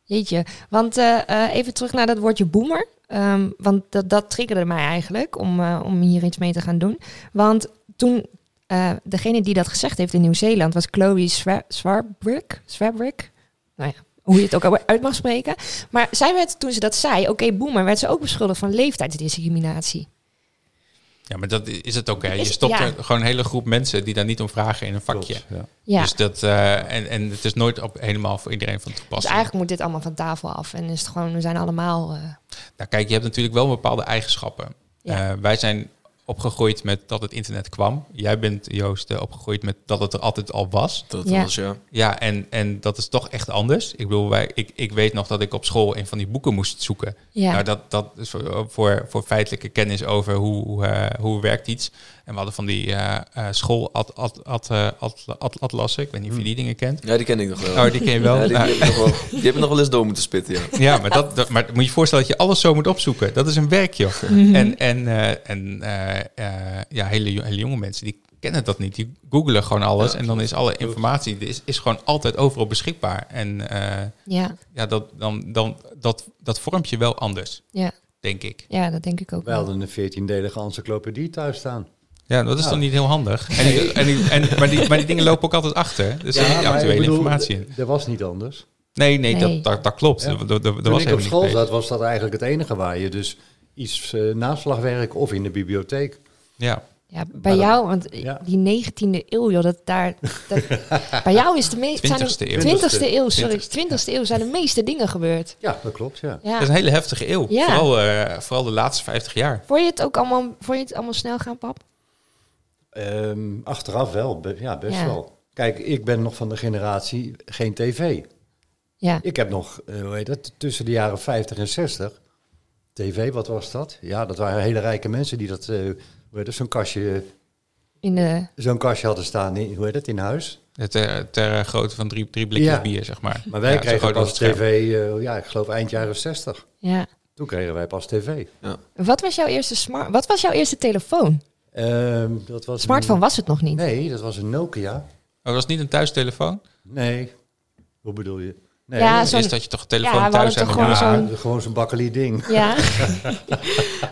Speaker 1: jeetje. Want eh, eh, even terug naar dat woordje boomer. Ehm, want dat, dat triggerde mij eigenlijk om, eh, om hier iets mee te gaan doen. Want toen, eh, degene die dat gezegd heeft in Nieuw-Zeeland was Chloe Swa- Swarbrick. Swarbrick? Nou ja, hoe je het ook uit mag spreken. Maar zij werd, toen ze dat zei, oké boomer, werd ze ook beschuldigd van leeftijdsdiscriminatie.
Speaker 2: Ja, maar dat i- is het ook. Hè. Je
Speaker 1: Is-
Speaker 2: stopt
Speaker 1: ja.
Speaker 2: er gewoon een hele groep mensen die daar niet om vragen in een vakje.
Speaker 5: Klopt, ja.
Speaker 1: Ja.
Speaker 2: Dus dat, eh, en, en het is nooit op, helemaal voor iedereen van
Speaker 1: Dus
Speaker 2: toepassing.
Speaker 1: eigenlijk moet dit allemaal van tafel af. En is het gewoon, we zijn allemaal. eh,
Speaker 2: Nou, kijk, je hebt natuurlijk wel bepaalde eigenschappen.
Speaker 1: Ja.
Speaker 2: Eh, wij zijn opgegroeid met dat het internet kwam. Jij bent, Joost, eh, opgegroeid met dat het er altijd al was.
Speaker 4: Dat
Speaker 1: Ja.
Speaker 4: was, ja.
Speaker 2: Ja, en, en dat is toch echt anders. Ik bedoel, wij, ik, ik weet nog dat ik op school een van die boeken moest zoeken.
Speaker 1: ja.
Speaker 2: Nou, dat, dat is voor, voor, voor feitelijke kennis over hoe, eh, hoe werkt iets. En we hadden van die eh eh school at, at, at, eh, at, at- atlassen. Ik weet niet of je die dingen kent.
Speaker 4: Ja, die ken ik nog wel.
Speaker 2: Oh, die ken je wel.
Speaker 4: Hmm. Ja, die,
Speaker 2: Nou,
Speaker 4: die heb ik nog wel. Die heb ik nog wel eens door moeten spitten, ja.
Speaker 2: ja, maar, dat, dat- maar moet je je voorstellen dat je alles zo moet opzoeken. Dat is een werk, joh.
Speaker 1: Mhm.
Speaker 2: En, en, eh, en eh, eh, ja, hele, jo- hele jonge mensen die kennen dat niet. Die googelen gewoon alles. en dan is alle informatie die is, is gewoon altijd overal beschikbaar. En eh,
Speaker 1: ja,
Speaker 2: ja, dat, dan, dan, dat, dat vormt je wel anders,
Speaker 1: ja,
Speaker 2: denk ik.
Speaker 1: ja, dat denk ik ook.
Speaker 5: Wij
Speaker 1: wel.
Speaker 5: hadden een 14-delige encyclopedie thuis staan.
Speaker 2: Ja, dat is dan niet heel handig. En die, en die, en, maar, die, maar die dingen lopen ook altijd achter. Dus er zit niet
Speaker 5: maar ik
Speaker 2: actuele
Speaker 5: bedoel,
Speaker 2: informatie in.
Speaker 5: d- Dat was niet anders.
Speaker 2: Nee, nee,
Speaker 1: Nee.
Speaker 2: Dat, dat, dat klopt.
Speaker 5: Ja.
Speaker 2: Er- er- er- er
Speaker 5: Toen
Speaker 2: was
Speaker 5: ik op
Speaker 2: helemaal
Speaker 5: school
Speaker 2: niet.
Speaker 5: zat, was dat eigenlijk het enige waar je dus iets eh, naslagwerk of in de bibliotheek.
Speaker 2: Ja.
Speaker 1: Ja, bij
Speaker 5: Maar dat-
Speaker 1: jou, want
Speaker 5: ja.
Speaker 1: die 19e eeuw, joh, dat daar. Dat, bij jou is de meeste.
Speaker 2: 20e eeuw.
Speaker 1: 20e eeuw, sorry.
Speaker 2: 20e.
Speaker 1: 20e eeuw zijn de meeste dingen gebeurd.
Speaker 5: Ja, dat klopt, ja.
Speaker 1: Ja.
Speaker 2: Dat is een hele heftige eeuw.
Speaker 1: Ja.
Speaker 2: Vooral, eh, vooral de laatste 50 jaar.
Speaker 1: Vond je het ook allemaal, vond je het allemaal snel gaan, pap?
Speaker 5: Ehm, achteraf wel, be- ja, best
Speaker 1: Ja.
Speaker 5: wel. Kijk, ik ben nog van de generatie geen tv.
Speaker 1: Ja.
Speaker 5: Ik heb nog, eh, hoe heet dat, tussen de jaren 50 en 60. TV, wat was dat? Ja, dat waren hele rijke mensen die dat, eh, hoe heet dat, zo'n kastje,
Speaker 1: In de,
Speaker 5: zo'n kastje hadden staan, in, hoe heet dat, in huis.
Speaker 2: Het, eh, ter eh, grootte van drie, drie blikjes
Speaker 5: Ja.
Speaker 2: bier, zeg maar.
Speaker 5: Maar wij
Speaker 2: Ja, zo
Speaker 5: kregen
Speaker 2: groot was
Speaker 5: pas
Speaker 2: het scherm.
Speaker 5: tv, eh, ja, ik geloof eind jaren 60.
Speaker 1: ja.
Speaker 5: Toen kregen wij pas tv.
Speaker 1: Wat was jouw eerste smart? Wat was jouw eerste telefoon?
Speaker 5: Ehm, dat was
Speaker 1: Smartphone was het nog niet.
Speaker 5: Een, nee, dat was een Nokia.
Speaker 2: Oh, was het niet een thuistelefoon?
Speaker 5: Nee, hoe bedoel je? Nee,
Speaker 1: Ja,
Speaker 2: Is
Speaker 1: zo'n-
Speaker 2: dat je toch een telefoon
Speaker 1: Ja, we
Speaker 2: thuis
Speaker 1: hadden
Speaker 2: aan
Speaker 1: toch
Speaker 2: de-
Speaker 1: gewoon
Speaker 5: ja,
Speaker 1: zo'n-
Speaker 5: gewoon zo'n bakkelie ding.
Speaker 1: Ja.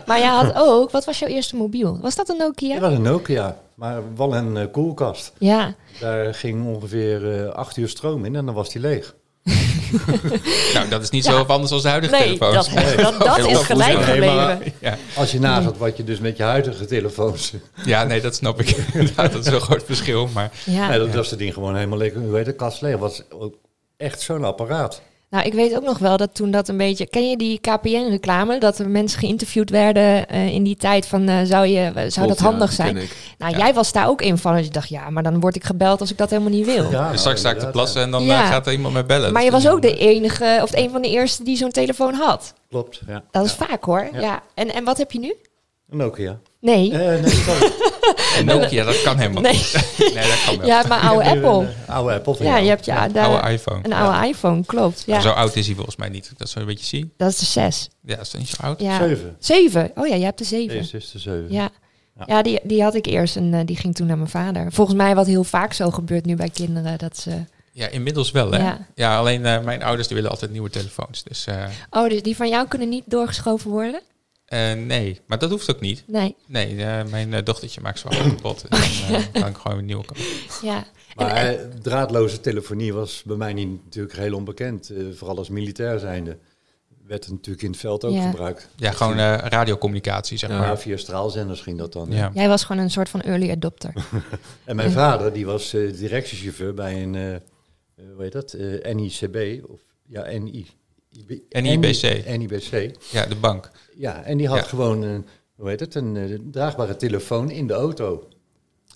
Speaker 1: maar jij had ook, wat was jouw eerste mobiel? Was dat een Nokia?
Speaker 5: Dat was een Nokia, maar wel een eh, koelkast.
Speaker 1: Ja.
Speaker 5: Daar ging ongeveer eh, acht uur stroom in en dan was die leeg.
Speaker 2: Nou, dat is niet
Speaker 1: Ja.
Speaker 2: zo anders als de huidige
Speaker 1: Nee,
Speaker 2: telefoon.
Speaker 1: dat, dat, dat is gelijk
Speaker 5: Nee, maar-
Speaker 1: gebleven.
Speaker 2: Ja.
Speaker 5: Als je nagaat wat je dus met je huidige telefoons...
Speaker 2: ja, nee, dat snap ik. Inderdaad, dat is een groot verschil. Maar
Speaker 1: Ja.
Speaker 5: Nee, dat was het ding gewoon helemaal leeg. Hoe heet het? Kast leeg. was ook echt zo'n apparaat.
Speaker 1: Nou, ik weet ook nog wel dat toen dat een beetje... Ken je die KPN-reclame? Dat er mensen geïnterviewd werden eh, in die tijd van... eh, zou je, zou dat
Speaker 4: Klopt, ja,
Speaker 1: handig
Speaker 4: die
Speaker 1: zijn?
Speaker 4: ken ik.
Speaker 1: Nou, jij was daar ook een van. Dus je dacht, ja, maar dan word ik gebeld als ik dat helemaal niet wil.
Speaker 5: Ja, nou,
Speaker 2: straks sta ik te
Speaker 5: inderdaad,
Speaker 2: plassen
Speaker 5: ja.
Speaker 2: en dan
Speaker 1: Ja.
Speaker 2: eh, gaat er iemand mij bellen.
Speaker 1: maar je
Speaker 2: Dat is-
Speaker 1: was ook de enige, of een van de eerste die zo'n telefoon had.
Speaker 5: Klopt, ja.
Speaker 1: Dat is vaak hoor. Ja. En, en wat heb je nu?
Speaker 5: Een Nokia.
Speaker 1: Nee.
Speaker 5: Eh, nee, sorry.
Speaker 2: En Nokia, dat kan helemaal
Speaker 1: nee.
Speaker 2: niet. Nee, dat kan wel.
Speaker 1: Je hebt mijn oude
Speaker 5: Ik heb nu
Speaker 1: Apple.
Speaker 5: Een, eh, oude Apple. van
Speaker 1: ja,
Speaker 5: jou.
Speaker 1: je hebt ja, daar-
Speaker 2: Oude iPhone.
Speaker 1: een oude iPhone, klopt. Ja.
Speaker 2: Zo oud is hij volgens mij niet. Dat zou je een beetje zien.
Speaker 1: Dat is de 6.
Speaker 2: Ja, dat is niet zo oud.
Speaker 1: Ja.
Speaker 5: Zeven.
Speaker 1: Zeven. Oh ja, je hebt de 7.
Speaker 5: Eerst is de zeven.
Speaker 1: Ja, ja die, die had ik eerst en eh, die ging toen naar mijn vader. Volgens mij wat heel vaak zo gebeurt nu bij kinderen. Dat ze...
Speaker 2: Ja, inmiddels wel, hè?
Speaker 1: Ja.
Speaker 2: Ja, alleen eh, mijn ouders die willen altijd nieuwe telefoons. Dus eh,
Speaker 1: Oh, dus die van jou kunnen niet doorgeschoven worden?
Speaker 2: eh, nee, maar dat hoeft ook niet.
Speaker 1: Nee,
Speaker 2: Nee, eh, mijn eh, dochtertje maakt zo kapot. En dan eh, kan ik gewoon een nieuwe kopen.
Speaker 1: ja.
Speaker 5: Maar eh, draadloze telefonie was bij mij niet, natuurlijk heel onbekend. eh, vooral als militair zijnde werd het natuurlijk in het veld ook
Speaker 1: Ja.
Speaker 5: gebruikt.
Speaker 2: Ja, gewoon eh, radiocommunicatie, zeg
Speaker 5: Ja,
Speaker 2: maar.
Speaker 5: via straalzenders ging dat dan.
Speaker 2: Ja.
Speaker 1: Jij was gewoon een soort van early adopter.
Speaker 5: En mijn vader die was eh, directiechauffeur bij een, eh, eh, hoe heet dat, Eh, NICB, of ja, NI. IB
Speaker 2: NIBC.
Speaker 5: NIBC.
Speaker 2: ja, de bank.
Speaker 5: Ja, en die had
Speaker 2: Ja.
Speaker 5: gewoon een, hoe heet het, een eh, draagbare telefoon in de auto.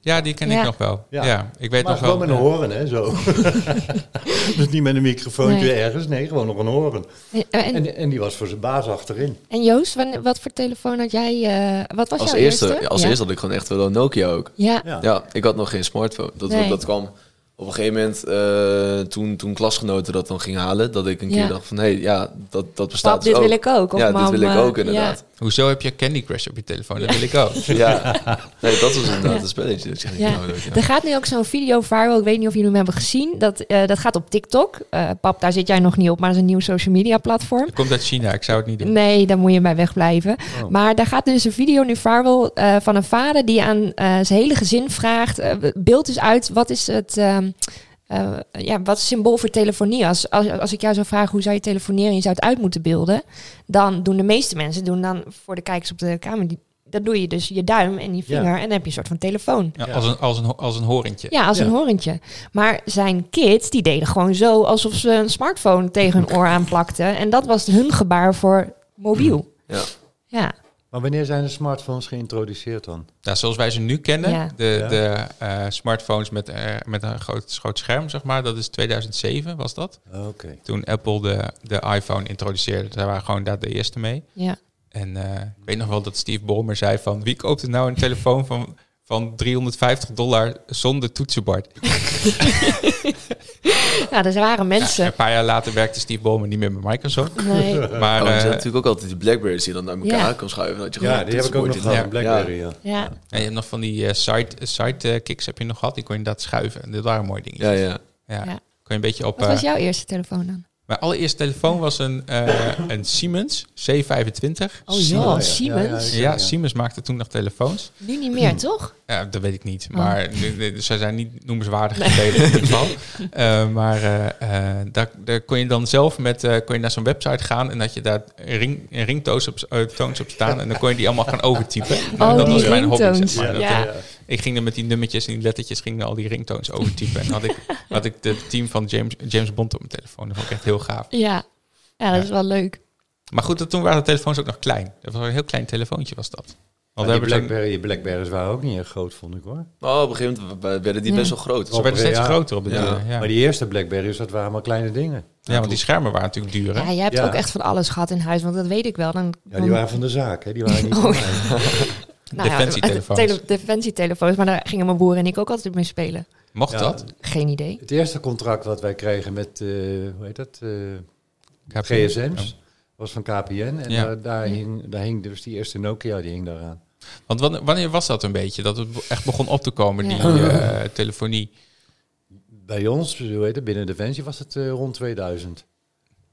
Speaker 2: Ja, die ken
Speaker 1: Ja.
Speaker 2: ik nog wel.
Speaker 5: Ja.
Speaker 2: Ja, ik weet
Speaker 5: maar
Speaker 2: nog
Speaker 5: gewoon
Speaker 2: wel.
Speaker 5: met een horen, hè, zo. dus niet met een microfoontje
Speaker 1: Nee.
Speaker 5: ergens, nee, gewoon nog een horen.
Speaker 1: En, Eh, en,
Speaker 5: En, en die was voor zijn baas achterin.
Speaker 1: en Joost, wanne- wat voor telefoon had jij? eh, wat was
Speaker 4: Als
Speaker 1: jouw
Speaker 4: eerste,
Speaker 1: eerste?
Speaker 4: ja, als
Speaker 1: ja.
Speaker 4: eerste had ik gewoon echt wel een Nokia ook.
Speaker 1: Ja.
Speaker 5: Ja.
Speaker 4: Ja, ik had nog geen smartphone. Dat,
Speaker 1: Nee.
Speaker 4: dat kwam op een gegeven moment, eh, toen, toen klasgenoten dat dan gingen halen, dat ik een
Speaker 1: Ja.
Speaker 4: keer dacht van, hé, hey, ja, dat, dat bestaat
Speaker 1: Pap,
Speaker 4: dus
Speaker 1: dit
Speaker 4: ook.
Speaker 1: wil ik ook. Of
Speaker 4: ja,
Speaker 1: mam,
Speaker 4: dit wil ik
Speaker 1: eh,
Speaker 4: ook inderdaad.
Speaker 2: Hoezo heb je Candy Crush op je telefoon? Dat wil ik ook.
Speaker 4: Ja, Nee, dat was inderdaad een spelletje. Dat ik zeg,
Speaker 1: Ja.
Speaker 4: nou, dat- ja.
Speaker 1: Er gaat nu ook zo'n video viral. Ik weet niet of jullie hem hebben gezien. Dat, eh, dat gaat op TikTok. Eh, pap, daar zit jij nog niet op, maar dat is een nieuw social media platform.
Speaker 2: Dat komt uit China, ik zou het niet doen. Oh.
Speaker 1: Nee, daar moet je bij wegblijven. Maar daar gaat dus een video nu viral eh, van een vader die aan eh, zijn hele gezin vraagt. eh, beeld dus uit, wat is het... ehm, eh, ja, wat is symbool voor telefonie? Als, als, als ik jou zou vragen hoe zou je telefoneren en je zou het uit moeten beelden, dan doen de meeste mensen, doen dan voor de kijkers op de kamer, die, dat doe je dus je duim en je
Speaker 5: Ja.
Speaker 1: vinger en dan heb je een soort van telefoon.
Speaker 2: Ja, als, een, als, een, ho- als een horentje.
Speaker 1: Ja, als
Speaker 5: Ja.
Speaker 1: een horentje. Maar zijn kids, die deden gewoon zo alsof ze een smartphone tegen hun oor aanplakten. En dat was hun gebaar voor mobiel.
Speaker 4: Ja.
Speaker 1: Ja,
Speaker 5: Maar wanneer zijn de smartphones geïntroduceerd dan?
Speaker 2: Nou, zoals wij ze nu kennen,
Speaker 1: Ja.
Speaker 2: de,
Speaker 5: Ja.
Speaker 2: de eh, smartphones met, eh, met een groot, groot scherm, zeg maar, dat is 2007 was dat.
Speaker 5: Oké.
Speaker 2: Toen Apple de, de iPhone introduceerde, daar waren gewoon daar de eerste mee.
Speaker 1: ja.
Speaker 2: En eh, ik weet nog wel dat Steve Ballmer zei van... wie koopt er nou een telefoon van, van 350 dollar zonder toetsenbord?
Speaker 1: Nou, er waren
Speaker 2: Ja,
Speaker 1: mensen.
Speaker 2: een paar jaar later werkte Steve Ballmer niet meer bij Microsoft.
Speaker 1: Nee.
Speaker 2: Maar
Speaker 4: Oh, er
Speaker 2: eh,
Speaker 4: zijn natuurlijk ook altijd die Blackberries die je dan naar elkaar
Speaker 1: Ja.
Speaker 4: kan schuiven. Dat je gewoon
Speaker 5: Ja,
Speaker 4: een
Speaker 5: die heb ik ook nog
Speaker 4: toetsenbordje-
Speaker 5: gehad.
Speaker 2: Ja.
Speaker 5: Blackberry, ja.
Speaker 1: Ja.
Speaker 2: en je hebt nog van die eh, side, side eh, kicks heb je nog gehad. Die kon je inderdaad schuiven. En dat waren mooie dingen.
Speaker 4: Ja, ja.
Speaker 1: Ja.
Speaker 2: Ja. Kon je een beetje op...
Speaker 1: Wat was
Speaker 2: eh,
Speaker 1: jouw eerste telefoon dan?
Speaker 2: Mijn allereerste telefoon was een, eh, een Siemens C25.
Speaker 1: Oh
Speaker 5: Ja,
Speaker 1: ja,
Speaker 5: ja, ja,
Speaker 1: Siemens.
Speaker 5: ja, Hm.
Speaker 2: Ja, Siemens maakte toen nog telefoons.
Speaker 1: Nu niet meer, toch?
Speaker 2: Ja, dat weet ik niet.
Speaker 1: Oh.
Speaker 2: Maar de- de- ze zijn niet noemenswaardig gegeven in ieder geval. Eh, maar eh, eh, daar, daar kon je dan zelf met, eh, kon je naar zo'n website gaan en dat je daar ring, ringtoons op, eh, toons op staan. En dan kon je die allemaal gaan overtypen.
Speaker 1: Oh,
Speaker 2: En dat
Speaker 1: die
Speaker 2: was mijn hobby.
Speaker 1: ringtoons.
Speaker 2: Zeg maar. Dat,
Speaker 1: Ja.
Speaker 2: eh, ik ging dan met die nummertjes en die lettertjes ging dan al die ringtoons overtypen. En dan had ik, had ik de team van James, James Bond op mijn telefoon. Dat vond ik echt heel gaaf.
Speaker 1: Ja. Ja, dat
Speaker 2: Ja.
Speaker 1: is wel leuk.
Speaker 2: Maar goed, dat- toen waren de telefoons ook nog klein. Dat was een heel klein telefoontje was dat. Want we
Speaker 5: die
Speaker 2: hebben zo'n-
Speaker 5: Blackberry, die Blackberries waren ook niet erg groot, vond ik hoor.
Speaker 4: Oh, op een gegeven moment w- w- werden die
Speaker 1: Ja.
Speaker 4: best wel groot. Dus
Speaker 2: ze werden steeds
Speaker 5: Ja.
Speaker 2: groter op de
Speaker 4: Ja.
Speaker 2: duur. Ja.
Speaker 5: Maar die eerste Blackberries, dat waren allemaal kleine dingen.
Speaker 2: Ja, want die schermen waren natuurlijk duur. Hè?
Speaker 1: Ja, jij hebt
Speaker 5: Ja.
Speaker 1: ook echt van alles gehad in huis, want dat weet ik wel. Dan,
Speaker 5: Ja, die waren van de zaak, hè? Die waren niet
Speaker 1: Oh,
Speaker 5: van mij.
Speaker 1: nou ja,
Speaker 2: defensietelefoons.
Speaker 1: tele- defensietelefoons, maar daar gingen mijn broer en ik ook altijd mee spelen.
Speaker 2: Mocht
Speaker 5: Ja.
Speaker 2: dat?
Speaker 1: Geen idee.
Speaker 5: Het eerste contract wat wij kregen met, eh, hoe heet dat, eh, GSM's, was van KPN. En
Speaker 2: Ja.
Speaker 5: daar, daar, hing, daar hing dus die eerste Nokia, die hing daaraan.
Speaker 2: Want wan- wanneer was dat een beetje? Dat het echt begon op te komen,
Speaker 1: Ja.
Speaker 2: die eh, telefonie.
Speaker 5: Bij ons, hoe heet het, binnen Defensie was het eh, rond 2000.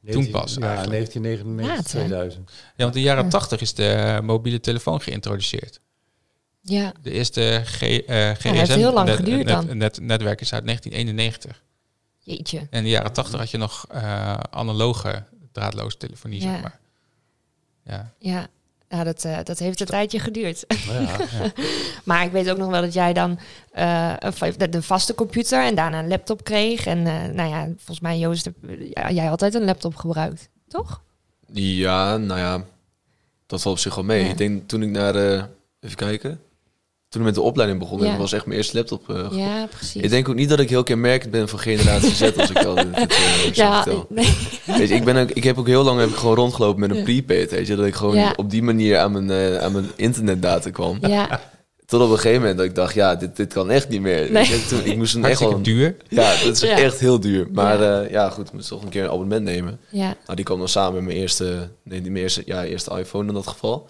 Speaker 2: pas
Speaker 5: Ja,
Speaker 2: eigenlijk.
Speaker 5: 1999,
Speaker 1: Laat, hè?
Speaker 5: 2000.
Speaker 2: Ja, want in de jaren tachtig is de eh, mobiele telefoon geïntroduceerd.
Speaker 1: Ja,
Speaker 2: De eerste G, eh GSM.
Speaker 1: heeft heel lang geduurd dan.
Speaker 2: net- netwerk is uit 1991.
Speaker 1: jeetje.
Speaker 2: En in de jaren tachtig had je nog eh, analoge draadloze telefonie,
Speaker 1: Ja.
Speaker 2: zeg maar. Ja.
Speaker 1: Ja, ja dat, eh, dat heeft een tijdje geduurd.
Speaker 5: Nou ja,
Speaker 1: Maar ik weet ook nog wel dat jij dan eh, een va- de, de vaste computer en daarna een laptop kreeg. En eh, nou ja, volgens mij, Joost, heb- ja, jij altijd een laptop gebruikt, toch?
Speaker 4: Ja, nou ja, dat valt op zich wel mee.
Speaker 1: Ja.
Speaker 4: Ik denk toen ik naar, eh, even kijken, toen ik met de opleiding begon,
Speaker 1: Ja.
Speaker 4: was echt mijn eerste laptop. eh, gekocht.
Speaker 1: Ja, precies.
Speaker 4: Ik denk ook niet dat ik heel kenmerkend ben van generatie Z, als ik al dit, dit, eh, zo
Speaker 1: ja,
Speaker 4: vertel.
Speaker 1: nee,
Speaker 4: Weet je, ik, ben ook, ik heb ook heel lang heb ik gewoon rondgelopen met een prepaid, weet je, dat ik gewoon
Speaker 1: Ja.
Speaker 4: op die manier aan mijn, eh, aan mijn internetdata kwam.
Speaker 1: ja,
Speaker 4: Tot op een gegeven moment dat ik dacht, ja, dit, dit kan echt niet meer.
Speaker 1: Nee.
Speaker 4: Ik, heb toen, ik moest een echt
Speaker 2: Hartstikke
Speaker 4: wel...
Speaker 2: duur.
Speaker 4: Ja, dat is
Speaker 1: Ja.
Speaker 4: echt heel duur. Maar ja, ja goed, ik moest toch een keer een abonnement nemen.
Speaker 1: ja.
Speaker 4: Nou, die kwam dan samen met mijn eerste, nee, die mijn eerste, ja, eerste iPhone in dat geval.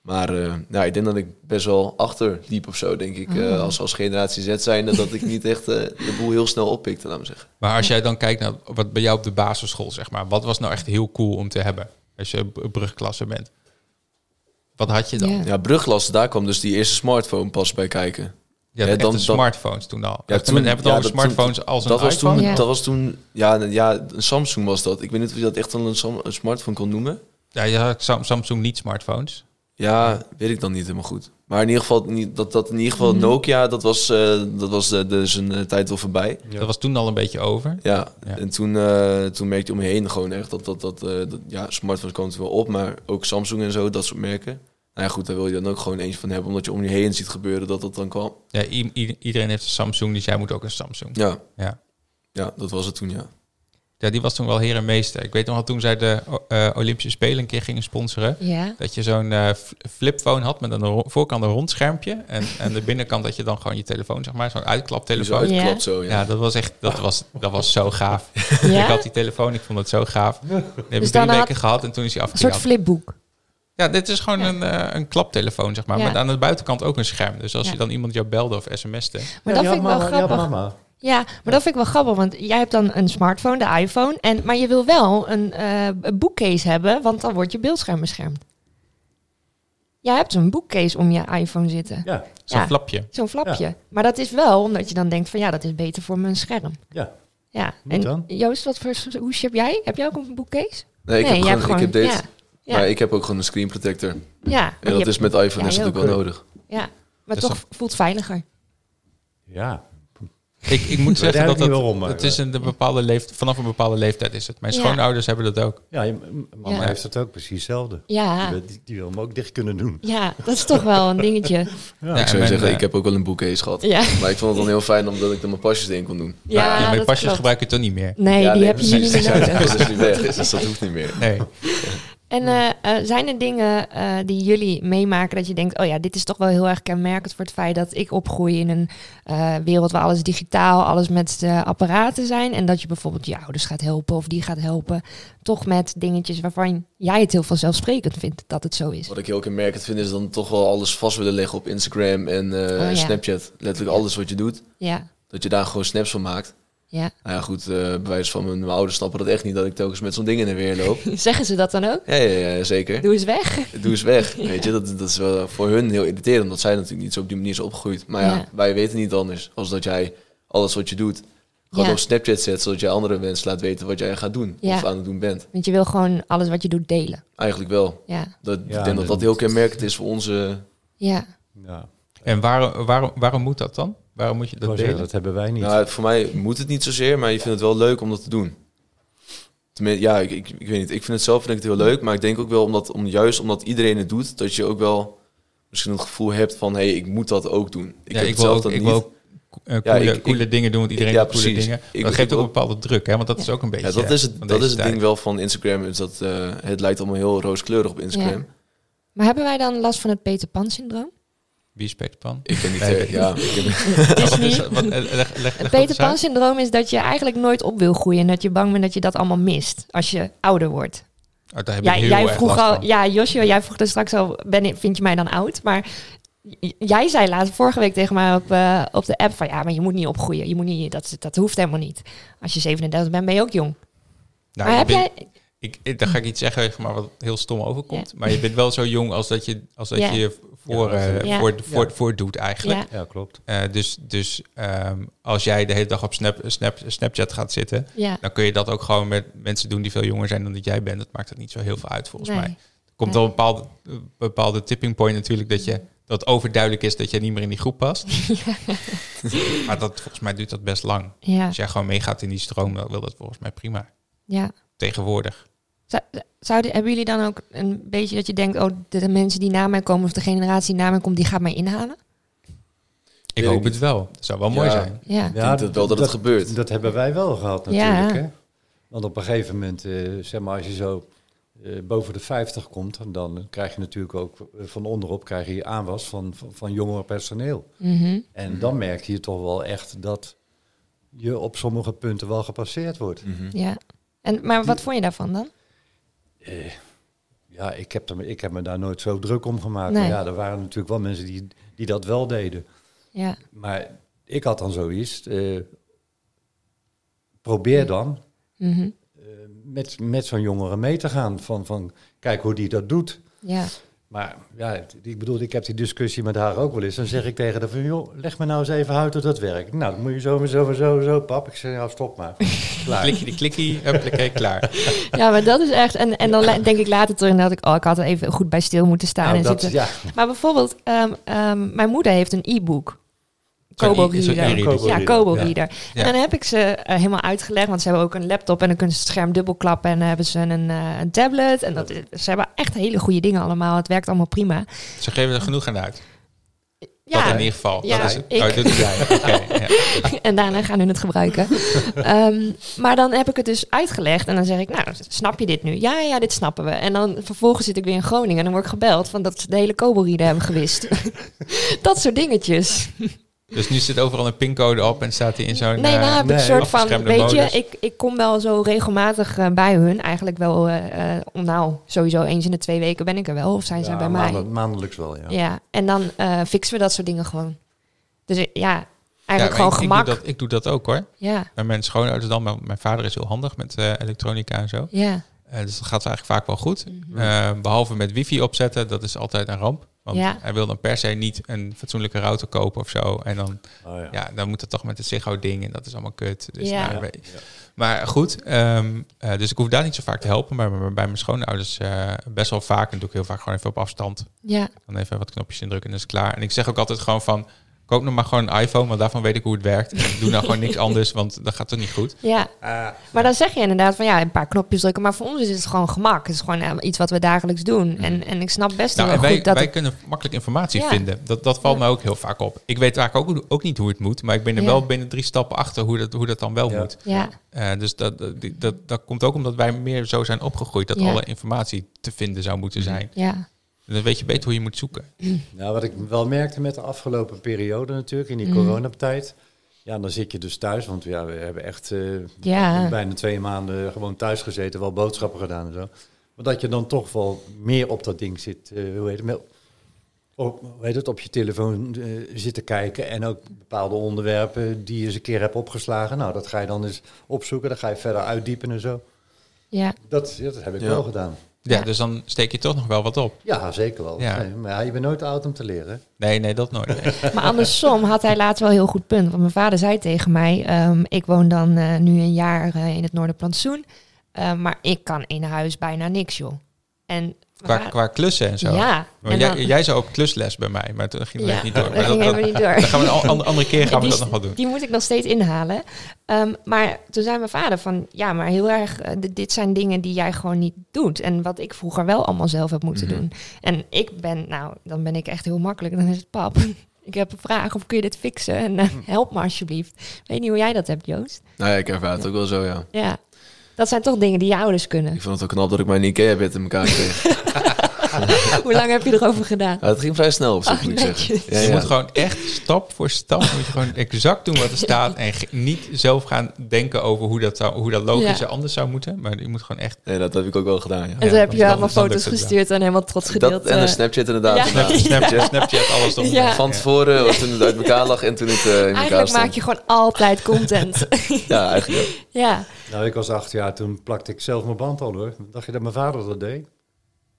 Speaker 4: Maar eh, nou, ik denk dat ik best wel achterliep of zo, denk ik. eh,
Speaker 1: Ah.
Speaker 4: als, als generatie Z zijnde, dat ik niet echt eh, de boel heel snel oppikte, laat me zeggen.
Speaker 2: Maar als jij dan kijkt naar wat bij jou op de basisschool, zeg maar, wat was nou echt heel cool om te hebben als je b- brugklasse bent? Wat had je dan?
Speaker 1: Ja.
Speaker 2: Ja,
Speaker 4: Ja, bruglas, daar kwam dus die eerste smartphone pas bij kijken. Ja,
Speaker 2: echt
Speaker 4: dan-
Speaker 2: de
Speaker 4: dan-
Speaker 2: smartphones toen al.
Speaker 4: Ja,
Speaker 2: Ja, toen, hebben we
Speaker 4: ja,
Speaker 2: het over
Speaker 4: dat-
Speaker 2: smartphones
Speaker 4: toen-
Speaker 2: als een
Speaker 4: dat was
Speaker 2: iPhone.
Speaker 4: Toen,
Speaker 1: Ja.
Speaker 4: Dat was toen, ja, een- ja, een Samsung was dat. Ik weet niet of je dat echt dan een, Sam- een smartphone kon noemen.
Speaker 2: Ja, je had Sam- Samsung niet smartphones.
Speaker 4: Ja, weet ik dan niet helemaal goed. Maar in ieder geval, niet- dat, dat in ieder geval
Speaker 1: Mhm.
Speaker 4: Nokia, dat was, eh, dat was eh, dus een eh, tijd al voorbij.
Speaker 5: Ja.
Speaker 2: Dat was toen al een beetje over.
Speaker 4: Ja,
Speaker 2: Ja.
Speaker 4: en toen, eh, toen merkte je om je heen gewoon echt dat, dat, dat, eh, dat ja, smartphones komen er wel op, maar ook Samsung en zo, dat soort merken. Nou ja, goed, daar wil je dan ook gewoon eens van hebben, omdat je om je heen ziet gebeuren dat dat dan kwam.
Speaker 2: Ja, i- i- iedereen heeft een Samsung, dus jij moet ook een Samsung. Ja.
Speaker 4: Ja,
Speaker 2: Ja.
Speaker 4: ja dat was het toen, ja.
Speaker 2: die was toen wel heer en meester. Ik weet nog wel, toen zij de o- eh, Olympische Spelen een keer gingen sponsoren,
Speaker 1: Ja,
Speaker 2: dat je zo'n eh, f- flipphone had met aan de ro- voorkant een rond schermpje en aan de binnenkant dat je dan gewoon je telefoon, zeg maar, zo'n
Speaker 4: Die zo
Speaker 2: uitklaptelefoon.
Speaker 4: uitklapt
Speaker 1: Ja.
Speaker 4: zo, Dus ja.
Speaker 2: Ja, dat was echt, dat was, dat was zo gaaf.
Speaker 1: Ja?
Speaker 2: Ik had die telefoon, ik vond het zo gaaf. Die heb ik
Speaker 1: Dus
Speaker 2: drie
Speaker 1: dan had-
Speaker 2: weken gehad en toen is hij
Speaker 1: een soort
Speaker 2: afgejaagd.
Speaker 1: flipboek.
Speaker 2: Ja, dit is gewoon een, eh, een klaptelefoon, zeg maar.
Speaker 1: Ja.
Speaker 2: Met aan de buitenkant ook een scherm. Dus als
Speaker 1: Ja.
Speaker 2: je dan iemand jou belde of sms'te.
Speaker 1: Maar
Speaker 5: Ja,
Speaker 1: dat
Speaker 5: die
Speaker 1: vind ik wel
Speaker 5: had mama- die had
Speaker 1: grappig.
Speaker 5: mama.
Speaker 1: Ja, maar dat vind ik wel grappig, want jij hebt dan een smartphone, de iPhone, en, maar je wil wel een eh, een boekcase hebben, want dan wordt je beeldscherm beschermd. Jij hebt een boekcase om je iPhone zitten.
Speaker 5: Ja,
Speaker 2: Zo'n
Speaker 1: Ja.
Speaker 2: flapje.
Speaker 1: Zo'n flapje. Maar dat is wel omdat je dan denkt van ja, dat is beter voor mijn scherm.
Speaker 5: ja.
Speaker 1: Ja.
Speaker 5: Moet
Speaker 1: En
Speaker 5: dan.
Speaker 1: Joost, wat voor soort hoesje heb jij? Heb jij ook een boekcase?
Speaker 4: Nee,
Speaker 1: Nee,
Speaker 4: ik, heb
Speaker 1: jij
Speaker 4: gewoon, ik heb
Speaker 1: hebt gewoon-
Speaker 4: dit,
Speaker 1: ja, ja.
Speaker 4: maar ik heb ook gewoon een screen protector.
Speaker 1: Ja.
Speaker 4: En
Speaker 1: je
Speaker 4: dat
Speaker 1: hebt-
Speaker 4: is met iPhone
Speaker 1: ja,
Speaker 4: is dat
Speaker 1: heel
Speaker 4: ook wel
Speaker 5: cool.
Speaker 4: nodig.
Speaker 1: Ja, maar
Speaker 2: is
Speaker 1: toch voelt veiliger.
Speaker 5: ja.
Speaker 2: Ik, ik moet zeggen dat
Speaker 5: eigenlijk
Speaker 2: dat,
Speaker 5: niet waarom, maar-
Speaker 2: het is een de bepaalde leeft, vanaf een bepaalde leeftijd is het. Mijn
Speaker 1: Ja.
Speaker 2: schoonouders hebben dat ook.
Speaker 5: Ja, je- m- mama
Speaker 1: Ja.
Speaker 5: heeft dat ook precies hetzelfde. Die,
Speaker 1: Ja,
Speaker 5: wil- die- die wil hem ook dicht kunnen doen.
Speaker 1: ja, dat is toch wel een dingetje.
Speaker 2: Ja,
Speaker 4: ik
Speaker 2: en
Speaker 4: zou
Speaker 2: mijn,
Speaker 4: zeggen,
Speaker 2: eh,
Speaker 4: ik heb ook wel een boekcase gehad.
Speaker 1: Ja,
Speaker 4: Maar ik vond het dan heel fijn omdat ik er mijn pasjes in kon doen.
Speaker 1: ja,
Speaker 2: ja, maar die
Speaker 1: dat
Speaker 2: pasjes
Speaker 1: klopt.
Speaker 2: gebruik je toch niet meer.
Speaker 1: Nee,
Speaker 4: Ja,
Speaker 1: die heb je nu
Speaker 4: precies.
Speaker 1: niet meer nodig.
Speaker 4: Dat is niet weg, dus dat hoeft niet meer.
Speaker 2: Nee.
Speaker 1: En eh, eh, zijn er dingen eh, die jullie meemaken dat je denkt, oh ja, dit is toch wel heel erg kenmerkend voor het feit dat ik opgroei in een eh, wereld waar alles digitaal, alles met eh, apparaten zijn. En dat je bijvoorbeeld je ouders gaat helpen of die gaat helpen, toch met dingetjes waarvan jij het heel vanzelfsprekend vindt dat het zo is.
Speaker 4: Wat ik heel kenmerkend vind is dan toch wel alles vast willen leggen op Instagram en eh,
Speaker 1: Oh, ja.
Speaker 4: Snapchat. Letterlijk alles wat je doet,
Speaker 1: Ja,
Speaker 4: dat je daar gewoon snaps van maakt.
Speaker 1: Ja.
Speaker 4: Nou ja, goed, eh bij wijze van mijn, mijn ouders snappen dat echt niet, dat ik telkens met zo'n ding in en weer loop.
Speaker 1: Zeggen ze dat dan ook?
Speaker 4: ja, ja, ja, zeker.
Speaker 1: Doe eens weg.
Speaker 4: Doe eens weg. Weet je, dat, dat is wel voor hun heel irriterend, omdat zij natuurlijk niet zo op die manier zijn opgegroeid. Maar ja,
Speaker 1: Ja.
Speaker 4: wij weten niet anders, als dat jij alles wat je doet, gewoon
Speaker 1: Ja.
Speaker 4: op Snapchat zet, zodat jij andere mensen laat weten wat jij gaat doen
Speaker 1: Ja.
Speaker 4: of aan het doen bent.
Speaker 1: Want je wil gewoon alles wat je doet delen.
Speaker 4: Eigenlijk wel.
Speaker 1: Ja.
Speaker 4: Dat,
Speaker 5: Ja,
Speaker 4: ik denk dat
Speaker 5: dat-
Speaker 4: dat heel kenmerkend is voor onze...
Speaker 1: Ja.
Speaker 5: Ja,
Speaker 2: En waarom, waarom, waarom moet dat dan? Waarom moet je
Speaker 5: dat,
Speaker 2: dat delen?
Speaker 5: dat hebben wij niet.
Speaker 4: Nou, voor mij moet het niet zozeer, maar je vindt het wel leuk om dat te doen. Tenminste, ja, ik, ik, ik weet niet. Ik vind het zelf vind ik het heel leuk, maar ik denk ook wel omdat, om, juist omdat iedereen het doet, dat je ook wel misschien het gevoel hebt van, hé, hey, ik moet dat ook doen. Ik
Speaker 2: ja,
Speaker 4: heb
Speaker 2: ik
Speaker 4: het
Speaker 2: wil
Speaker 4: zelf
Speaker 2: ook,
Speaker 4: dat
Speaker 2: ik
Speaker 4: niet.
Speaker 2: wil ook eh, coole,
Speaker 4: ik- ik-
Speaker 2: coole dingen doen, want iedereen
Speaker 4: ja,
Speaker 2: doet coole
Speaker 4: precies.
Speaker 2: dingen.
Speaker 4: Ik-
Speaker 2: dat geeft
Speaker 4: ik
Speaker 2: ook een
Speaker 4: wil-
Speaker 2: bepaalde druk, hè? Want dat is ook een beetje...
Speaker 4: Ja, dat is het,
Speaker 2: van
Speaker 4: dat
Speaker 2: deze
Speaker 4: is het
Speaker 2: tijd.
Speaker 4: ding wel van Instagram, is dat eh, het lijkt allemaal heel rooskleurig op Instagram.
Speaker 1: Maar hebben wij dan last van het Peter Pan syndroom?
Speaker 2: Wie is Peter Pan?
Speaker 4: Ik ken niet,
Speaker 2: Nee,
Speaker 4: eh,
Speaker 2: weet ik
Speaker 4: ja, ik ken-
Speaker 2: Wat is dat? Wat- eh, leg- leg-
Speaker 1: Het
Speaker 2: leg dat
Speaker 1: Peter
Speaker 2: eens uit.
Speaker 1: Pan syndroom is dat je eigenlijk nooit op wil groeien en dat je bang bent dat je dat allemaal mist als je ouder wordt.
Speaker 2: Oh, daar heb ik
Speaker 1: Jij,
Speaker 2: heel
Speaker 1: jij
Speaker 2: erg
Speaker 1: vroeg
Speaker 2: last
Speaker 1: al,
Speaker 2: van.
Speaker 1: ja, Josje, jij vroeg dus straks al, ben, ik- vind je mij dan oud? Maar j- jij zei laatst vorige week tegen mij op, eh, op de app van ja, maar je moet niet opgroeien. Je moet niet, dat, dat hoeft helemaal niet. Als je 37 bent, ben je ook jong. maar
Speaker 2: Nou, je
Speaker 1: heb
Speaker 2: bent-
Speaker 1: jij,
Speaker 2: ik, ik, dan ga ik iets zeggen zeg maar, wat heel stom overkomt. Maar je bent wel zo jong als dat je als dat
Speaker 1: Ja.
Speaker 2: je je voor,
Speaker 5: Ja,
Speaker 2: eh,
Speaker 5: dat
Speaker 1: is-
Speaker 2: voor,
Speaker 5: Ja.
Speaker 2: voor, voor doet eigenlijk.
Speaker 1: ja,
Speaker 5: Ja, klopt.
Speaker 2: Eh, dus dus ehm, als jij de hele dag op Snap, Snap, Snapchat gaat zitten,
Speaker 1: ja,
Speaker 2: dan kun je dat ook gewoon met mensen doen die veel jonger zijn dan dat jij bent. Dat maakt het niet zo heel veel uit volgens
Speaker 1: nee.
Speaker 2: mij. Er komt wel een bepaalde, een bepaalde tipping point natuurlijk dat je dat overduidelijk is dat je niet meer in die groep past. maar dat volgens mij duurt dat best lang.
Speaker 1: Ja,
Speaker 2: Als jij gewoon meegaat in die stroom, dan wil dat volgens mij prima.
Speaker 1: ja.
Speaker 2: Tegenwoordig.
Speaker 1: Zou- Zouden, hebben jullie dan ook een beetje dat je denkt, oh, de, de mensen die na mij komen of de generatie die na mij komt, die gaat mij inhalen?
Speaker 2: Ik
Speaker 4: Weet ik
Speaker 2: hoop
Speaker 4: niet.
Speaker 2: het wel. Dat zou wel mooi
Speaker 4: Ja.
Speaker 2: zijn.
Speaker 1: Ja,
Speaker 5: Ja,
Speaker 4: denk dat wel dat het gebeurt.
Speaker 5: Dat hebben wij wel gehad
Speaker 1: Ja.
Speaker 5: natuurlijk. Hè? Want op een gegeven moment, eh, zeg maar, als je zo eh, boven de 50 komt, dan krijg je natuurlijk ook eh, van onderop krijg je aanwas van, van, van jonger personeel.
Speaker 1: Mhm.
Speaker 5: En dan merk je toch wel echt dat je op sommige punten wel gepasseerd wordt.
Speaker 4: Mhm.
Speaker 1: ja. En, maar wat vond je daarvan dan?
Speaker 5: Eh, ja, ik heb, er, ik heb me daar nooit zo druk om gemaakt.
Speaker 1: Nee.
Speaker 5: Maar ja, er waren natuurlijk wel mensen die, die dat wel deden.
Speaker 1: Ja,
Speaker 5: Maar ik had dan zoiets. eh, probeer dan
Speaker 1: mhm.
Speaker 5: eh, met, met zo'n jongere mee te gaan. Van, van kijk hoe die dat doet.
Speaker 1: ja,
Speaker 5: Maar ja, het- ik bedoel, ik heb die discussie met haar ook wel eens. Dan zeg ik tegen haar van, joh, leg me nou eens even uit hoe dat werkt. Nou, dan moet je zo en zo en zo en zo, pap. Ik zeg, ja, stop maar. Klaar. Nou,
Speaker 2: Klikje die klikkie, huppakee, klaar.
Speaker 1: ja, maar dat is echt. En, en dan la- denk ik later terug dat ik, oh, ik had er even goed bij stil moeten staan.
Speaker 5: Nou,
Speaker 1: en
Speaker 5: dat,
Speaker 1: zitten.
Speaker 5: ja,
Speaker 1: Maar bijvoorbeeld, ehm, ehm, mijn moeder heeft een e-book. Kobo
Speaker 2: i- zo'n
Speaker 1: Reader.
Speaker 2: e-reader.
Speaker 1: Ja, Kobo Reader.
Speaker 2: Ja.
Speaker 1: En dan heb ik ze eh, helemaal uitgelegd, want ze hebben ook een laptop en dan kunnen ze het scherm dubbelklappen en dan hebben ze een, eh, een tablet. En dat, is- ze hebben echt hele goede dingen allemaal. Het werkt allemaal prima.
Speaker 2: Ze geven er genoeg aan uit. Dat
Speaker 1: Ja,
Speaker 2: in ieder geval.
Speaker 1: Ja,
Speaker 2: dat is het.
Speaker 1: ik-
Speaker 2: Oh, dit is jij. Oké, ja.
Speaker 1: en daarna gaan hun het gebruiken. Ehm, maar dan heb ik het dus uitgelegd en dan zeg ik, nou, snap je dit nu? Ja, ja, dit snappen we. En dan vervolgens zit ik weer in Groningen en dan word ik gebeld van dat ze de hele Kobo-reader hebben gewist. dat soort dingetjes.
Speaker 2: Dus nu zit overal een pincode op en staat hij in zo'n...
Speaker 1: Nee,
Speaker 2: eh,
Speaker 1: nou heb ik
Speaker 5: nee.
Speaker 1: een soort van,
Speaker 2: afgeschermde
Speaker 1: weet je,
Speaker 2: modus.
Speaker 1: ik, ik kom wel zo regelmatig eh, bij hun. Eigenlijk wel, eh, eh, nou, sowieso eens in de twee weken ben ik er wel. Of zijn ze
Speaker 5: Ja,
Speaker 1: bij mij.
Speaker 5: maandel- maandelijks wel, ja.
Speaker 1: Ja, en dan eh, fixen we dat soort dingen gewoon. Dus eh, ja,
Speaker 2: ja,
Speaker 1: eigenlijk
Speaker 2: maar
Speaker 1: gewoon gemak.
Speaker 2: ik- Ik doe, dat, ik doe dat ook hoor.
Speaker 1: Ja,
Speaker 2: Bij mijn schoonouders dan. Mijn, mijn vader is heel handig met eh, elektronica en zo.
Speaker 1: ja,
Speaker 2: Eh, dus dat gaat eigenlijk vaak wel goed.
Speaker 1: Mhm.
Speaker 2: Eh, behalve met wifi opzetten, dat is altijd een ramp. Want
Speaker 1: Ja.
Speaker 2: hij wil dan per se niet een fatsoenlijke router kopen of zo. En dan,
Speaker 5: Oh, ja.
Speaker 2: ja, dan moet het toch met het Ziggo ding en dat is allemaal kut. Dus
Speaker 1: Ja.
Speaker 2: nou,
Speaker 5: Ja.
Speaker 2: we- Maar goed, ehm, eh, dus ik hoef daar niet zo vaak te helpen. Maar bij- bij mijn schoonouders eh, best wel vaak. En doe ik heel vaak gewoon even op afstand.
Speaker 1: ja,
Speaker 2: Dan even wat knopjes indrukken en dan is het klaar. En ik zeg ook altijd gewoon van... Koop nou maar gewoon een iPhone, want daarvan weet ik hoe het werkt. En doe nou gewoon niks anders, want dat gaat toch niet goed.
Speaker 1: ja.
Speaker 2: Eh,
Speaker 1: maar dan zeg je inderdaad van ja, een paar knopjes drukken. Maar voor ons is het gewoon gemak. Het is gewoon eh, iets wat we dagelijks doen. En, en ik snap best
Speaker 2: Nou,
Speaker 1: wel
Speaker 2: en wij,
Speaker 1: goed dat
Speaker 2: wij
Speaker 1: het-
Speaker 2: kunnen makkelijk informatie
Speaker 1: Ja.
Speaker 2: vinden. Dat, dat valt mij ook heel vaak op. Ik weet eigenlijk ook, ook niet hoe het moet, maar ik ben er
Speaker 1: Ja.
Speaker 2: wel binnen drie stappen achter hoe dat, hoe dat dan wel
Speaker 5: Ja.
Speaker 2: moet.
Speaker 1: Ja,
Speaker 2: Eh, dus dat, dat, die- dat, dat komt ook omdat wij meer zo zijn opgegroeid dat
Speaker 1: Ja.
Speaker 2: alle informatie te vinden zou moeten zijn.
Speaker 1: ja,
Speaker 2: En dan weet je beter hoe je moet zoeken.
Speaker 5: Nou, wat ik wel merkte met de afgelopen periode natuurlijk, in die coronatijd. Ja, dan zit je dus thuis, want ja, we hebben echt eh,
Speaker 1: Ja.
Speaker 5: bijna twee maanden gewoon thuis gezeten, wel boodschappen gedaan en zo. Maar dat je dan toch wel meer op dat ding zit, eh, hoe heet het, met- op, hoe heet het, op je telefoon eh, zitten kijken. En ook bepaalde onderwerpen die je eens een keer hebt opgeslagen. Nou, dat ga je dan eens opzoeken. Dan ga je verder uitdiepen en zo.
Speaker 1: Ja.
Speaker 5: Dat, ja, dat heb ik
Speaker 4: Ja.
Speaker 5: wel gedaan.
Speaker 2: Ja,
Speaker 1: Ja.
Speaker 2: dus dan steek je toch nog wel wat op.
Speaker 5: Ja, zeker wel.
Speaker 2: Ja.
Speaker 5: Nee, maar ja, je bent nooit te oud om te leren.
Speaker 2: Nee, nee, dat nooit. Nee.
Speaker 1: Maar andersom had hij laatst wel een heel goed punt. Want mijn vader zei tegen mij, ehm, ik woon dan eh, nu een jaar eh, in het Noorderplantsoen. eh maar ik kan in huis bijna niks, joh. En mijn
Speaker 2: Qua,
Speaker 1: vader-
Speaker 2: qua klussen en zo.
Speaker 1: Ja.
Speaker 2: Maar
Speaker 1: en
Speaker 2: jij,
Speaker 1: dan-
Speaker 2: jij zou ook klusles bij mij, maar toen ging dat
Speaker 1: Ja,
Speaker 2: niet door.
Speaker 1: dat
Speaker 2: Maar
Speaker 1: ging
Speaker 2: dat,
Speaker 1: helemaal niet door.
Speaker 2: dan gaan we een an- andere keer gaan we
Speaker 1: die,
Speaker 2: dat nog wel doen.
Speaker 1: die moet ik nog steeds inhalen. Ehm, maar toen zei mijn vader van, ja, maar heel erg, eh, dit- dit zijn dingen die jij gewoon niet doet. En wat ik vroeger wel allemaal zelf heb
Speaker 2: Mhm.
Speaker 1: moeten doen. En ik ben, nou, dan ben ik echt heel makkelijk. Dan is het pap. Ik heb een vraag of kun je dit fixen? En eh,
Speaker 2: Mhm.
Speaker 1: help me alsjeblieft. Ik weet niet hoe jij dat hebt, Joost.
Speaker 4: Nou ja, ik ervaar het ook wel zo, ja.
Speaker 1: Ja, dat zijn toch dingen die je ouders kunnen.
Speaker 4: Ik vond het ook knap dat ik mijn Ikea-bed in elkaar kreeg.
Speaker 1: hoe lang heb je erover gedaan?
Speaker 4: Ja, het ging vrij snel, op zich,
Speaker 1: Ah,
Speaker 4: moet ik zeggen.
Speaker 1: netjes.
Speaker 4: Ja,
Speaker 2: Oh, Je
Speaker 4: ja.
Speaker 2: moet gewoon echt stap voor stap moet je gewoon exact doen wat er staat en ge- niet zelf gaan denken over hoe dat, zou, hoe dat logisch
Speaker 1: Ja.
Speaker 2: anders zou moeten. Maar je moet gewoon echt
Speaker 4: Nee, dat heb ik ook wel gedaan, ja.
Speaker 1: En
Speaker 2: Ja,
Speaker 1: toen heb je
Speaker 2: dan-
Speaker 1: allemaal
Speaker 2: dan lukt
Speaker 1: foto's
Speaker 2: het wel.
Speaker 1: gestuurd en helemaal trots gedeeld.
Speaker 4: Dat en
Speaker 1: eh,
Speaker 4: een Snapchat inderdaad.
Speaker 1: ja.
Speaker 4: inderdaad.
Speaker 2: Snapchat, Snapchat, alles eronder.
Speaker 1: Ja.
Speaker 4: Van tevoren, of toen het uit elkaar lag en toen het eh, in elkaar
Speaker 1: eigenlijk
Speaker 4: stond.
Speaker 1: maak je gewoon altijd content.
Speaker 4: Ja, eigenlijk wel.
Speaker 1: ja.
Speaker 5: Nou, ik was acht jaar, toen plakte ik zelf mijn band al hoor. Dacht je dat mijn vader dat deed?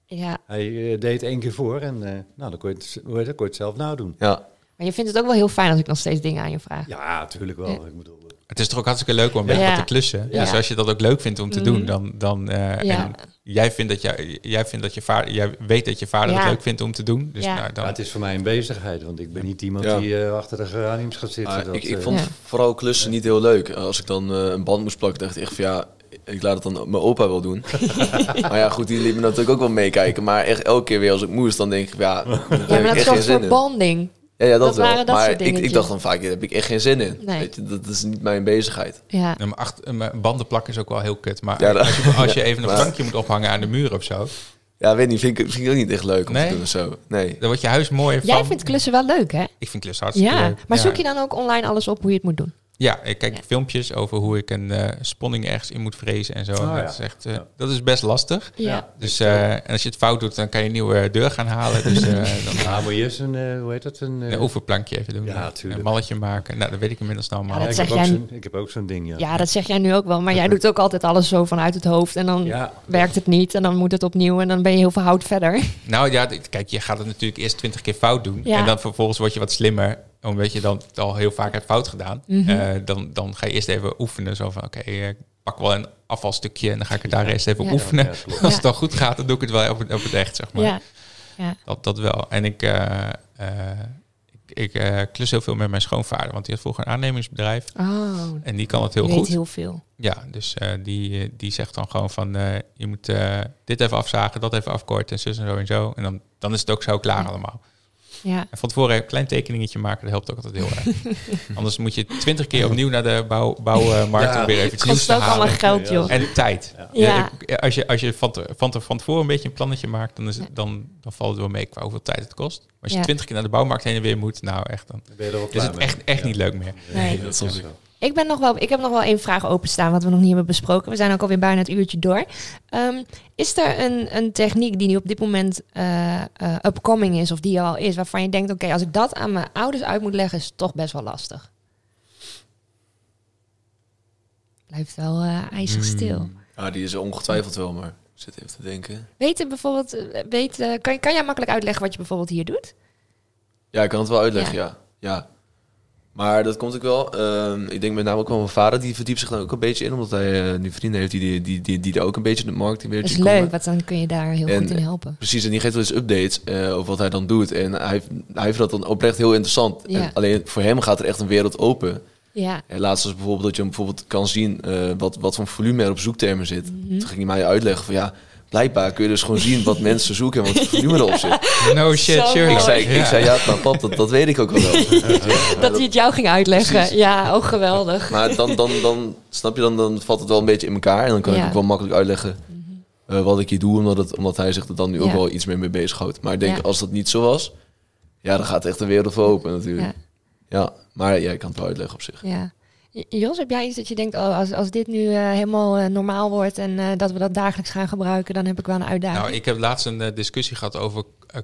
Speaker 1: ja,
Speaker 5: Hij eh, deed het één keer voor en eh, nou, dan kon, je het, hoe heet het, kon je het zelf nadoen.
Speaker 4: Ja.
Speaker 1: maar je vindt het ook wel heel fijn als ik nog steeds dingen aan je vraag.
Speaker 5: Ja, tuurlijk wel. Ik bedoel, eh,
Speaker 2: Het is toch ook hartstikke leuk om met
Speaker 1: Ja.
Speaker 2: wat te klussen.
Speaker 1: Ja.
Speaker 2: Dus als je dat ook leuk vindt om te doen, dan... dan eh,
Speaker 1: Ja.
Speaker 2: en jij, vindt dat jij, jij, vindt dat je vader, jij weet dat je vader
Speaker 1: Ja.
Speaker 2: het leuk vindt om te doen. Dus
Speaker 1: Ja.
Speaker 2: nou,
Speaker 5: maar
Speaker 2: dan,
Speaker 5: het is voor mij een bezigheid, want ik ben niet iemand
Speaker 4: Ja.
Speaker 5: die eh, achter de geraniums gaat zitten.
Speaker 4: Maar
Speaker 5: dat,
Speaker 4: Ah, ik, ik
Speaker 5: eh,
Speaker 4: vond
Speaker 1: Ja.
Speaker 4: vooral klussen niet heel leuk. Als ik dan eh, een band moest plakken, dacht ik echt van ja, ik laat het dan mijn opa wel doen. maar ja, goed, die liet me natuurlijk ook wel meekijken. Maar echt elke keer weer als ik moest, dan denk ik van, ja, daar heb
Speaker 1: Ja, maar
Speaker 4: ik
Speaker 1: dat is
Speaker 4: echt
Speaker 1: toch
Speaker 4: geen
Speaker 1: voor
Speaker 4: zin in.
Speaker 1: bonding.
Speaker 4: Ja, ja, dat,
Speaker 1: dat
Speaker 4: wel.
Speaker 1: waren dat
Speaker 4: maar
Speaker 1: soort
Speaker 4: ik, ik
Speaker 1: dingetjes.
Speaker 4: dacht dan vaak, daar heb ik echt geen zin in.
Speaker 1: Nee.
Speaker 4: Weet je, dat is niet mijn bezigheid.
Speaker 1: Ja.
Speaker 2: Ja, maar acht, eh, maar banden plakken is ook wel heel kut. Maar
Speaker 4: Ja, dat-
Speaker 2: als, je, als je even een
Speaker 4: maar-
Speaker 2: plankje moet ophangen aan de muur of zo,
Speaker 4: Ja, weet niet, vind ik, vind ik ook niet echt leuk om
Speaker 2: Nee?
Speaker 4: te doen of zo. Nee.
Speaker 2: dan wordt je huis mooier
Speaker 1: Jij
Speaker 2: van.
Speaker 1: vindt klussen wel leuk, hè?
Speaker 2: Ik vind klussen hartstikke
Speaker 1: Ja,
Speaker 2: leuk.
Speaker 1: maar
Speaker 2: Ja.
Speaker 1: zoek je dan ook online alles op hoe je het moet doen?
Speaker 2: Ja, ik kijk filmpjes over hoe ik een eh, sponning ergens in moet vrezen en zo. En
Speaker 5: Ah,
Speaker 2: dat,
Speaker 5: ja.
Speaker 2: is echt, eh,
Speaker 5: Ja.
Speaker 2: dat is best lastig.
Speaker 1: Ja.
Speaker 2: Dus, eh, en als je het fout doet, dan kan je een nieuwe deur gaan halen. Dus eh, dan
Speaker 5: Nou, moet je eens een, eh, hoe heet dat? Een, eh,
Speaker 2: een oefenplankje even doen.
Speaker 5: Ja, tuurlijk.
Speaker 2: Een malletje maken. Nou, dat weet ik inmiddels nou allemaal.
Speaker 1: Ja,
Speaker 5: ik,
Speaker 1: zeg
Speaker 5: heb ook
Speaker 1: jij
Speaker 5: zo'n- ik heb ook zo'n ding, ja.
Speaker 1: Ja, dat zeg jij nu ook wel. Maar jij doet ook altijd alles zo vanuit het hoofd. En dan
Speaker 5: Ja.
Speaker 1: werkt het niet. En dan moet het opnieuw. En dan ben je heel veel hout verder.
Speaker 2: Nou ja, d- kijk, je gaat het natuurlijk eerst twintig keer fout doen.
Speaker 1: Ja.
Speaker 2: En dan vervolgens word je wat slimmer. Omdat je dan het al heel vaak hebt fout gedaan.
Speaker 1: Mhm.
Speaker 2: Eh, dan, dan ga je eerst even oefenen. Zo van, oké, eh, ik pak wel een afvalstukje en dan ga ik het daar eerst even
Speaker 1: Ja.
Speaker 2: oefenen.
Speaker 5: Ja, klopt.
Speaker 2: Als het dan goed gaat, dan doe ik het wel op het, op het echt, zeg maar.
Speaker 1: Ja. ja.
Speaker 2: Dat, dat wel. En ik, eh, eh, ik, ik eh, klus heel veel met mijn schoonvader. Want die had vroeger een aannemingsbedrijf.
Speaker 1: Oh,
Speaker 2: En die kan het
Speaker 1: je
Speaker 2: heel
Speaker 1: weet
Speaker 2: goed.
Speaker 1: heel veel.
Speaker 2: Ja, dus eh, die, eh, die zegt dan gewoon van... eh, je moet eh, dit even afzagen, dat even afkorten, en zus en zo en zo. En dan, dan is het ook zo klaar allemaal.
Speaker 1: Ja.
Speaker 2: En van tevoren een klein tekeningetje maken, dat helpt ook altijd heel erg. Anders moet je twintig keer opnieuw naar de bouw, bouwmarkt
Speaker 5: Ja.
Speaker 2: om weer even iets
Speaker 1: Het
Speaker 2: nieuws
Speaker 1: kost
Speaker 2: te
Speaker 1: ook allemaal
Speaker 2: halen.
Speaker 1: geld,
Speaker 5: Ja.
Speaker 1: joh.
Speaker 2: En tijd.
Speaker 1: Ja.
Speaker 2: Eh, Als je, als je van, te, van, te- van tevoren een beetje een plannetje maakt, dan, is het, dan, dan valt het wel mee qua hoeveel tijd het kost. Maar als je
Speaker 1: Ja.
Speaker 2: twintig keer naar de bouwmarkt heen en weer moet, nou echt, dan
Speaker 5: Dan ben je er wel
Speaker 2: is
Speaker 5: klaar
Speaker 2: het
Speaker 5: mee.
Speaker 2: echt, echt
Speaker 5: Ja.
Speaker 2: niet leuk meer.
Speaker 1: Nee.
Speaker 5: Dat
Speaker 4: soms
Speaker 5: is
Speaker 4: ik.
Speaker 5: zo.
Speaker 1: Ik, ben nog wel, ik heb nog wel één vraag openstaan, wat we nog niet hebben besproken. We zijn ook alweer bijna het uurtje door. Ehm, is er een, een techniek die nu op dit moment eh, eh, upcoming is, of die er al is, waarvan je denkt, oké, als ik dat aan mijn ouders uit moet leggen, is het toch best wel lastig? Blijft wel eh ijzig stil.
Speaker 4: Ja, Ah, die is er ongetwijfeld wel, maar ik zit even te denken.
Speaker 1: Weten bijvoorbeeld, eh, weet, eh, kan, kan jij makkelijk uitleggen wat je bijvoorbeeld hier doet?
Speaker 4: Ja, ik kan het wel uitleggen,
Speaker 1: Ja.
Speaker 4: ja. ja. Maar dat komt ook wel. ehm, ik denk met name ook wel mijn vader, die verdiept zich daar ook een beetje in. Omdat hij eh, nu vrienden heeft die, die, die, die, die er ook een beetje in de marketing weer
Speaker 1: Dat is leuk, want dan kun je daar heel
Speaker 4: En-
Speaker 1: goed in helpen.
Speaker 4: Precies, en die geeft wel eens updates eh, over wat hij dan doet. En hij, hij vindt dat dan oprecht heel interessant.
Speaker 1: Ja.
Speaker 4: En alleen voor hem gaat er echt een wereld open.
Speaker 1: Ja,
Speaker 4: En laatst was bijvoorbeeld dat je hem bijvoorbeeld kan zien eh, wat, wat voor volume er op zoektermen zit.
Speaker 1: Mhm.
Speaker 4: Toen ging hij mij uitleggen van ja, blijkbaar kun je dus gewoon zien wat mensen zoeken en wat voor volume erop zit.
Speaker 2: No shit,
Speaker 1: Zo
Speaker 2: Sherlock.
Speaker 4: Ik
Speaker 1: mooi.
Speaker 4: zei, ik zei ja, maar pap, dat, dat weet ik ook wel.
Speaker 1: dat hij het jou ging uitleggen.
Speaker 4: Precies.
Speaker 1: Ja, oh geweldig.
Speaker 4: Maar dan, dan, dan snap je, dan, dan valt het wel een beetje in elkaar. En dan kan
Speaker 1: Ja. Mhm.
Speaker 4: ik ook wel makkelijk uitleggen eh, wat ik hier doe. Omdat, het, omdat hij zich er dan nu
Speaker 1: Ja.
Speaker 4: ook wel iets meer mee bezighoudt. Maar ik denk,
Speaker 1: Ja.
Speaker 4: als dat niet zo was, ja, dan gaat echt de wereld voor open natuurlijk. Ja. maar ja, ik kan het wel uitleggen op zich.
Speaker 1: Ja. J- Jos, heb jij iets dat je denkt, oh, als, als dit nu eh, helemaal eh, normaal wordt en eh, dat we dat dagelijks gaan gebruiken, dan heb ik wel een uitdaging.
Speaker 2: Nou, ik heb laatst een eh, discussie gehad over eh,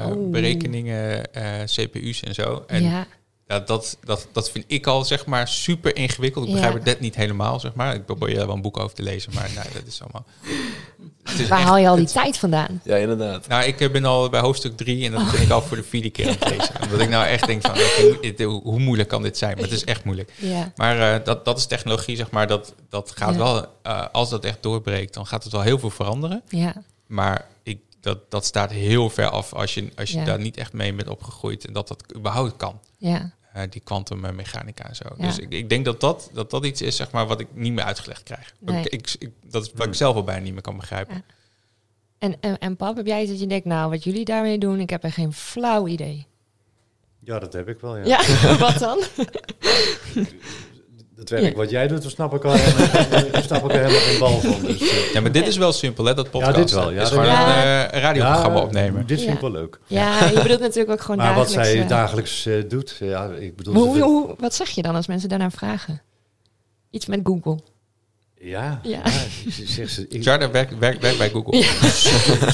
Speaker 2: kwantumberekeningen, CPU's en zo. En
Speaker 1: Oh. ja.
Speaker 2: ja, dat, dat, dat vind ik al zeg maar super ingewikkeld. Ik
Speaker 1: Ja.
Speaker 2: begrijp het net niet helemaal, zeg maar. Ik probeer wel een boek over te lezen, maar nou, dat is allemaal. Het is
Speaker 1: Waar
Speaker 2: echt-
Speaker 1: haal je al die tijd vandaan?
Speaker 4: Ja, inderdaad.
Speaker 2: Nou, ik eh, ben al bij hoofdstuk 3 en dat ben ik al voor de vierde keer aan het lezen. Omdat ik nou echt denk van, oké, hoe, dit- hoe- hoe moeilijk kan dit zijn? Maar het is echt moeilijk.
Speaker 1: Ja.
Speaker 2: Maar eh, dat, dat is technologie, zeg maar. Dat, dat gaat
Speaker 1: Ja.
Speaker 2: wel, eh, als dat echt doorbreekt, dan gaat het wel heel veel veranderen.
Speaker 1: Ja.
Speaker 2: Maar ik, dat, dat staat heel ver af als je, als je
Speaker 1: Ja.
Speaker 2: daar niet echt mee bent opgegroeid. En dat dat überhaupt kan.
Speaker 1: Ja.
Speaker 2: Eh, die kwantummechanica en zo.
Speaker 1: Ja.
Speaker 2: Dus ik, ik denk dat dat, dat dat iets is, zeg maar, wat ik niet meer uitgelegd krijg.
Speaker 1: Nee.
Speaker 2: Ik, ik, ik- dat is wat ik zelf al bijna niet meer kan begrijpen.
Speaker 1: Ja. En, en, en pap, heb jij iets dat je denkt, nou, wat jullie daarmee doen, ik heb er geen flauw idee.
Speaker 5: Ja, dat heb ik wel, ja.
Speaker 1: Ja, wat dan?
Speaker 5: Dat werk wat jij doet, daar snap ik al helemaal, daar snap ik er helemaal geen bal van. Dus, eh,
Speaker 2: Ja, maar dit is wel simpel, hè, dat podcast.
Speaker 5: dit wel, ja,
Speaker 2: is
Speaker 5: dat
Speaker 2: gewoon
Speaker 1: wel.
Speaker 2: een eh, radioprogramma
Speaker 5: ja,
Speaker 2: opnemen.
Speaker 5: Dit vind ik
Speaker 1: Ja.
Speaker 5: wel leuk.
Speaker 1: Ja, je bedoelt natuurlijk ook gewoon
Speaker 5: Maar wat
Speaker 1: dagelijks.
Speaker 5: zij
Speaker 1: eh,
Speaker 5: dagelijks eh, doet, ja, ik bedoel...
Speaker 1: maar
Speaker 5: ze
Speaker 1: hoe,
Speaker 5: vindt-
Speaker 1: hoe- wat zeg je dan als mensen daarnaar vragen? Iets met Google.
Speaker 5: Ja,
Speaker 1: Ja.
Speaker 5: ja. ze, zegt ze, ik-
Speaker 2: Jarda werkt werk, werk bij Google.
Speaker 1: Ja.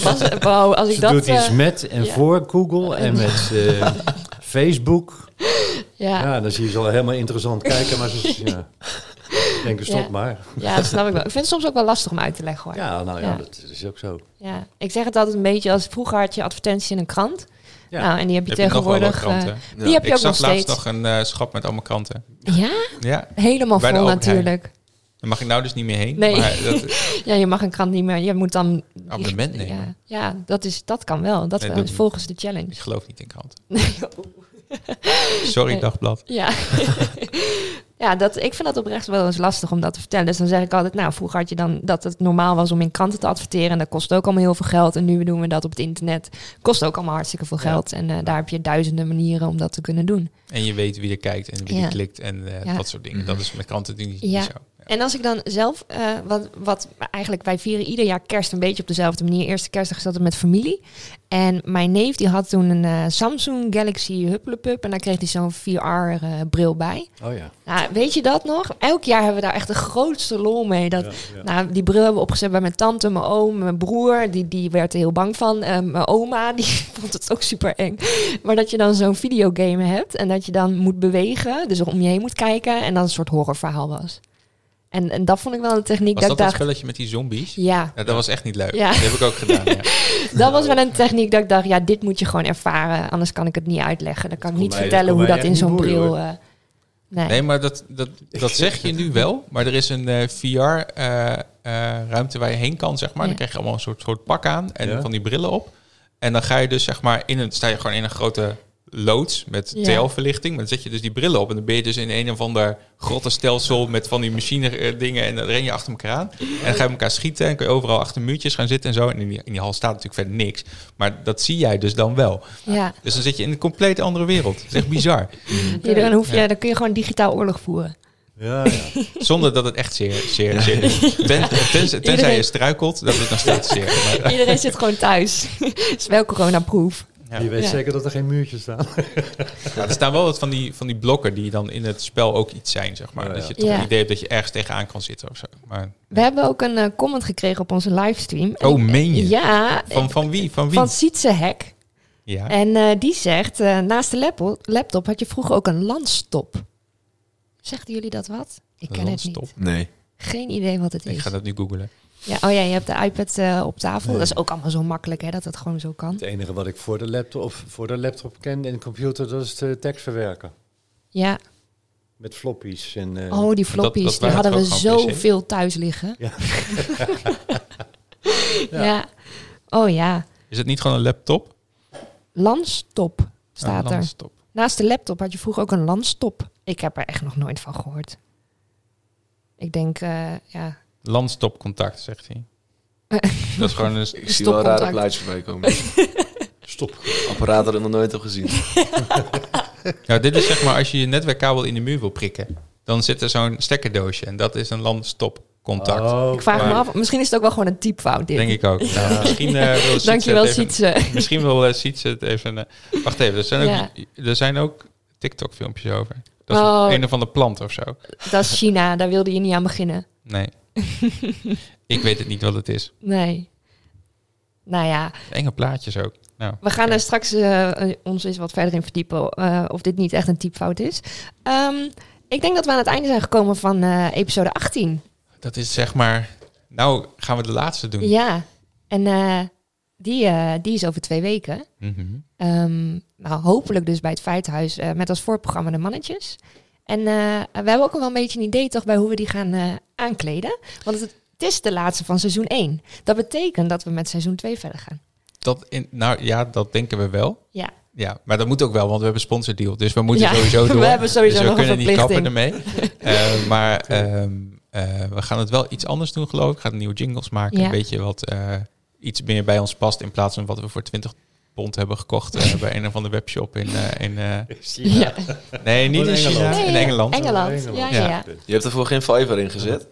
Speaker 1: Als, wow, als ik
Speaker 5: ze
Speaker 1: dat...
Speaker 5: doet iets
Speaker 1: eh,
Speaker 5: met en
Speaker 1: ja.
Speaker 5: voor Google en met eh, Facebook.
Speaker 1: ja,
Speaker 5: Ja.
Speaker 1: ja.
Speaker 5: dan zie je ze al helemaal interessant kijken, maar ze ja. denken stop
Speaker 1: Ja.
Speaker 5: maar.
Speaker 1: dat snap ik wel. Ik vind het soms ook wel lastig om uit te leggen hoor.
Speaker 5: Ja, nou ja,
Speaker 1: Ja.
Speaker 5: dat is ook zo.
Speaker 1: Ja, ik zeg het altijd een beetje als vroeger had je advertenties in een krant.
Speaker 5: Ja.
Speaker 1: Nou, en die heb je
Speaker 2: Heb je nog wel wat
Speaker 1: tegenwoordig. eh,
Speaker 2: kranten?
Speaker 1: die
Speaker 4: Ja.
Speaker 1: heb je
Speaker 2: Ik
Speaker 1: ook nog
Speaker 2: zag
Speaker 1: steeds.
Speaker 2: laatst nog een eh, schap met allemaal kranten.
Speaker 1: Ja,
Speaker 2: Ja,
Speaker 1: helemaal
Speaker 2: Bij de
Speaker 1: vol
Speaker 2: Albert
Speaker 1: natuurlijk.
Speaker 2: daar mag ik nou dus niet meer heen.
Speaker 1: Nee.
Speaker 2: Maar dat,
Speaker 1: Ja, je mag een krant niet meer. Je moet dan
Speaker 2: Abonnement
Speaker 1: Ja,
Speaker 2: nemen.
Speaker 1: Ja, dat, is, dat kan wel. Dat
Speaker 2: Nee,
Speaker 1: wel,
Speaker 2: dat-
Speaker 1: volgens de challenge.
Speaker 2: ik geloof niet in kranten.
Speaker 1: Nee, oh.
Speaker 2: Sorry,
Speaker 1: Nee.
Speaker 2: dagblad.
Speaker 1: ja. ja, dat, ik vind dat oprecht wel eens lastig om dat te vertellen. Dus dan zeg ik altijd, nou, vroeger had je dan dat het normaal was om in kranten te adverteren. En dat kost ook allemaal heel veel geld. En nu doen we dat op het internet. Kost ook allemaal hartstikke veel geld. En eh, daar heb je duizenden manieren om dat te kunnen doen.
Speaker 2: En je weet wie er kijkt en wie
Speaker 1: Ja.
Speaker 2: er klikt en eh,
Speaker 1: Ja.
Speaker 2: dat soort dingen. Dat is met kranten natuurlijk niet
Speaker 1: Ja.
Speaker 2: zo. Ja.
Speaker 1: En als ik dan zelf, eh, wat, wat eigenlijk, wij vieren ieder jaar kerst een beetje op dezelfde manier. Eerste kerstdag is altijd met familie. En mijn neef die had toen een eh, Samsung Galaxy Huppelepup. En daar kreeg hij zo'n VR-bril bij.
Speaker 5: Oh ja.
Speaker 1: Nou, weet je dat nog? Elk jaar hebben we daar echt de grootste lol mee. Dat,
Speaker 5: Ja, ja.
Speaker 1: Nou, die bril hebben we opgezet bij mijn tante, mijn oom, mijn broer. Die, die werd er heel bang van. Eh, mijn oma, die vond het ook super eng. Maar dat je dan zo'n videogame hebt en dat je dan moet bewegen. Dus om je heen moet kijken en dat een soort horrorverhaal was. En, en dat vond ik wel een techniek
Speaker 2: Was dat
Speaker 1: ik
Speaker 2: dat
Speaker 1: dacht...
Speaker 2: spelletje met die zombies?
Speaker 1: Ja,
Speaker 2: Ja, dat was echt niet leuk.
Speaker 1: Ja.
Speaker 2: Dat heb ik ook gedaan. Ja.
Speaker 1: dat was wel een techniek dat ik dacht, ja, dit moet je gewoon ervaren. Anders kan ik het niet uitleggen. Dan kan ik
Speaker 5: kon
Speaker 1: niet
Speaker 5: mij-
Speaker 1: vertellen
Speaker 5: dat kon
Speaker 1: hoe
Speaker 5: mij
Speaker 1: dat in
Speaker 5: echt
Speaker 1: zo'n
Speaker 5: niet boeien,
Speaker 1: bril...
Speaker 5: hoor.
Speaker 1: eh, nee.
Speaker 2: Nee, maar dat, dat, dat zeg je nu wel. Maar er is een eh, VR-ruimte eh, waar je heen kan, zeg maar.
Speaker 1: Ja.
Speaker 2: Dan krijg je allemaal een soort, soort pak aan en
Speaker 5: Ja.
Speaker 2: van die brillen op. En dan ga je dus, zeg maar, in een, sta je gewoon in een grote loods met
Speaker 1: Ja.
Speaker 2: TL-verlichting. Maar dan zet je dus die brillen op en dan ben je dus in een of ander grotte stelsel met van die machine-dingen. En dan ren je achter elkaar aan. En dan ga je elkaar schieten en kun je overal achter muurtjes gaan zitten en zo. En in die, in die hal staat natuurlijk verder niks. Maar dat zie jij dus dan wel.
Speaker 1: Ja,
Speaker 2: Dus dan zit je in een compleet andere wereld. Dat is echt bizar.
Speaker 1: hier, dan, hoef je, dan kun je gewoon digitaal oorlog voeren.
Speaker 5: Ja, ja.
Speaker 2: Zonder dat het echt zeer, zeer, zeer doet. Ten- tenzij- tenzij je
Speaker 1: Iedereen-
Speaker 2: struikelt, dat doet nog steeds zeer. Maar, eh,
Speaker 1: Iedereen zit gewoon thuis. is wel coronaproof.
Speaker 2: Ja.
Speaker 5: Je weet
Speaker 1: Ja.
Speaker 5: zeker dat er geen muurtjes staan.
Speaker 2: ja, er staan wel wat van die, van die blokken die dan in het spel ook iets zijn, zeg maar.
Speaker 5: Ja, ja.
Speaker 2: Dat je toch
Speaker 1: Ja.
Speaker 2: het idee hebt dat je ergens tegenaan kan zitten of zo. Maar,
Speaker 1: We hebben ook een eh, comment gekregen op onze livestream. En
Speaker 2: oh,
Speaker 1: ik-
Speaker 2: meen je?
Speaker 1: Ja,
Speaker 2: Van, van wie? Van wie?
Speaker 1: van Sietse Hek.
Speaker 2: ja.
Speaker 1: En eh, die zegt, eh, naast de laptop, laptop had je vroeger ook een landstop. Zegden jullie dat wat? Ik ken
Speaker 2: Landstop.
Speaker 1: het niet.
Speaker 4: Nee.
Speaker 1: Geen idee wat het is.
Speaker 2: Ik ga dat nu googlen.
Speaker 1: Ja, oh ja, je hebt de iPad eh, op tafel. Dat is ook allemaal zo makkelijk, hè, dat het gewoon zo kan.
Speaker 5: Het enige wat ik voor de laptop, of voor de laptop ken en de computer, dat is de tekst verwerken.
Speaker 1: Ja,
Speaker 5: Met floppies en... eh,
Speaker 1: oh, die
Speaker 2: dat-
Speaker 1: floppies,
Speaker 2: dat
Speaker 1: die
Speaker 2: waren
Speaker 1: hadden we
Speaker 2: toch ook gewoon
Speaker 1: zoveel thuis liggen.
Speaker 5: Ja.
Speaker 1: ja. Oh ja,
Speaker 2: Is het niet gewoon een laptop?
Speaker 1: landstop staat
Speaker 2: een
Speaker 1: er.
Speaker 2: landstop.
Speaker 1: Naast de laptop had je vroeger ook een landstop. Ik heb er echt nog nooit van gehoord. Ik denk, eh, ja.
Speaker 2: Landstopcontact, zegt hij.
Speaker 1: Eh.
Speaker 2: dat is gewoon een...
Speaker 4: Ik zie wel
Speaker 1: Stopcontact.
Speaker 4: rare plaatjes voorbij komen.
Speaker 5: Stop.
Speaker 4: Apparaat dat ik nog nooit heb gezien.
Speaker 2: Nou, dit is zeg maar als je je netwerkkabel in de muur wil prikken. Dan zit er zo'n stekkerdoosje en dat is een landstopcontact.
Speaker 5: Oh,
Speaker 1: Ik vraag me
Speaker 2: maar-
Speaker 1: af, misschien is het ook wel gewoon een typfout dit.
Speaker 2: Denk ik ook. Nou, misschien eh, wil Sietse
Speaker 1: Dankjewel,
Speaker 2: het even-
Speaker 1: Sietse.
Speaker 2: eh, Misschien wil eh, Sietse het even... eh, wacht even, er zijn, ook, er zijn ook TikTok-filmpjes over. Dat is
Speaker 1: Oh.
Speaker 2: een of andere plant of zo.
Speaker 1: Dat is China, daar wilde je niet aan beginnen.
Speaker 2: Nee. ik weet het niet wat het is.
Speaker 1: Nee. Nou ja,
Speaker 2: Enge plaatjes ook. Nou,
Speaker 1: we gaan er straks eh, ons eens wat verder in verdiepen eh, of dit niet echt een typfout is. Ehm, ik denk dat we aan het einde zijn gekomen van eh, episode 18.
Speaker 2: dat is zeg maar... Nou gaan we de laatste doen.
Speaker 1: Ja, en eh, die, eh, die is over twee weken.
Speaker 2: Mhm.
Speaker 1: Ehm, nou, hopelijk dus bij het Feithuis eh, met als voorprogramma de mannetjes. En eh, we hebben ook wel een beetje een idee toch bij hoe we die gaan eh, aankleden. Want het, het is de laatste van seizoen 1. Dat betekent dat we met seizoen 2 verder gaan.
Speaker 2: Dat in, nou ja, dat denken we wel.
Speaker 1: Ja.
Speaker 2: Ja, maar dat moet ook wel, want we hebben een sponsordeal. Dus we moeten
Speaker 1: Ja,
Speaker 2: sowieso
Speaker 1: we
Speaker 2: door.
Speaker 1: hebben sowieso
Speaker 2: dus we
Speaker 1: nog een
Speaker 2: kunnen niet kappen ermee.
Speaker 1: verplichting.
Speaker 2: Eh, maar ehm, eh, we gaan het wel iets anders doen, geloof ik. We gaan nieuwe jingles maken.
Speaker 1: Ja.
Speaker 2: Een beetje wat eh, iets meer bij ons past. In plaats van wat we voor 20 pond hebben gekocht eh, bij een of andere webshop in... eh, in eh,
Speaker 1: Ja.
Speaker 2: nee, niet in
Speaker 5: Engeland.
Speaker 2: China,
Speaker 1: Nee,
Speaker 2: in
Speaker 1: ja,
Speaker 2: Engeland.
Speaker 1: Engeland.
Speaker 5: Engeland.
Speaker 1: Ja, ja, ja.
Speaker 4: Je hebt ervoor geen Fiverr in gezet.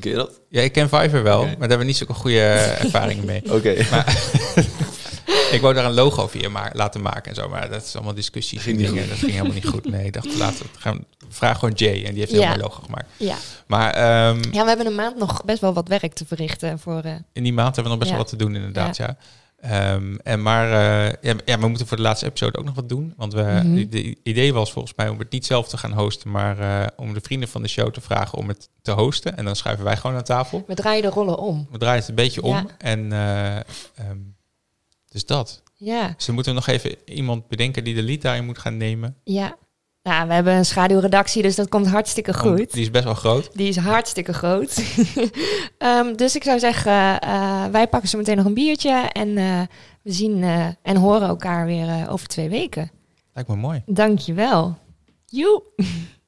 Speaker 4: Ken je dat?
Speaker 2: Ja, ik ken Fiverr wel,
Speaker 5: Oké.
Speaker 2: maar daar hebben we niet zulke goede ervaringen mee.
Speaker 4: Oké.
Speaker 2: Ik wou daar een logo via ma- laten maken en zo, maar dat is allemaal discussies en
Speaker 4: Ging niet
Speaker 2: dingen. Dat ging helemaal niet goed. Nee, ik dacht, laten we gaan, vraag gewoon Jay en die heeft een
Speaker 1: Ja.
Speaker 2: heel mooi logo gemaakt.
Speaker 1: ja.
Speaker 2: Maar ehm,
Speaker 1: we hebben een maand nog best wel wat werk te verrichten. Voor, eh,
Speaker 2: in die maand hebben we nog best
Speaker 1: Ja.
Speaker 2: wel wat te doen inderdaad, ja. Ehm, en maar eh, ja, ja, we moeten voor de laatste episode ook nog wat doen. Want we,
Speaker 1: Mhm.
Speaker 2: de, de idee was volgens mij om het niet zelf te gaan hosten, maar eh, om de vrienden van de show te vragen om het te hosten. En dan schuiven wij gewoon aan tafel.
Speaker 1: we draaien de rollen om.
Speaker 2: We draaien het een beetje om.
Speaker 1: Ja.
Speaker 2: En eh, ehm, dus dat.
Speaker 1: Ja,
Speaker 2: Dus dan moeten we nog even iemand bedenken die de lead daarin moet gaan nemen.
Speaker 1: ja. Nou, we hebben een schaduwredactie, dus dat komt hartstikke
Speaker 2: Want
Speaker 1: goed.
Speaker 2: Die is best wel groot.
Speaker 1: Die is hartstikke groot. Ehm, dus ik zou zeggen, eh, wij pakken zo meteen nog een biertje. En eh, we zien eh, en horen elkaar weer eh, over twee weken.
Speaker 2: Lijkt me mooi.
Speaker 1: Dankjewel. Joe.